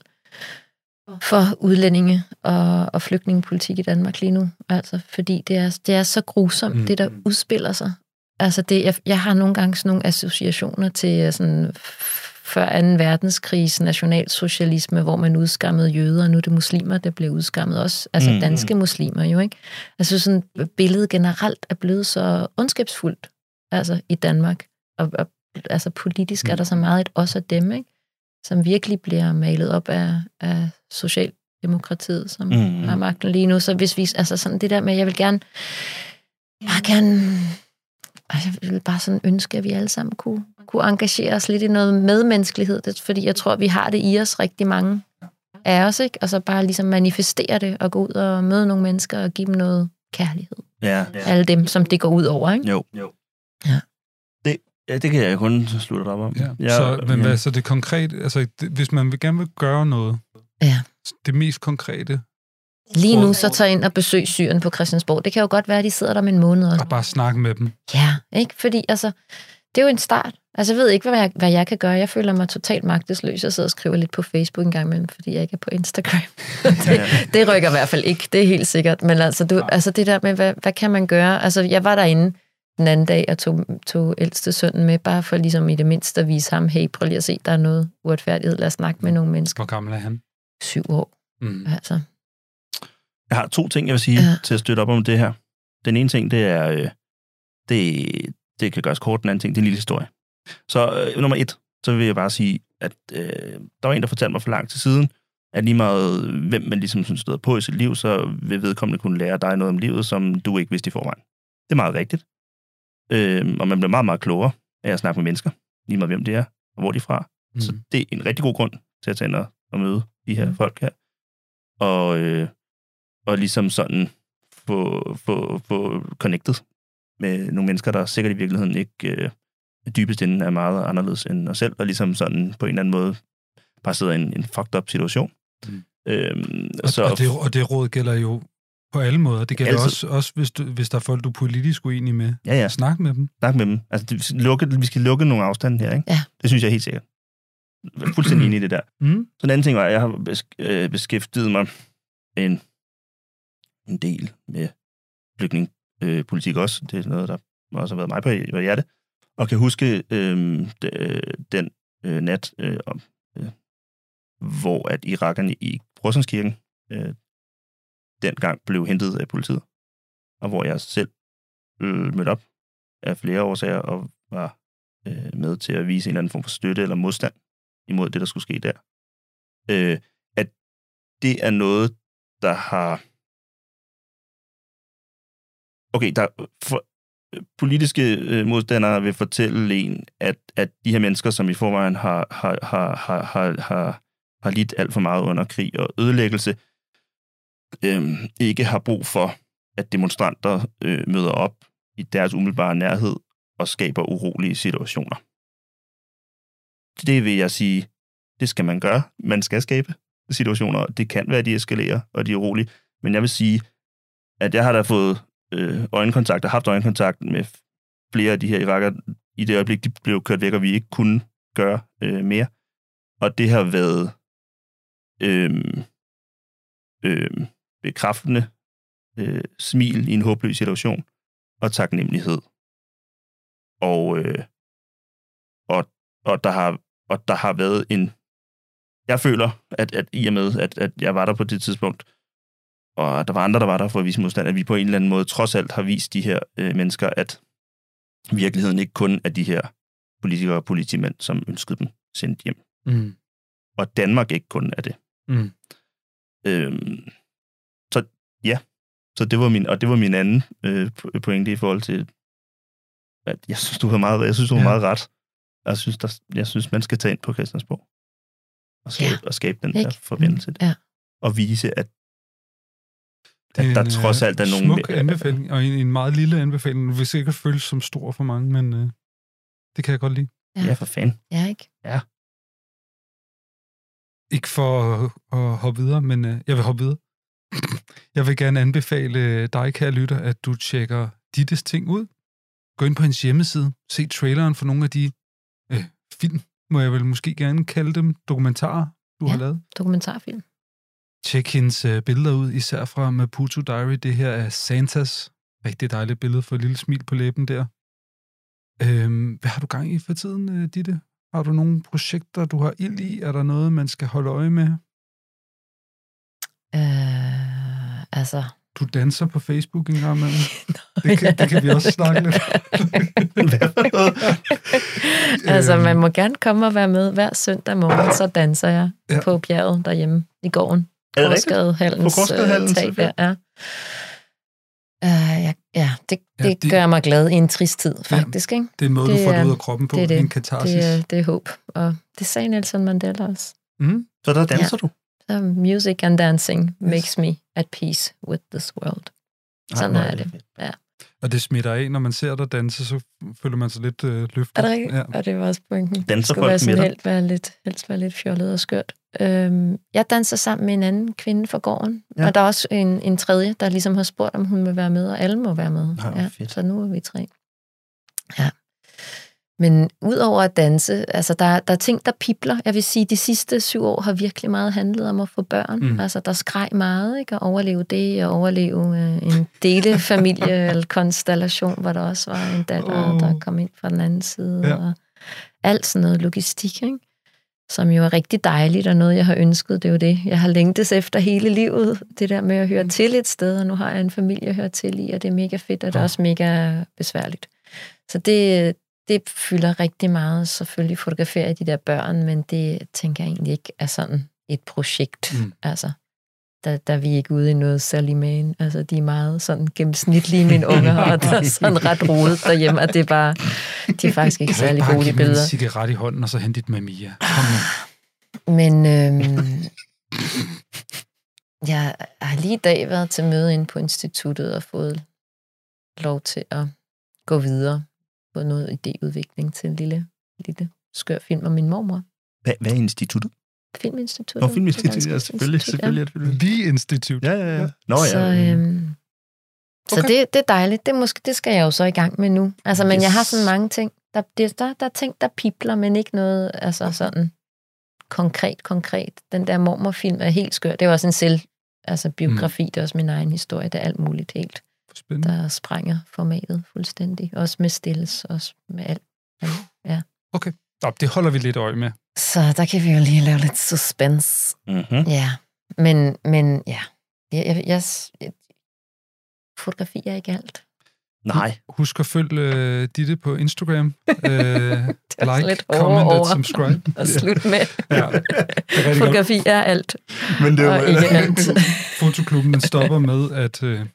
for udlændinge og, og flygtningepolitik i Danmark lige nu. Altså, fordi det er, det er så grusomt, Mm. mm. det der udspiller sig. Altså, det, jeg, jeg har nogle gange sådan nogle associationer til øh, sådan f- før 2. verdenskrigs nationalsocialisme, hvor man udskammede jøder, og nu er det muslimer, der bliver udskammet også. Altså Mm. danske muslimer jo, ikke? Altså sådan billedet generelt er blevet så ondskabsfuldt, altså i Danmark. Og, og altså politisk er der så meget et os og dem, ikke? Som virkelig bliver malet op af, af socialdemokratiet, som Mm. mm. har magten lige nu. Så hvis vi, altså sådan det der med, jeg vil gerne, jeg vil gerne og jeg ville bare sådan ønske, at vi alle sammen kunne, kunne engagere os lidt i noget medmenneskelighed, det, fordi jeg tror, vi har det i os rigtig mange af os, ikke? og så bare ligesom manifestere det og gå ud og møde nogle mennesker og give dem noget kærlighed. Ja. Alle dem, som det går ud over, ikke? Jo. jo. altså, Ja. Det, ja, det kan jeg kun slutte dig op om. Ja. Jeg, så, men ja. hvad, så det konkret, altså det, hvis man vil gerne vil gøre noget, ja. det mest konkrete, Lige nu så tager ind og besøg syren på Christiansborg. Det kan jo godt være, at de sidder der om en måned. Og, og bare snakke med dem. ja, ikke? Fordi altså, det er jo en start. Altså, jeg ved ikke, hvad jeg, hvad jeg kan gøre. Jeg føler mig totalt magtesløs. Jeg sidder og skriver lidt på Facebook en gang imellem, fordi jeg ikke er på Instagram. det, det rykker i hvert fald ikke, det er helt sikkert. Men altså, du, altså det der med, hvad, hvad kan man gøre? Altså, jeg var derinde den anden dag og tog, tog ældste sønnen med, bare for ligesom i det mindste at vise ham, hey, prøv lige at se, der er noget uretfærdighed. Lad os snakke med nogle mennesker. Hvor gammel er han? Syv år. Mm. Altså, Jeg har to ting, jeg vil sige ja. til at støtte op om det her. Den ene ting, det er, øh, det, det kan gøres kort. Den anden ting, det er en lille historie. Så øh, nummer et, så vil jeg bare sige, at øh, der var en, der fortalte mig for lang tid siden, at lige meget hvem man ligesom synes støder på i sit liv, så vil vedkommende kunne lære dig noget om livet, som du ikke vidste i forvejen. Det er meget rigtigt. Øh, og man bliver meget, meget klogere af at snakke med mennesker, lige meget hvem det er, og hvor de er fra. Mm. Så det er en rigtig god grund til at tage ind og- og møde de her mm. folk her. Og, øh, og ligesom sådan få, få, få connected med nogle mennesker, der sikkert i virkeligheden ikke øh, dybest inden er meget anderledes end os selv, og ligesom sådan på en eller anden måde bare sidder i en, en fucked up situation. Mm. Øhm, Og, så, Altså- og, det, og det råd gælder jo på alle måder. Det gælder Altid. også, også hvis, du, hvis der er folk, du er politisk uenig med. Ja, ja. Snak med dem. Snak med dem. Altså, det, vi, skal lukke, vi skal lukke nogle afstande her, ikke? Ja. Det synes jeg helt sikkert. Jeg er fuldstændig enig i det der. Mm. Så den anden ting var, at jeg har besk- øh, beskæftiget mig en, en del med flygtningepolitik øh, politik også. Det er noget, der også har været mig på på hjerte. Og kan huske øh, de, øh, den øh, nat, øh, om, øh, hvor at irakerne i Brorsenskirken øh, dengang blev hentet af politiet. Og hvor jeg selv øh, mødte op af flere årsager og var øh, med til at vise en eller anden form for støtte eller modstand imod det, der skulle ske der. Øh, at det er noget, der har okay, der for, politiske øh, modstandere vil fortælle en, at, at de her mennesker, som i forvejen har, har, har, har, har, har, har lidt alt for meget under krig og ødelæggelse, øh, ikke har brug for, at demonstranter øh, møder op i deres umiddelbare nærhed og skaber urolige situationer. Det vil jeg sige, det skal man gøre. Man skal skabe situationer. Det kan være, at de eskalerer, og de er urolige. Men jeg vil sige, at jeg har da fået øh, øjenkontakt og haft øjenkontakt med flere af de her irakker i det øjeblik, de blev kørt væk, og vi ikke kunne gøre øh, mere. Og det har været øh, øh, bekræftende øh, smil i en håbløs situation og taknemmelighed. Og, øh, og, og, der har, og der har været en... Jeg føler, at, at i og med, at, at jeg var der på det tidspunkt, og der var andre, der var der for at vise modstand, at vi på en eller anden måde trods alt har vist de her øh, mennesker, at virkeligheden ikke kun er de her politikere og politimænd, som ønskede dem sendt hjem. Mm. Og Danmark ikke kun er det. Mm. Øhm, så ja, så det var min, og det var min anden øh, pointe i forhold til, at jeg synes, du har meget, jeg synes, du har ja. meget ret. Jeg synes, der, jeg synes, man skal tage ind på Christiansborg og skabe, ja. og skabe den ikke? der forbindelse. Ja. Og vise, at Det er at der en, øh, trods alt er smuk nogen... Smuk anbefaling, og en, en meget lille anbefaling. Den vil sikkert føles som stor for mange, men øh, det kan jeg godt lide. Ja, ja for fanden. Ja, ikke? Ja. Ikke for at, at hoppe videre, men øh, jeg vil hoppe videre. Jeg vil gerne anbefale øh, dig, kære lytter, at du tjekker Dittes ting ud. Gå ind på hendes hjemmeside, se traileren for nogle af de øh, film, må jeg vel måske gerne kalde dem, dokumentarer, du ja. har lavet. Dokumentarfilm. Tjek hendes øh, billeder ud, især fra Maputo Diary. Det her er Santas. Rigtig dejligt billede for et lille smil på læben der. Øhm, hvad har du gang i for tiden, øh, Ditte? Har du nogle projekter, du har ild i? Er der noget, man skal holde øje med? Øh, altså, Du danser på Facebook en gang imellem. Det kan, det kan vi også snakke lidt altså, man må gerne komme og være med hver søndag morgen, så danser jeg Ja. ja. på bjerget derhjemme i gården. Er det rigtigt? Korsgadehallens, På Korsgadehallens, øh, tag selvfølgelig. der, ja. Uh, ja, ja, det, Ja, det, ja, det- det gør mig glad i en trist tid, faktisk. ikke? Det er en måde, du får det er- ud af kroppen på. Det er, det. En katarsis. Det, er, det er håb. Og det sagde Nelson Mandela også. Mm? Så der danser ja. du? Så music and dancing makes me at peace with this world. Sådan hvor er er det det. Ja. Og det smitter af, når man ser dig danse, så føler man sig lidt øh, løftet. Er det rigtigt? Ja. Ja. Og det var også pointen. Danser Det skulle folk være sådan med dig? helst være lidt, helst være lidt fjollet og skørt. Øhm, jeg danser sammen med en anden kvinde fra gården, Ja. ja. og der er også en, en tredje, der ligesom har spurgt, om hun vil være med, og alle må være med. Nå, hvor fedt. så nu er vi tre. Ja. Men udover at danse, altså der, der er ting, der pipler. Jeg vil sige, de sidste syv år har virkelig meget handlet om at få børn. Mm. Mm. Altså der skreg meget, ikke? At overleve det, og overleve øh, en delefamilie eller konstellation, hvor der også var en datter, Åh. oh. der kom ind fra den anden side. Ja. Ja. Og alt sådan noget logistik, ikke? som jo er rigtig dejligt, og noget, jeg har ønsket, det er jo det. Jeg har længtes efter hele livet, det der med at Mm. høre til et sted, og nu har jeg en familie at høre til i, og det er mega fedt, og det er også mega besværligt. Så det, det fylder rigtig meget. Selvfølgelig fotograferer jeg de der børn, men det tænker jeg egentlig ikke er sådan et projekt. Mm. Altså, der, der er vi ikke ude i noget særlig man. Altså, de er meget sådan gennemsnitlige, mine unger, og der er sådan ret rodet derhjemme, og det er bare, de er faktisk ikke Kan du særlig bare gode, give de mig en billeder. cigaret i hånden, og så hente dit mamia. Kom nu. Men øhm, jeg har lige i dag været til møde inde på instituttet og fået lov til at gå videre på noget idéudvikling til en lille, lille skør film om min mormor. Hvad, hvad er instituttet? Filminstituttet. Nå, det Filminstituttet, danske ja, selvfølgelig, institut, ja. selvfølgelig, selvfølgelig. Vi institut. Mm. Ja, ja, ja. Nå ja. Mm. Så, øhm, okay. så det, det er dejligt. Det, er måske, det skal jeg jo så i gang med nu. Altså, men yes. jeg har sådan mange ting. Der, det, der, der er ting, der pipler, men ikke noget altså sådan konkret, konkret. Den der mormorfilm er helt skør. Det er jo også en selv altså biografi. Mm. Det er også min egen historie. Det er alt muligt helt. Spændende. Der sprænger formatet fuldstændig. Også med stilles, også med alt. Ja. Okay. Nå, det holder vi lidt øje med. Så der kan vi jo lige lave lidt suspense. Mm-hmm. Ja, men, men ja. Jeg, jeg, jeg, jeg, fotografi er ikke alt. Nej. Husk at følge øh, Ditte på Instagram. Øh, like, også Altså lidt Altså comment over- og subscribe. og slut med. Ja. Det er rigtig godt. Fotografi er alt. Men det er og øh, jo ikke alt. Fotoklubben den stopper med at øh,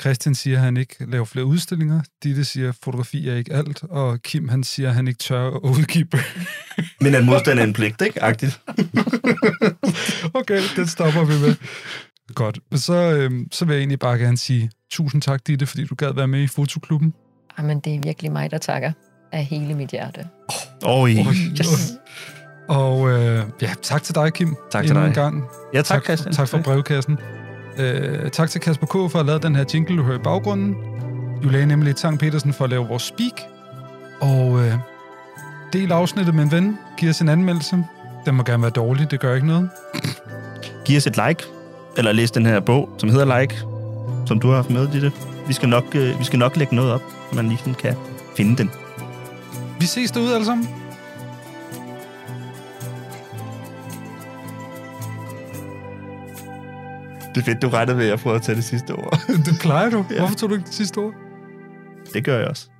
Christian siger, at han ikke laver flere udstillinger. Ditte siger, at fotografi er ikke alt. Og Kim, han siger, at han ikke tør at udgive bøger. Men at modstand er en pligt, ikke? Agtigt. okay, den stopper vi med. Godt. Så, øhm, så vil jeg egentlig bare gerne sige tusind tak, Ditte, fordi du gad være med i Fotoklubben. Jamen, det er virkelig mig, der takker af hele mit hjerte. Oj. Yes. Og øh, ja, tak til dig, Kim. Tak til endnu dig. En gang. Ja, tak, Christian. Tak for brevkassen. Øh, tak til Kasper K. for at lave den her jingle, du hører i baggrunden. Juliane nemlig Tang Petersen for at lave vores speak. Og øh, del afsnittet med en ven. Giv os en anmeldelse. Den må gerne være dårlig, det gør ikke noget. Giv os et like, eller læs den her bog, som hedder Like, som du har haft med, Ditte. Vi skal nok, øh, vi skal nok lægge noget op, så man lige sådan kan finde den. Vi ses derude alle sammen. Det er fedt, du regnede med, at jeg prøver at tage det sidste ord. Det plejer du. Hvorfor tog du ikke det sidste ord? Det gør jeg også.